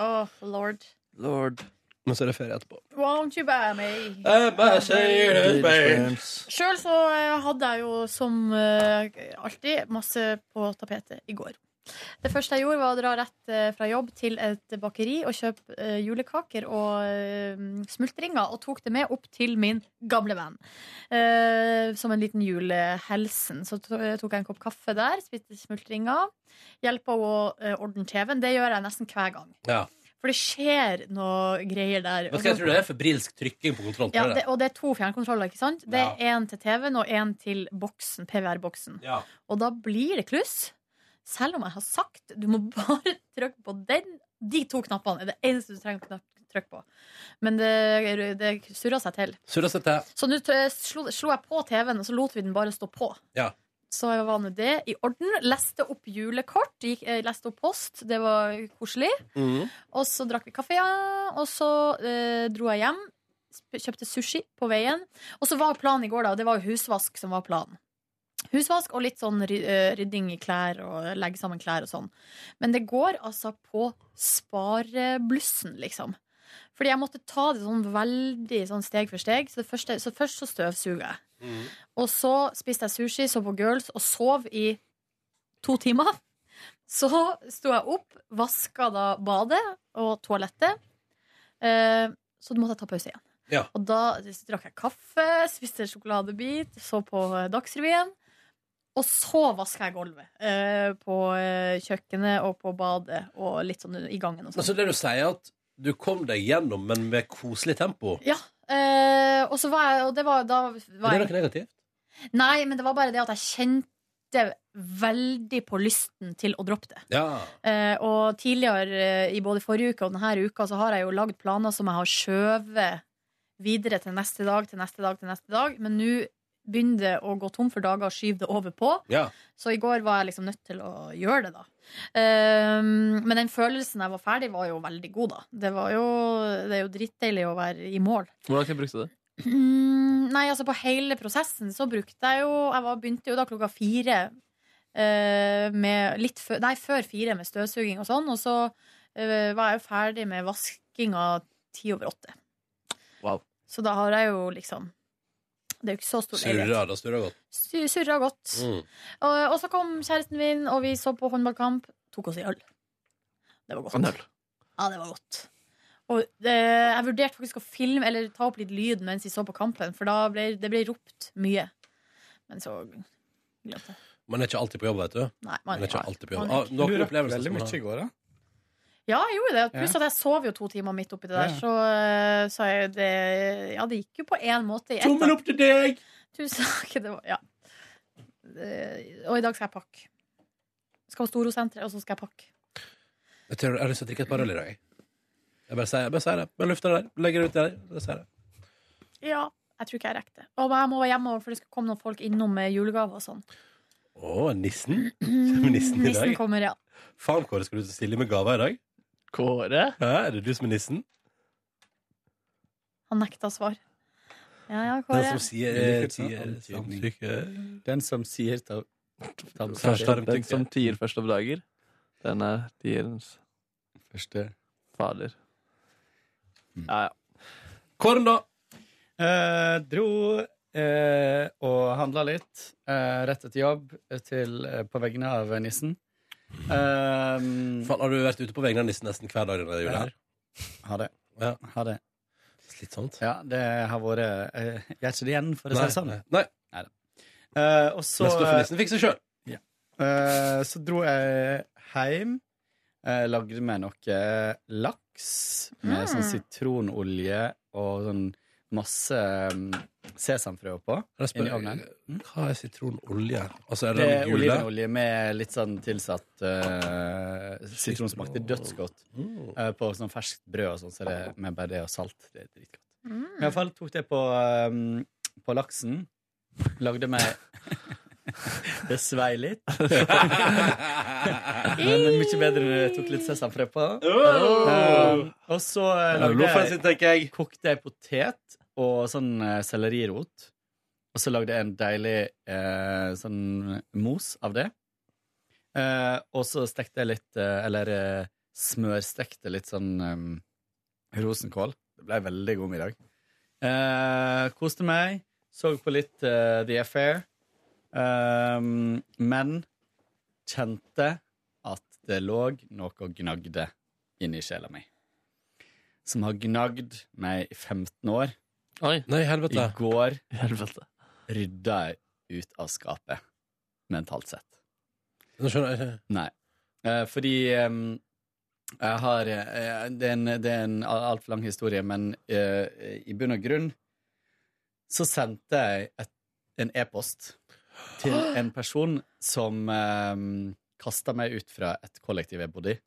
Speaker 3: Åh, lord.
Speaker 4: Lord.
Speaker 2: Men så er det ferie etterpå.
Speaker 3: Won't you buy me?
Speaker 2: Jeg bare sier det, babe.
Speaker 3: Sjøl så eh, hadde jeg jo som eh, alltid masse på tapetet i går. Det første jeg gjorde, var å dra rett eh, fra jobb til et bakeri og kjøpe eh, julekaker og eh, smultringer, og tok det med opp til min gamle venn. Eh, Som en liten julehelsen. Så to- eh, tok jeg en kopp kaffe der, spiste smultringer. Hjelpa henne å eh, ordne TV-en. Det gjør jeg nesten hver gang.
Speaker 2: Ja.
Speaker 3: For det skjer noe greier der.
Speaker 2: Vet du hva jeg tror det er? Febrilsk trykking på kontroll.
Speaker 3: Ja,
Speaker 2: tror jeg
Speaker 3: det, og det er to fjernkontroller, ikke sant? Det
Speaker 2: Ja.
Speaker 3: er én til TV-en og én til boksen, PVR-boksen.
Speaker 2: Ja.
Speaker 3: Og da blir det kluss. Selv om jeg har sagt du må bare trykke på den. De to knappene er det eneste du trenger å knapp- trykke på. Men det, det surra seg til.
Speaker 2: Surra seg til.
Speaker 3: Så nå t- slo, slo jeg på TV-en, og så lot vi den bare stå på.
Speaker 2: Ja.
Speaker 3: Så var nå det i orden. Leste opp julekort, gikk, eh, leste opp post. Det var koselig.
Speaker 4: Mm.
Speaker 3: Og så drakk vi kaffe, ja. Og så eh, dro jeg hjem. sp- Kjøpte sushi på veien. Og så var planen i går, da. og Det var jo husvask som var planen. Husvask og litt sånn ry- eh, rydding i klær og legge sammen klær og sånn. Men det går altså på spareblussen, liksom. Fordi jeg måtte ta det sånn veldig sånn steg for steg. Så, det første, så først så støvsuger jeg.
Speaker 2: Mm.
Speaker 3: Og så spiste jeg sushi, så på Girls og sov i to timer. Så sto jeg opp, vaska da badet og toalettet. Eh, så måtte jeg ta pause igjen.
Speaker 2: Ja.
Speaker 3: Og da drakk jeg kaffe, spiste en sjokoladebit, så på eh, Dagsrevyen. Og så vaska jeg gulvet eh, på eh, kjøkkenet og på badet og litt sånn i gangen. Og
Speaker 2: Men
Speaker 3: sånn.
Speaker 2: så det du sier er at du kom deg gjennom, men med koselig tempo.
Speaker 3: Ja, eh, og så var jeg Og det var da var
Speaker 2: Er
Speaker 3: jeg
Speaker 2: det noe negativt?
Speaker 3: Nei, men det var bare det at jeg kjente veldig på lysten til å droppe det.
Speaker 2: Ja.
Speaker 3: Eh, og tidligere, eh, i både forrige uke og denne uka, så har jeg jo lagd planer som jeg har skjøvet videre til neste dag, til neste dag, til neste dag. Men nå begynner det å gå tom for dager og skyve det over på.
Speaker 2: Ja.
Speaker 3: Så i går var jeg liksom nødt til å gjøre det, da. Ehm, men den følelsen jeg var ferdig, var jo veldig god, da. Det, var jo, det er jo drittdeilig å være i mål.
Speaker 4: Hvor langt brukte du det?
Speaker 3: Mm, Nei, altså på hele prosessen så brukte jeg jo Jeg var, begynte jo da klokka fire eh, med litt før, Nei, før fire med støvsuging og sånn. Og så eh, var jeg jo ferdig med vaskinga ti over åtte.
Speaker 4: Wow.
Speaker 3: Så da har jeg jo liksom Det Sånn er jo ikke så stor
Speaker 2: Surra, da surra godt.
Speaker 3: Su- Surra godt.
Speaker 2: Mm.
Speaker 3: Og, og så kom kjæresten min, og vi så på håndballkamp. Tok oss en øl. Det var godt.
Speaker 4: En øl.
Speaker 3: Ja, det var godt. Og eh, jeg vurderte faktisk å filme eller ta opp litt lyd mens vi så på kampen, for da ble det ble ropt mye. Men så glemte jeg.
Speaker 2: Man er ikke alltid på jobb, vet du.
Speaker 3: Nei, man-
Speaker 2: Man er ikke alltid på jobb.
Speaker 3: man-
Speaker 2: Ah,
Speaker 11: Du
Speaker 2: noen
Speaker 11: rakk
Speaker 2: opplevelser
Speaker 11: veldig
Speaker 2: som man
Speaker 11: mye
Speaker 2: har.
Speaker 11: i går, da.
Speaker 3: Ja, jeg gjorde det. Pluss
Speaker 11: Ja.
Speaker 3: at jeg sov jo to timer midt oppi det der,
Speaker 11: Ja.
Speaker 3: så, eh, så er jo det Ja, det gikk jo på én måte i ett. da.
Speaker 2: Tommel opp til deg!
Speaker 3: Tusen takk. Det var, ja. Eh, Og i dag skal jeg pakke. Skal på Storosenteret, og så skal jeg pakke.
Speaker 2: Jeg tror jeg har lyst til å drikke et par øl i dag. jeg. Jeg bare sier, jeg bare sier det. Bare lufter det der. Legger det ut der. Bare sier det.
Speaker 3: Ja. Jeg tror ikke jeg rekker det. Og jeg må være hjemme, for det skal komme noen folk innom med julegaver og sånn.
Speaker 2: Å, nissen. Kommer nissen i
Speaker 3: Nissen
Speaker 2: dag?
Speaker 3: kommer, ja.
Speaker 2: Faen, Kåre, skal du stille med gaver i dag?
Speaker 4: Kåre?
Speaker 2: Hæ? Er det du som er nissen?
Speaker 3: Han nekta svar. Ja, ja,
Speaker 2: Den
Speaker 3: Kåre.
Speaker 2: som sier, eh,
Speaker 11: Jeg liker det,
Speaker 2: sier
Speaker 11: antydning.
Speaker 2: samtykke
Speaker 11: Den som sier ta, ta,
Speaker 2: Først har
Speaker 4: Den som tier først oppdager, den er tierens
Speaker 11: Første Mm.
Speaker 4: fader. Ja, ja.
Speaker 2: Kåren, da?
Speaker 11: Eh, dro eh, og handla litt eh, rett etter jobb til, eh, på vegne av nissen. Eh,
Speaker 2: Faen, har du vært ute på vegne av nissen nesten hver dag denne jula? her?
Speaker 11: ha det.
Speaker 2: Ja.
Speaker 11: Ha det.
Speaker 2: Slitsomt.
Speaker 11: Ja, det har vært eh, Jeg er ikke det igjen, for å si det sånn.
Speaker 2: Nei. Nei.
Speaker 11: Eh, og så,
Speaker 2: Neste år får nissen fikse sjøl.
Speaker 11: eh, så dro jeg hjem. eh, lagde meg noe laks med
Speaker 3: Mm.
Speaker 11: sånn sitronolje og sånn masse mm, sesamfrø på. Inn i ovnen.
Speaker 2: Hm? Hva er sitronolje? Altså, er
Speaker 11: Det
Speaker 2: det,
Speaker 11: er
Speaker 2: den gule?
Speaker 11: olivenolje med litt sånn tilsatt eh, sitronsmak. Det er dødsgodt.
Speaker 2: Mm.
Speaker 11: Eh, på sånn ferskt brød og sånn, så er det med bare det og salt. Det er dritgodt.
Speaker 3: Mm.
Speaker 11: I hvert fall tok det på, um, på laksen. Lagde meg Det svei litt. Men mye bedre når jeg tok litt sesamfrø på. Um, og så eh, lagde
Speaker 2: Loffen
Speaker 11: jeg
Speaker 2: sin, tenker jeg.
Speaker 11: kokte jeg potet og sånn eh, sellerirot. Og så lagde jeg en deilig eh, sånn mos av det. Eh, og så stekte jeg litt eh, Eller eh, smørstekte litt sånn eh, rosenkål. Det ble veldig god middag. Eh, koste meg. Så på litt eh, The Affair. Um, men kjente at det lå noe og gnagde inni sjela mi som har gnagd meg i 15 år.
Speaker 4: Oi,
Speaker 2: Nei,
Speaker 11: I
Speaker 2: helvete.
Speaker 11: går
Speaker 4: helvete.
Speaker 11: rydda jeg ut av skapet, mentalt sett.
Speaker 2: Nå skjønner jeg ikke.
Speaker 11: Nei. Eh, fordi em, jeg har eh, Det er en, det er en altfor lang historie, men eh, i bunn og grunn så sendte jeg et, en e-post til en person som um, kasta meg ut fra et kollektiv jeg bodde i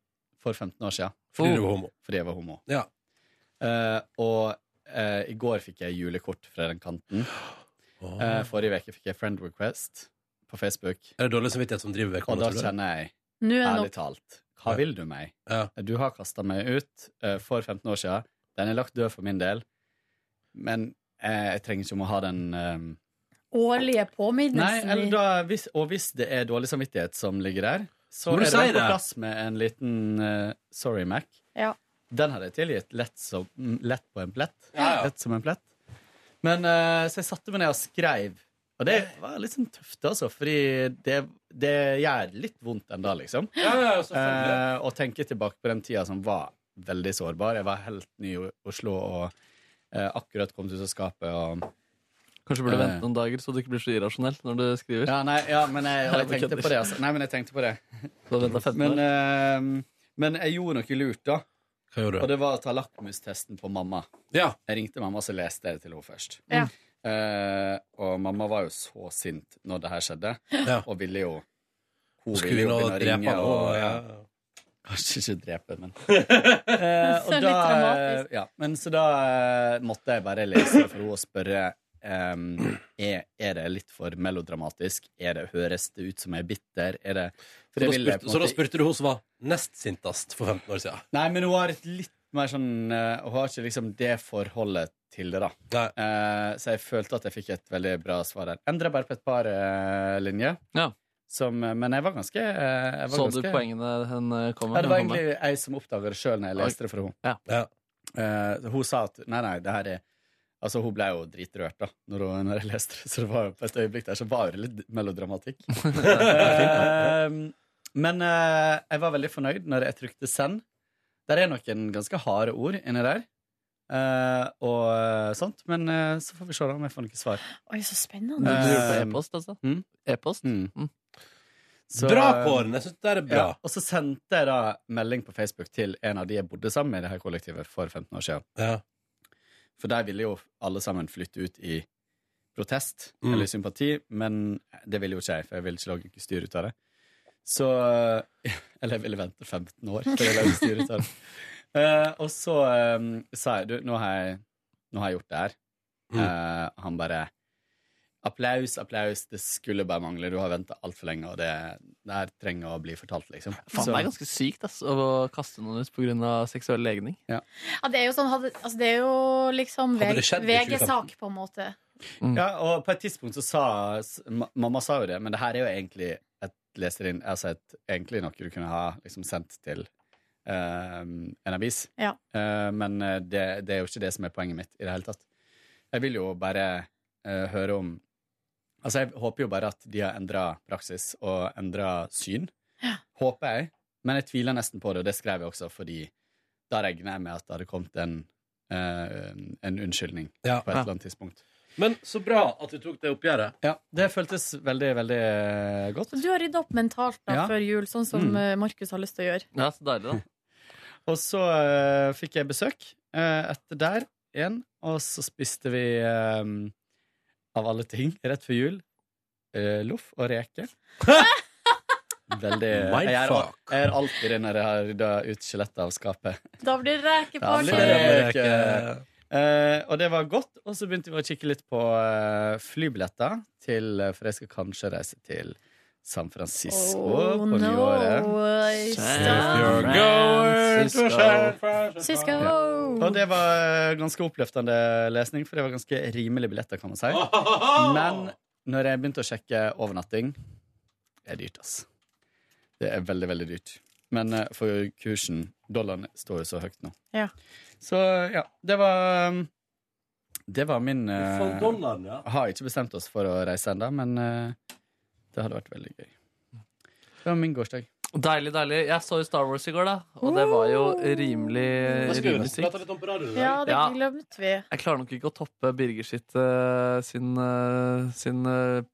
Speaker 11: for 15 år siden.
Speaker 2: Fordi du er homo.
Speaker 11: fordi jeg var homo.
Speaker 2: Ja.
Speaker 11: Eh, og eh, i går fikk jeg julekort fra den kanten. Eh, forrige uke fikk jeg friend request på Facebook.
Speaker 2: Er det dårlig samvittighet som driver
Speaker 11: Og da
Speaker 2: vedkommende? tror du?
Speaker 11: kjenner jeg,
Speaker 3: Nå er det
Speaker 11: ærlig
Speaker 3: nok.
Speaker 11: talt, hva vil du meg?
Speaker 2: Ja.
Speaker 11: Du har kasta meg ut eh, for 15 år siden. Den er lagt død for min del. Men eh, jeg trenger ikke om å ha den eh,
Speaker 3: Årlige
Speaker 11: Nei,
Speaker 3: påminnelsen.
Speaker 11: eller
Speaker 3: vi-
Speaker 11: da, hvis, og hvis det er dårlig samvittighet som ligger der, så
Speaker 2: Må
Speaker 11: er
Speaker 2: du
Speaker 11: det
Speaker 2: si
Speaker 11: vel på
Speaker 2: det?
Speaker 11: plass med en liten eh, sorry Mac.
Speaker 3: Ja.
Speaker 11: Den hadde jeg tilgitt lett, som, mm, lett på en plett.
Speaker 2: Ja, ja.
Speaker 11: Lett som en plett. Men eh, så jeg satte meg ned og skreiv. Og det var litt sånn tøft, altså, fordi det, det gjør litt vondt ennå, liksom.
Speaker 2: Ja, ja, ja, selvfølgelig.
Speaker 11: Eh, og tenke tilbake på den tida som var veldig sårbar. Jeg var helt ny i Oslo og eh, akkurat kommet ut av skapet. og...
Speaker 4: Kanskje burde
Speaker 11: Eh.
Speaker 4: vente noen dager, så du ikke blir så irrasjonell når du skriver.
Speaker 11: Ja, nei, ja men jeg, og jeg
Speaker 4: Jeg
Speaker 11: tenkte
Speaker 4: kødder.
Speaker 11: på det, altså. Nei, men jeg tenkte på det.
Speaker 4: Du har ventet 15
Speaker 11: Men,
Speaker 4: år.
Speaker 11: eh, men jeg gjorde noe lurt, da.
Speaker 2: Hva gjorde
Speaker 11: Og
Speaker 2: du?
Speaker 11: det var å ta lakmustesten på mamma.
Speaker 2: Ja.
Speaker 11: Jeg ringte mamma, så leste jeg det til henne først.
Speaker 2: Mm.
Speaker 3: Ja.
Speaker 11: Eh, og mamma var jo så sint når det her skjedde,
Speaker 2: Ja.
Speaker 11: og ville jo Hun
Speaker 2: Skulle vi nå drepe han?
Speaker 11: og,
Speaker 2: og-
Speaker 11: ja.
Speaker 2: ja.
Speaker 11: Kanskje ikke drepe, men Eh, og
Speaker 3: Så litt
Speaker 11: da,
Speaker 3: dramatisk.
Speaker 11: Ja, men så da eh, måtte jeg bare lese for henne og spørre ehm, er, er det litt for melodramatisk? Er det, høres det ut som jeg er bitter? Er det, for
Speaker 2: Så
Speaker 11: det
Speaker 2: da
Speaker 11: ville jeg på
Speaker 2: spurte-
Speaker 11: en
Speaker 2: Så da
Speaker 11: måte-
Speaker 2: spurte du hun som var nest sintest for 15 år siden.
Speaker 11: Nei, men hun har et litt mer sånn eh, Hun har ikke liksom det forholdet til det, da.
Speaker 2: Nei.
Speaker 11: Eh, så jeg følte at jeg fikk et veldig bra svar der. Endra bare på et par eh, linjer.
Speaker 4: Ja.
Speaker 11: Som, eh, men jeg var ganske eh, jeg var
Speaker 4: Så du
Speaker 11: ganske,
Speaker 4: poengene hun eh, kom
Speaker 11: Ja,
Speaker 4: med?
Speaker 11: det var
Speaker 4: Hun kom med.
Speaker 11: egentlig jeg som oppdaga det sjøl når jeg leste det fra henne.
Speaker 4: Ja.
Speaker 2: Ja.
Speaker 11: Eh, hun sa at Nei, nei, det her er Altså, hun ble jo dritrørt da når, hun, når jeg leste det, så det var jo på et øyeblikk der så var det litt melodramatikk. Eh, men eh, jeg var veldig fornøyd når jeg trykte send. Der er noen ganske harde ord inni der. eh, og eh, sånt. Men eh, så får vi se da om jeg får noe svar.
Speaker 3: Oi, så
Speaker 4: Du
Speaker 3: spennende.
Speaker 11: Eh,
Speaker 4: gjorde det på e-post, altså?
Speaker 11: Mm.
Speaker 4: E-post? Mm.
Speaker 11: Så,
Speaker 2: Bra, Kåren! Jeg syns det er bra.
Speaker 11: Ja, og så sendte jeg da melding på Facebook til en av de jeg bodde sammen med i det her kollektivet for 15 år siden.
Speaker 2: Ja.
Speaker 11: For der ville jo alle sammen flytte ut i protest
Speaker 2: Mm.
Speaker 11: eller sympati, men det ville jo ikke jeg, for jeg ville ikke lage styr ut av det. Så Eller jeg ville vente 15 år før jeg lagde styr ut av det. Eh, og så
Speaker 4: Mm.
Speaker 11: eh, sa jeg du, nå har jeg, nå har jeg gjort det her. Eh, han bare Applaus, applaus. Det skulle bare mangle. Du har venta altfor lenge, og det, det her trenger å bli fortalt, liksom.
Speaker 4: Faen,
Speaker 11: Så-
Speaker 4: det er ganske sykt ass, å kaste noen ut pga. seksuell legning.
Speaker 3: Ja, det er jo sånn hadde, altså, Det er jo liksom
Speaker 2: Hadde det skjedd i
Speaker 3: VG-sak, på en måte.
Speaker 11: Ja, og på et tidspunkt så sa s- ma- Mamma sa jo det, men det her er jo egentlig et leserinn Altså et, egentlig noe du kunne ha liksom sendt til eh, en avis.
Speaker 3: Ja.
Speaker 11: Eh, men eh, det, det er jo ikke det som er poenget mitt i det hele tatt. Jeg vil jo bare eh, høre om Altså, jeg håper jo bare at de har endra praksis og endra syn.
Speaker 3: Ja.
Speaker 11: Håper jeg. Men jeg tviler nesten på det, og det skrev jeg også fordi da regner jeg med at det hadde kommet en, eh, en unnskyldning
Speaker 2: Ja.
Speaker 11: på et eller annet tidspunkt.
Speaker 2: Men så bra at du tok det oppgjøret.
Speaker 11: Ja, det føltes veldig, veldig eh, godt.
Speaker 3: Så du har rydda opp mentalt da,
Speaker 11: Ja.
Speaker 3: før jul, sånn som
Speaker 11: Mm.
Speaker 3: eh, Markus har lyst til å gjøre.
Speaker 4: Ja, så deilig da
Speaker 11: Og så eh, fikk jeg besøk eh, etter der igjen, og så spiste vi eh, av alle ting rett før jul eh, loff og reker. Veldig
Speaker 2: My
Speaker 11: jeg gjør, al-
Speaker 2: fuck.
Speaker 11: jeg gjør alltid det når jeg har rydda ut skjelettet av skapet.
Speaker 3: Da blir det
Speaker 11: Da
Speaker 3: rekeparty!
Speaker 11: blir det reker. Eh, og det var godt, og så begynte vi å kikke litt på eh, flybilletter til eh, For jeg skal kanskje reise til San Francisco
Speaker 3: Oh,
Speaker 11: på nyåret.
Speaker 3: no! Cisco! Oh.
Speaker 11: Og det var eh, ganske oppløftende lesning, for det var ganske rimelige billetter, kan man si. Men når jeg begynte å sjekke overnatting Det er dyrt, ass. Det er veldig, veldig dyrt. Men eh, for kursen Dollaren står jo så høyt nå.
Speaker 3: Ja.
Speaker 11: Så ja, det var um, Det var min eh,
Speaker 2: dollaren, ja.
Speaker 11: Har ikke bestemt oss for å reise ennå, men eh, det hadde vært veldig gøy. Det var min gårsdag.
Speaker 4: Deilig, deilig. Jeg så jo Star Wars i går, da. Og det var jo rimelig,
Speaker 2: Hva skal vi
Speaker 4: rimelig
Speaker 2: gjøre?
Speaker 4: sykt.
Speaker 2: Prate litt om på radioen i dag?
Speaker 3: Ja, det
Speaker 4: Ja.
Speaker 3: glemte vi.
Speaker 4: Jeg klarer nok ikke å toppe Birger sitt, eh, sin, eh, sin eh,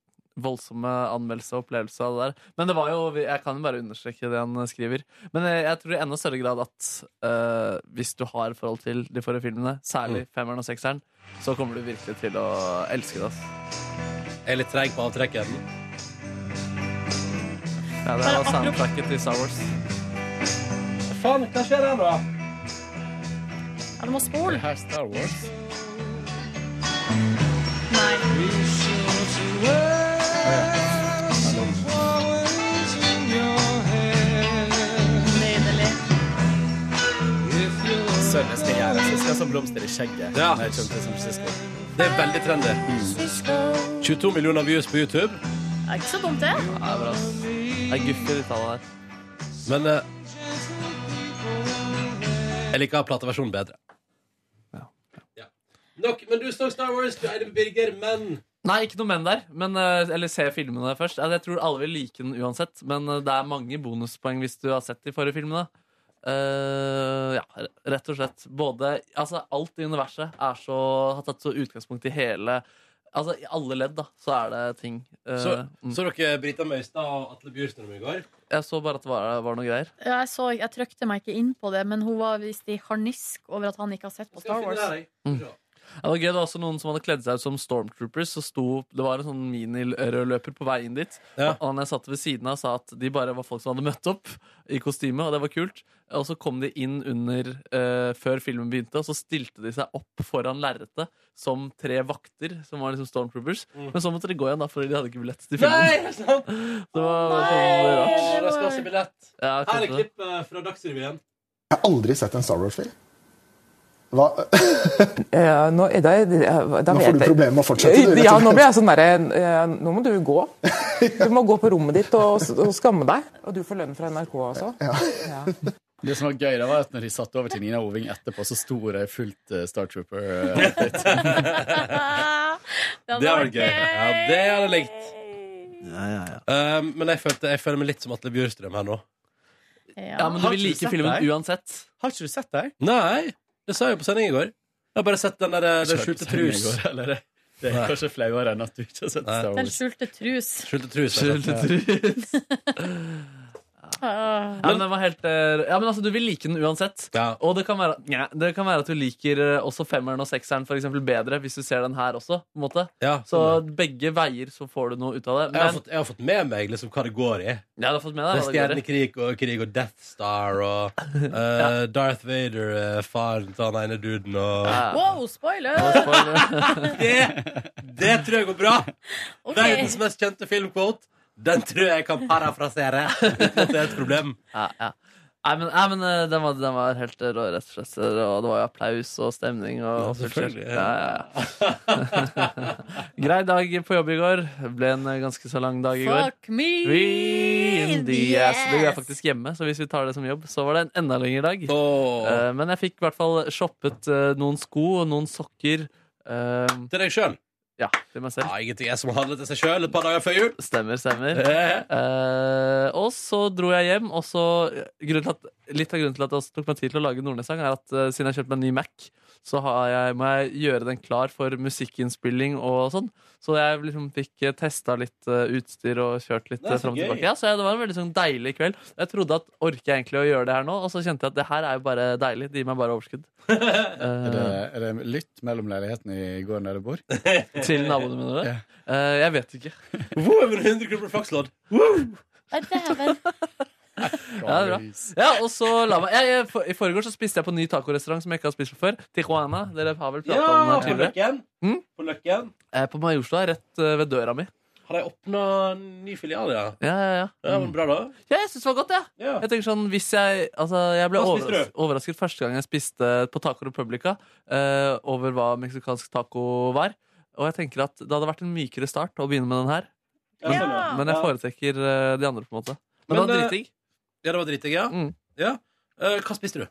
Speaker 4: voldsomme anmeldelse og opplevelse av det der. Men det var jo, jeg kan jo bare understreke det han skriver. Men eh, jeg, jeg tror i enda større grad at eh, hvis du har forhold til de forrige filmene,
Speaker 2: Mm.
Speaker 4: særlig femmeren og sekseren, så kommer du virkelig til å elske det. ass.
Speaker 2: Jeg er litt treig på avtrekken.
Speaker 4: Ja, det var soundtracket til Star Wars.
Speaker 2: Faen, hva skjer her, da?
Speaker 3: Ja, du må spole.
Speaker 11: Det her Star Wars.
Speaker 3: Nei. Nydelig.
Speaker 11: Sønnen skal gjøre det, så jeg skal ha sånn blomster i skjegget.
Speaker 2: Ja.
Speaker 11: Når jeg kommer til San Francisco.
Speaker 2: Det er veldig trendy.
Speaker 4: Mm.
Speaker 2: 22 millioner views på YouTube.
Speaker 3: Det er ikke så dumt, det.
Speaker 4: Ja, det er bra, ass. Det er guffi, de tallene der.
Speaker 2: Men eh, jeg liker plateversjonen bedre.
Speaker 4: Ja.
Speaker 2: Ja. Nok, men du står Star Wars, du er Birger, men
Speaker 4: Nei, ikke noe menn der. Men, eh, eller se filmene først. Ja, Jeg tror alle vil like den uansett, men eh, det er mange bonuspoeng hvis du har sett de forrige filmene. Eh, ja, re- rett og slett. Både Altså, alt i universet er så, har tatt så utgangspunkt i hele Altså, i alle ledd, da, så er det ting. Eh,
Speaker 2: Så,
Speaker 4: mm.
Speaker 2: så dere Brita Møystad og Atle Bjurstrøm i går?
Speaker 4: Jeg så bare at det var, var noe greier.
Speaker 3: Ja, Jeg, så, jeg trykte meg ikke inn på det, men hun var visst i harnisk over at han ikke har sett på Star Wars.
Speaker 4: Ja, det var gøy, det var også noen som hadde kledd seg ut som stormtroopers. Og sto, det var en sånn minirødløper på vei inn dit.
Speaker 2: Ja.
Speaker 4: Og han jeg satt ved siden av, sa at de bare var folk som hadde møtt opp i kostyme. Og det var kult. Og så kom de inn under eh, før filmen begynte, og så stilte de seg opp foran lerretet som tre vakter, som var liksom stormtroopers.
Speaker 2: Mm.
Speaker 4: Men så måtte de gå igjen, da, fordi de hadde ikke billett til
Speaker 2: Nei!
Speaker 4: filmen.
Speaker 2: er det sant?
Speaker 4: Det var sånn rart.
Speaker 2: Å, det skal også bli lett.
Speaker 4: Ja,
Speaker 2: Her
Speaker 4: kanskje
Speaker 2: er
Speaker 4: det.
Speaker 2: klippet fra Dagsrevyen.
Speaker 12: Jeg har aldri sett en Star Wars-film. Hva
Speaker 9: Ja, nå, da, da
Speaker 12: Nå får
Speaker 9: vet
Speaker 12: du
Speaker 9: jeg
Speaker 12: problemer med å fortsette. du, rett og
Speaker 9: Ja, nå
Speaker 12: slett.
Speaker 9: blir jeg sånn derre eh, Nå må du gå. Du må gå på rommet ditt og, og skamme deg. Og du får lønn fra NRK også. Ja.
Speaker 11: Det som var gøy, det var at når de satt over til Nina Oving etterpå, så sto det fullt eh, Star Trooper. eh,
Speaker 3: det
Speaker 2: Det hadde vært gøy. Ja, det hadde jeg likt. Um, men jeg, følte, jeg føler meg litt som Atle Bjurstrøm her nå.
Speaker 4: Ja, men du
Speaker 11: Har ikke
Speaker 4: vil
Speaker 11: du
Speaker 4: like
Speaker 11: sett
Speaker 4: filmen
Speaker 11: deg?
Speaker 4: uansett.
Speaker 11: Har ikke du sett deg?
Speaker 2: Nei, det sa jeg jo på sending i går. Jeg har bare sett den der eh, den
Speaker 11: Ikke
Speaker 2: skjulte
Speaker 11: hørt på
Speaker 2: trus.
Speaker 11: sendingen i går, eller det- Det
Speaker 2: Nei.
Speaker 11: er kanskje flauere enn at du ikke har sett
Speaker 2: Nei.
Speaker 11: Star
Speaker 3: Den
Speaker 11: Wars.
Speaker 3: skjulte trus.
Speaker 2: Skjulte trus. altså.
Speaker 4: Skjulte trus. Ah. Ja, men, den var helt, eh, ja, men altså, Du vil like den uansett. Og det kan, være, nja, det kan være at du liker eh, også femmeren og sekseren for eksempel, bedre hvis du ser den her også. På en måte. så
Speaker 2: sånn
Speaker 4: begge veier så får du noe ut av det.
Speaker 2: Jeg har, fått, jeg har fått med meg liksom hva det går i.
Speaker 4: Ja, du har fått med
Speaker 2: Det
Speaker 4: deg hva det
Speaker 2: er
Speaker 4: går i.
Speaker 2: stjernekrig og krig og Death Star og eh, Darth Vader, eh, faren til han ene duden og
Speaker 3: Wow, spoiler!
Speaker 2: det, det tror jeg går bra. Verdens mest kjente filmquote. Den tror jeg kan parafrasere uten at det er et problem.
Speaker 4: Ja, ja. Nei, men, nei, men eh, den, var, den var helt rå, rett og slett. Og det var jo applaus og stemning. Og,
Speaker 2: Ja, selvfølgelig.
Speaker 4: Ja, ja, ja. Grei dag på jobb i går. Det ble en eh, ganske så lang dag i går.
Speaker 3: Fuck me
Speaker 4: We in the ass.
Speaker 3: ass.
Speaker 4: Det er faktisk hjemme, så hvis vi tar det som jobb, så var det en enda lengre dag. Eh, men jeg fikk i hvert fall shoppet eh, noen sko og noen sokker. eh,
Speaker 2: til deg sjøl?
Speaker 4: Ja, til meg selv.
Speaker 2: Ja, ingenting jeg som handlet til seg sjøl et par dager før jul.
Speaker 4: Stemmer, stemmer.
Speaker 2: Eh.
Speaker 4: Eh, og så dro jeg hjem, og så grunnen til at, Litt av grunnen til at det også tok meg tid til å lage Nordnes-sang, er at eh, siden jeg kjøpte meg en ny Mac, så har jeg, må jeg gjøre den klar for musikkinnspilling og sånn. Så jeg liksom fikk eh, testa litt eh, utstyr og kjørt litt
Speaker 2: Nei,
Speaker 4: eh,
Speaker 2: så
Speaker 4: fram og
Speaker 2: gøy.
Speaker 4: tilbake. Ja, så jeg, det var en veldig sånn deilig kveld. Jeg trodde at orker jeg egentlig å gjøre det her nå? Og så kjente jeg at det her er jo bare deilig. Det gir meg bare overskudd.
Speaker 11: Er det, er det lytt mellom leilighetene i går der du bor?
Speaker 4: Til naboene mine?
Speaker 11: Ja.
Speaker 4: Eh, jeg vet ikke.
Speaker 2: Wow, men 100 kroner for flakslodd!
Speaker 4: Ja, det er bra. Ja, og så la meg jeg, jeg, for, I forgårs så spiste jeg på en ny tacorestaurant som jeg ikke har spist på før. Tijuana. Dere har vel pratet om den her
Speaker 2: på
Speaker 4: tidligere?
Speaker 2: Løkken. På Løkken.
Speaker 4: Eh, på Majorstua, rett eh, ved døra mi.
Speaker 2: Har de åpna ny filial, ja?
Speaker 4: Ja, ja, ja.
Speaker 2: Ja, men bra, da.
Speaker 4: Ja, jeg syns det var godt, jeg. Ja. Jeg tenker sånn, hvis jeg Altså, jeg ble
Speaker 2: Hva spiste
Speaker 4: overras overrasket første gang jeg spiste på Taco Republica eh, over hva meksikansk taco var. Og jeg tenker at det hadde vært en mykere start å begynne med den her. Men,
Speaker 2: sånn, ja.
Speaker 4: men jeg
Speaker 2: Ja.
Speaker 4: foretrekker eh, de andre, på en måte. Men, det var
Speaker 2: eh,
Speaker 4: dritdigg. Mm.
Speaker 2: Ja, det var dritdigg, ja. ja. Eh, hva spiste du?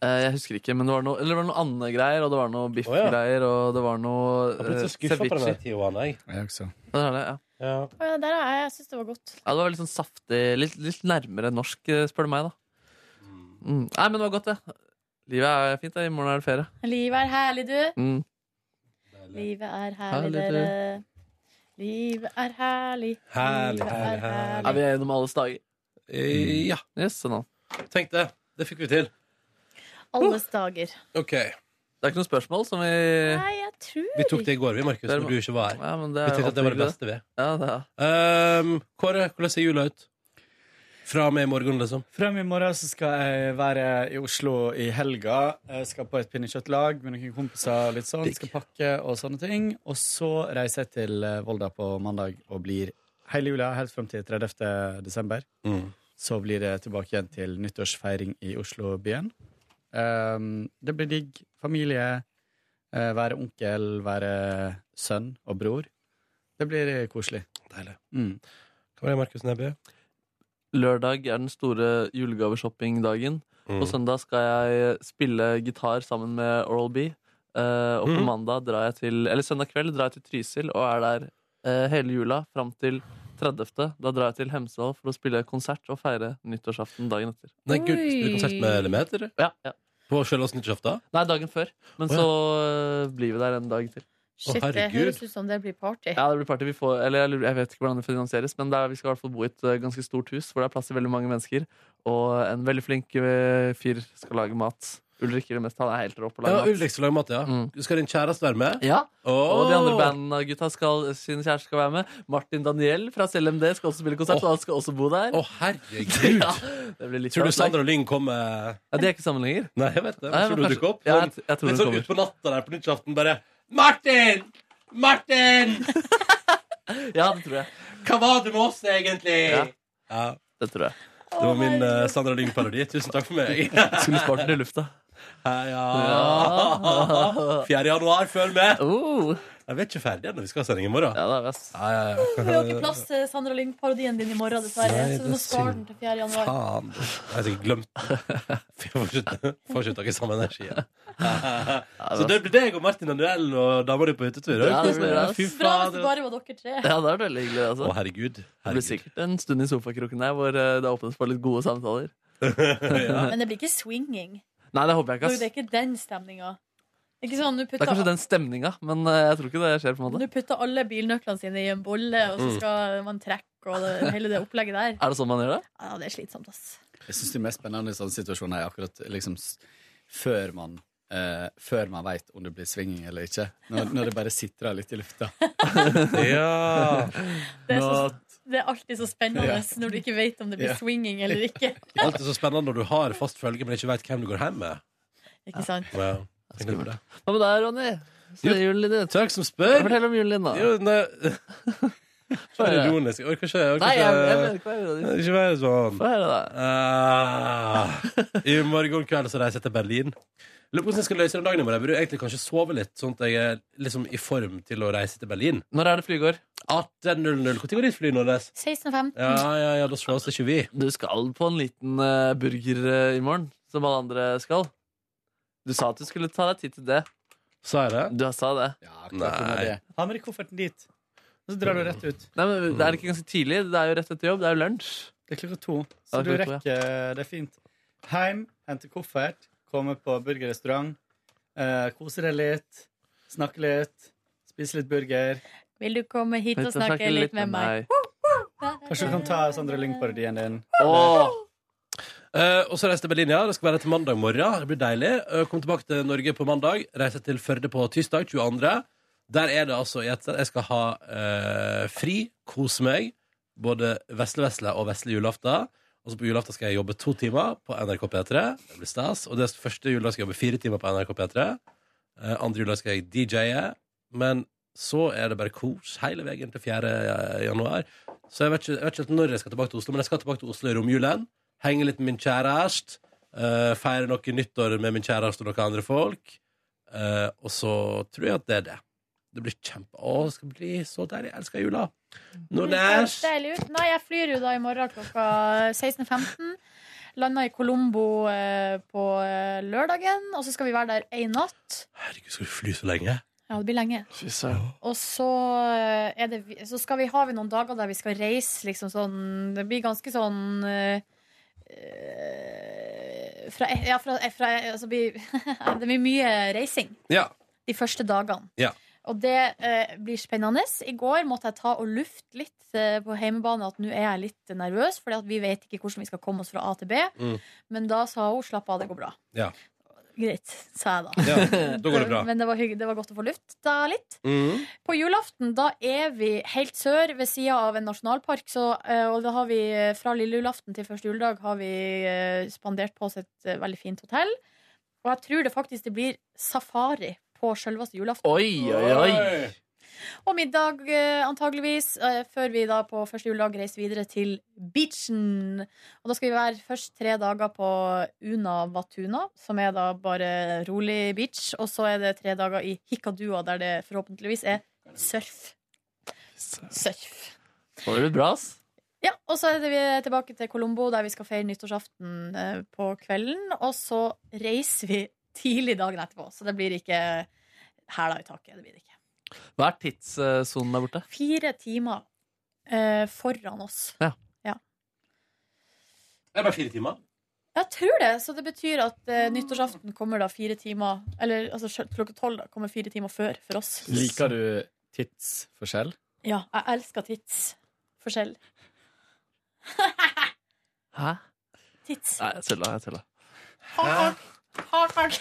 Speaker 4: Eh, Jeg husker ikke, men det var noe, eller det var noe andre greier, og det var noe
Speaker 2: Å, ja.
Speaker 4: biffgreier, og det var noe
Speaker 2: Jeg ble
Speaker 4: eh,
Speaker 2: så skuffa på den
Speaker 4: ceviche.
Speaker 2: der Tijuana, jeg.
Speaker 4: Ja, det er det, ja.
Speaker 3: Å, ja, der er jeg. Jeg syns det var godt.
Speaker 4: Ja, det var litt sånn saftig, litt, litt nærmere norsk, eh, spør du meg, da. Mm. Nei, men det var godt, det. Livet er fint, det. I morgen er det ferie.
Speaker 3: Livet er herlig, du.
Speaker 4: Mm.
Speaker 3: Livet er herlig,
Speaker 4: Herlig, du.
Speaker 3: dere. Livet er herlig.
Speaker 2: Herlig,
Speaker 3: Livet
Speaker 2: herlig,
Speaker 3: er herlig.
Speaker 4: Er vi gjennom alles dager?
Speaker 2: Eh, Ja.
Speaker 4: Yes, sånn.
Speaker 2: Tenk det. Det fikk vi til.
Speaker 3: Alles dager.
Speaker 2: OK.
Speaker 4: Det er ikke noe spørsmål som vi
Speaker 3: Nei, jeg tror
Speaker 2: Vi tok det i går, vi, Markus,
Speaker 4: Der-
Speaker 2: når du ikke var her.
Speaker 4: Ja, men det
Speaker 2: Vi
Speaker 4: er
Speaker 2: tenkte at det var det
Speaker 4: alltid
Speaker 2: beste ved.
Speaker 4: Ja, det er.
Speaker 2: Um, Kåre, hvordan ser jula ut? Fra og med i morgen, liksom?
Speaker 11: Frem i morgen så skal jeg være i Oslo i helga. Jeg skal på et pinnekjøttlag med noen kompiser. og litt sånn. Skal pakke og sånne ting. Og så reiser jeg til eh, Volda på mandag og blir hele jula helt frem til 30. desember.
Speaker 2: Mm.
Speaker 11: Så blir det tilbake igjen til nyttårsfeiring i Oslo-byen. Um, det blir digg. Familie. eh, være onkel, være sønn og bror. Det blir koselig.
Speaker 2: Deilig.
Speaker 11: Mm.
Speaker 2: Hva var det, Markus Neby?
Speaker 4: Lørdag er den store julegaveshoppingdagen.
Speaker 2: Mm.
Speaker 4: På søndag skal jeg spille gitar sammen med Oral B. Eh, og
Speaker 2: Mm.
Speaker 4: på mandag drar jeg til Eller søndag kveld drar jeg til Trysil og er der eh, hele jula fram til 30. Da drar jeg til Hemsedal for å spille konsert og feire nyttårsaften dagen etter.
Speaker 2: Nei, gud, spiller du konsert med Element, eller?
Speaker 4: Ja, ja.
Speaker 2: På Sjølås nyttårsaften?
Speaker 4: Nei, dagen før. Men
Speaker 2: Å, ja.
Speaker 4: så eh, blir vi der en dag til.
Speaker 3: Shit, det høres ut som det blir party.
Speaker 4: Ja, det blir party. Vi får, eller jeg, lurer- jeg vet ikke hvordan det finansieres, men det er, vi skal i hvert fall bo i et eh, ganske stort hus hvor det er plass til veldig mange mennesker. Og en veldig flink eh, fyr skal lage mat. Ulrik vil mest, han er helt rå på å
Speaker 2: Ja,
Speaker 4: lage mat.
Speaker 2: Ulrik skal lage mat, ja. Skal din kjæreste være med?
Speaker 4: Mm. Ja,
Speaker 2: Åh.
Speaker 4: Og de andre bandene gutta skal, sine kjærester skal være med. Martin Daniel fra CLMD skal også spille konsert, og han skal også bo der.
Speaker 2: Å, herregud!
Speaker 4: Ja, det blir litt
Speaker 2: Tror
Speaker 4: av
Speaker 2: du
Speaker 4: et
Speaker 2: Sander
Speaker 4: lag.
Speaker 2: og Lyng eh? kommer
Speaker 4: ja, De er ikke sammen lenger.
Speaker 2: Nei, jeg vet det.
Speaker 4: Nei,
Speaker 2: Jeg
Speaker 4: men
Speaker 2: tror du
Speaker 4: kanskje-
Speaker 2: dukker opp.
Speaker 4: Ja, jeg- jeg tror
Speaker 2: Litt
Speaker 4: hun
Speaker 2: sånn
Speaker 4: kommer.
Speaker 2: utpå natta der på nyttårsaften bare Martin! Martin!
Speaker 4: Ja, det tror jeg.
Speaker 2: Hva var det med oss, egentlig? Ja.
Speaker 4: Ja. Det tror jeg.
Speaker 2: Det var min uh, Sander og Lyng-parodi. Tusen takk for meg.
Speaker 4: Skulle spart den i lufta.
Speaker 2: Ja. 4. januar, følg med!
Speaker 4: Oh.
Speaker 2: Jeg vet ikke ferdig ennå. Vi skal ha sending i morgen.
Speaker 4: Ja, det er best.
Speaker 2: Ja, ja, ja.
Speaker 3: Vi har ikke plass til Sandra Lyng-parodien din i morgen, dessverre.
Speaker 2: Nei,
Speaker 3: Så du må
Speaker 2: det er
Speaker 3: spare den
Speaker 2: synd.
Speaker 3: til 4. januar.
Speaker 2: Faen. Jeg har sikkert glemt den. Jeg får ikke- Får ikke tak i samme energi. igjen. Så det blir deg og Martin Daniel og dama di på hyttetur. det er jo
Speaker 4: Ja, det blir
Speaker 2: koselig.
Speaker 4: det.
Speaker 2: Fy
Speaker 3: Bra hvis det
Speaker 2: fader.
Speaker 3: bare var dere tre.
Speaker 4: Ja, det er veldig hyggelig. Altså.
Speaker 2: Å, herregud.
Speaker 4: Det blir
Speaker 2: herregud.
Speaker 4: sikkert en stund i sofakroken her hvor eh, det åpnes for litt gode samtaler.
Speaker 3: Men det blir ikke swinging.
Speaker 4: Nei, det håper jeg
Speaker 3: Det
Speaker 4: ikke.
Speaker 3: er ikke den stemninga. Ikke sånn, nå
Speaker 4: Det er kanskje
Speaker 3: putter,
Speaker 4: den stemninga, men eh, jeg tror ikke det skjer. på en måte
Speaker 3: nå putter alle bilnøklene sine i en bolle, og så
Speaker 4: Mm.
Speaker 3: skal man trekke og det, hele det opplegget der.
Speaker 4: Er det sånn man gjør det?
Speaker 3: Ja, det er slitsomt, ass.
Speaker 11: Jeg syns det mest spennende i sånne situasjoner er akkurat liksom, s- før man eh, før man veit om det blir svinging eller ikke. Når, når det bare sitrer litt i lufta.
Speaker 8: ja!
Speaker 3: Det er, så,
Speaker 11: Nå-
Speaker 3: det er alltid så spennende
Speaker 2: Ja.
Speaker 3: når du ikke vet om det blir
Speaker 2: Ja.
Speaker 3: swinging eller ikke.
Speaker 2: Det er alltid så spennende når du har fast følge, men ikke vet hvem du går hjem med.
Speaker 3: Ikke sant?
Speaker 2: Wow. Tenk litt på det.
Speaker 4: Hva med deg, Ronny? Så er julen din.
Speaker 2: Takk som spør.
Speaker 4: Fortell om julen din, da.
Speaker 2: Jo, nei. Så er det ironisk. Jeg orker ikke jeg orker
Speaker 4: Nei, jeg- jeg
Speaker 2: ikke-
Speaker 4: vet ikke hva jeg gjør, Ronny.
Speaker 2: Ikke være sånn.
Speaker 4: Få høre, da.
Speaker 2: Ah. I morgen kveld så reiser jeg til Berlin. Lurer på hvordan jeg skal løse den dagen i morgen. Jeg burde egentlig kanskje sove litt, sånn at jeg er liksom i form til å reise til Berlin.
Speaker 4: Når er det flyet går?
Speaker 2: 18.00. Når går ditt fly, Nordnes?
Speaker 3: 16.15.
Speaker 2: Ja, ja, ja, da slås ikke vi.
Speaker 4: Du skal på en liten eh, burger eh, i morgen, som alle andre skal. Du sa at du skulle ta deg tid til det.
Speaker 2: Sa jeg det?
Speaker 4: Du sa det.
Speaker 11: Nei. Ha med deg kofferten dit. Og så drar du rett ut.
Speaker 4: Nei, men Det er ikke ganske tidlig. Det er jo rett etter jobb. Det er jo lunsj.
Speaker 11: Det er klokka to.
Speaker 4: Ja,
Speaker 11: Så du
Speaker 4: klokka to, ja.
Speaker 11: rekker eh, Det er fint. Heim, hente koffert, komme på burgerrestaurant, eh, kose deg litt, snakke litt, spise litt burger.
Speaker 3: Vil du komme hit og snakke litt med meg?
Speaker 11: Kanskje du kan ta Sandra Lyng-parodien din.
Speaker 2: Eh, og så reiser jeg til Berlin, ja. Det skal være til mandag morgen. Det blir deilig. Uh, kom tilbake til Norge på mandag. Reiser til Førde på tirsdag 22. Der er det altså i ett sted. Jeg skal ha eh, fri, kose meg. Både vesle-vesle og vesle julaften. Og så på julaften skal jeg jobbe to timer på NRK P3. Det blir stas. Og det første jula skal jeg jobbe fire timer på NRK P3. Eh, andre jula skal jeg DJ-e. Men så er det bare kos hele veien til 4. januar. Så jeg vet ikke, jeg vet ikke helt når jeg skal tilbake til Oslo, men jeg skal tilbake til Oslo i romjulen. Henge litt med min kjæreste. eh, feire noe nyttår med min kjæreste og noen andre folk. Eh, og så tror jeg at det er det. Det blir kjempe... Å, det skal bli så deilig. Jeg elsker jula. Nordnes!
Speaker 3: Det er lurt. Nei, jeg flyr jo da i morgen klokka 16.15. Landa i Colombo eh, på eh, lørdagen, og så skal vi være der ei natt.
Speaker 2: Herregud, skal du fly så lenge?
Speaker 3: Ja, det blir lenge. Og så, eh, er det, vi- så skal vi, har vi noen dager der vi skal reise liksom sånn Det blir ganske sånn eh, eh, fra, ja, fra, fra altså, blir, Det blir mye reising
Speaker 2: Ja.
Speaker 3: de første dagene.
Speaker 2: ja.
Speaker 3: Og det eh, blir spennende. I går måtte jeg ta og lufte litt eh, på hjemmebane at nå er jeg litt nervøs, for vi vet ikke hvordan vi skal komme oss fra A til B.
Speaker 2: Mm.
Speaker 3: Men da sa hun 'slapp av, det går bra'.
Speaker 2: Ja.
Speaker 3: Greit, sa jeg da.
Speaker 2: Ja, da går det bra.
Speaker 3: Men det var, hygg- det var godt å få lufta litt.
Speaker 2: Mm.
Speaker 3: På julaften da er vi helt sør ved sida av en nasjonalpark. Så, eh, og da har vi eh, fra lille julaften til første juledag har vi eh, spandert på oss et eh, veldig fint hotell. Og jeg tror det faktisk det blir safari på selveste julaften.
Speaker 4: Oi, oi, oi.
Speaker 3: Og middag, eh, antageligvis, eh, før vi da på første juledag reiser videre til beachen. Og da skal vi være først tre dager på Una Watuna, som er da bare rolig beach. Og så er det tre dager i Hikadua, der det forhåpentligvis er surf. Surf.
Speaker 4: Så det blir bra, ass.
Speaker 3: Ja, og så er det vi tilbake til Colombo, der vi skal feire nyttårsaften eh, på kvelden. Og så reiser vi tidlig dagen etterpå, så det blir ikke hæla i taket. Det blir det ikke.
Speaker 4: Hva er tidssonen der borte?
Speaker 3: Fire timer eh, foran oss.
Speaker 4: Ja.
Speaker 2: Det er bare fire timer.
Speaker 3: Jeg tror det, så det betyr at eh, nyttårsaften kommer da fire timer Eller altså, sjøl- klokka tolv da, kommer fire timer før for oss.
Speaker 11: Liker du tidsforskjell?
Speaker 3: Ja, jeg elsker tidsforskjell.
Speaker 4: Hæ?
Speaker 3: Tids.
Speaker 4: Nei, altså, jeg tulla. Jeg tulla.
Speaker 3: Hard fuck. Hard fuck.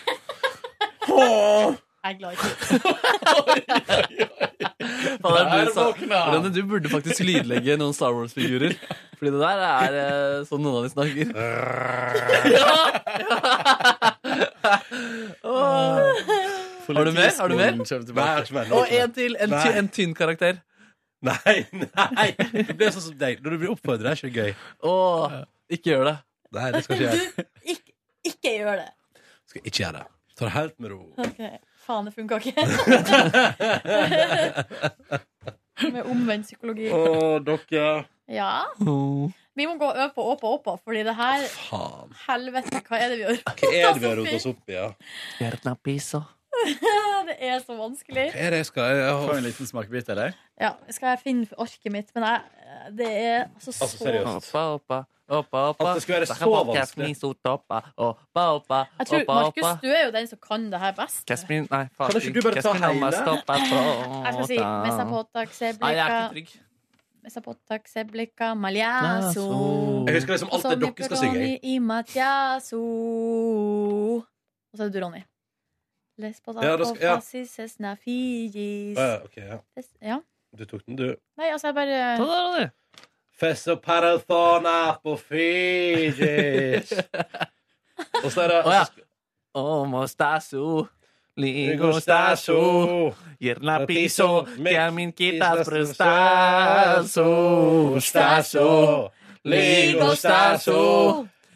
Speaker 3: Jeg er glad i
Speaker 4: Fader,
Speaker 10: Der
Speaker 4: du, sa,
Speaker 10: våkna han.
Speaker 4: Ronny, du burde faktisk lydlegge noen Star Wars-figurer. Fordi det der er eh, sånn noen av de snakker. Åh. Ah. Har du mer? Har du mer? Og en til. En, ty, en tynn karakter.
Speaker 2: Nei, nei! Det blir sånn som deg. Når du blir oppfordra, er ikke det gøy.
Speaker 4: Åh, ikke gjør det.
Speaker 2: Nei, det skal ikke jeg.
Speaker 3: tids. Ikke gjør det.
Speaker 2: Skal ikke gjøre det. Ta det helt med ro.
Speaker 3: Ok, Faen, det funka ikke. Med omvendt psykologi.
Speaker 2: Å, dere.
Speaker 3: Ja. Vi må gå opp og opp og opp, fordi det her
Speaker 2: Faen.
Speaker 3: Helvete, hva er det vi gjør?
Speaker 2: Hva er det vi har rota oss opp i? Ja?
Speaker 4: Gjør et napp i, så.
Speaker 3: det er så vanskelig.
Speaker 2: Er det jeg skal jeg,
Speaker 11: Få en liten smakebit, eller?
Speaker 3: Ja, skal jeg finne orket mitt? Men jeg, det er altså så
Speaker 4: Oppa, oppa, oppa, oppa.
Speaker 2: At det skal være
Speaker 4: Dette
Speaker 2: så
Speaker 4: var
Speaker 2: vanskelig.
Speaker 4: Catherine Sort, oppa, oppa, oppa,
Speaker 3: Jeg tror
Speaker 4: oppa, oppa.
Speaker 3: Markus, du er jo den som kan det her best.
Speaker 4: Catherine, nei,
Speaker 2: Kan ikke du bare ta
Speaker 4: Catherine, la meg
Speaker 2: hele?
Speaker 4: stoppe på-
Speaker 3: Jeg skal si Mesapotak
Speaker 4: Nei, jeg er ikke
Speaker 3: seblika
Speaker 4: trygg.
Speaker 3: Mesapotak seblika maljaso
Speaker 2: Jeg husker liksom alt det dere skal synge. jeg.
Speaker 3: Og så er det du, Ronny. Les på
Speaker 2: Ja, da skal- ja.
Speaker 3: ja.
Speaker 2: Ja, ok, ja.
Speaker 3: ja.
Speaker 2: Du tok den, du.
Speaker 3: Nei, altså, jeg bare
Speaker 2: Fesso parathona på Fiji. Og så er det
Speaker 4: Å ja. Omostasu, ligostasu,
Speaker 2: Ligostaso.
Speaker 4: Yerna piso, Carmen quitas prestaso,
Speaker 2: Staso,
Speaker 4: staso,
Speaker 2: staso,
Speaker 4: ligostaso,
Speaker 2: ligostaso.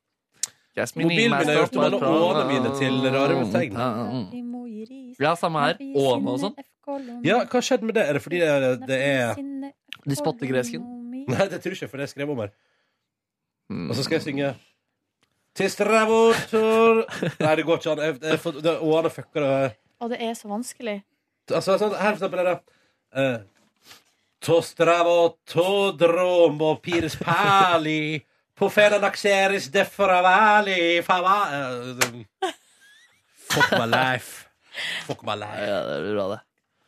Speaker 2: Mobilen min har gjort om alle
Speaker 4: Ah,
Speaker 2: årene mine til rare betegn.
Speaker 4: Ja, ah. samme her. Åne og sånn.
Speaker 2: Ja, hva skjedde med det? Er det fordi det, det er
Speaker 4: De spotter gresken.
Speaker 2: Nei, det tror jeg ikke, for det skrev jeg om her.
Speaker 4: Hmm.
Speaker 2: Og så skal jeg synge Tistravotor Nei, det går ikke an. Jeg, jeg, får- det, årene fucker det.
Speaker 3: Og det er så vanskelig.
Speaker 2: Altså, sånn, her for eksempel er det eh, Tostravo todromo pirs pali Pofenaxeris deforavali fava eh, den- Fuck my life. Fuck my life.
Speaker 4: Ja, det blir bra, det.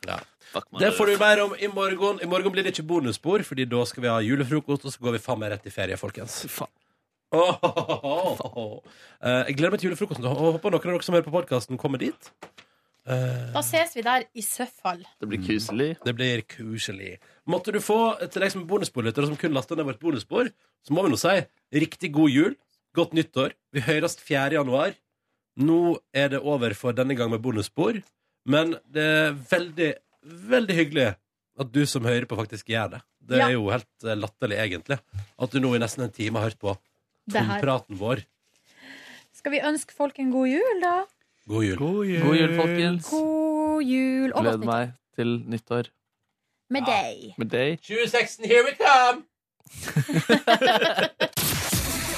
Speaker 2: Ja.
Speaker 4: Fuck meg,
Speaker 2: Det får du mer om i morgen. I morgen blir det ikke bonusbord, Fordi da skal vi ha julefrokost, og så går vi faen meg rett i ferie, folkens.
Speaker 4: Faen.
Speaker 2: Åh, åh, åh, åh. Eh, jeg gleder meg til julefrokosten. og Håper noen av dere som hører på podkasten, kommer dit. Eh,
Speaker 3: Da ses vi der i så fall.
Speaker 4: Det blir kuselig.
Speaker 2: Mm. Det blir koselig. Måtte du få til deg som er bonusbordlytter, og som kun laster ned vårt bonusbord, så må vi nå si riktig god jul, godt nyttår. Vi høres 4. januar. Nå er det over for denne gang med bonusbord, men det er veldig, veldig hyggelig at du som hører på, faktisk gjør det. Det
Speaker 3: Ja.
Speaker 2: er jo helt eh, latterlig, egentlig, at du nå i nesten en time har hørt på
Speaker 3: Det her.
Speaker 2: tompraten vår.
Speaker 3: Skal vi ønske folk en god jul, da?
Speaker 2: God jul.
Speaker 4: God jul, folkens.
Speaker 3: God jul og godt
Speaker 4: Gleder
Speaker 3: nytt
Speaker 4: meg til nyttår
Speaker 3: med deg.
Speaker 4: med deg.
Speaker 2: 2016, here we come!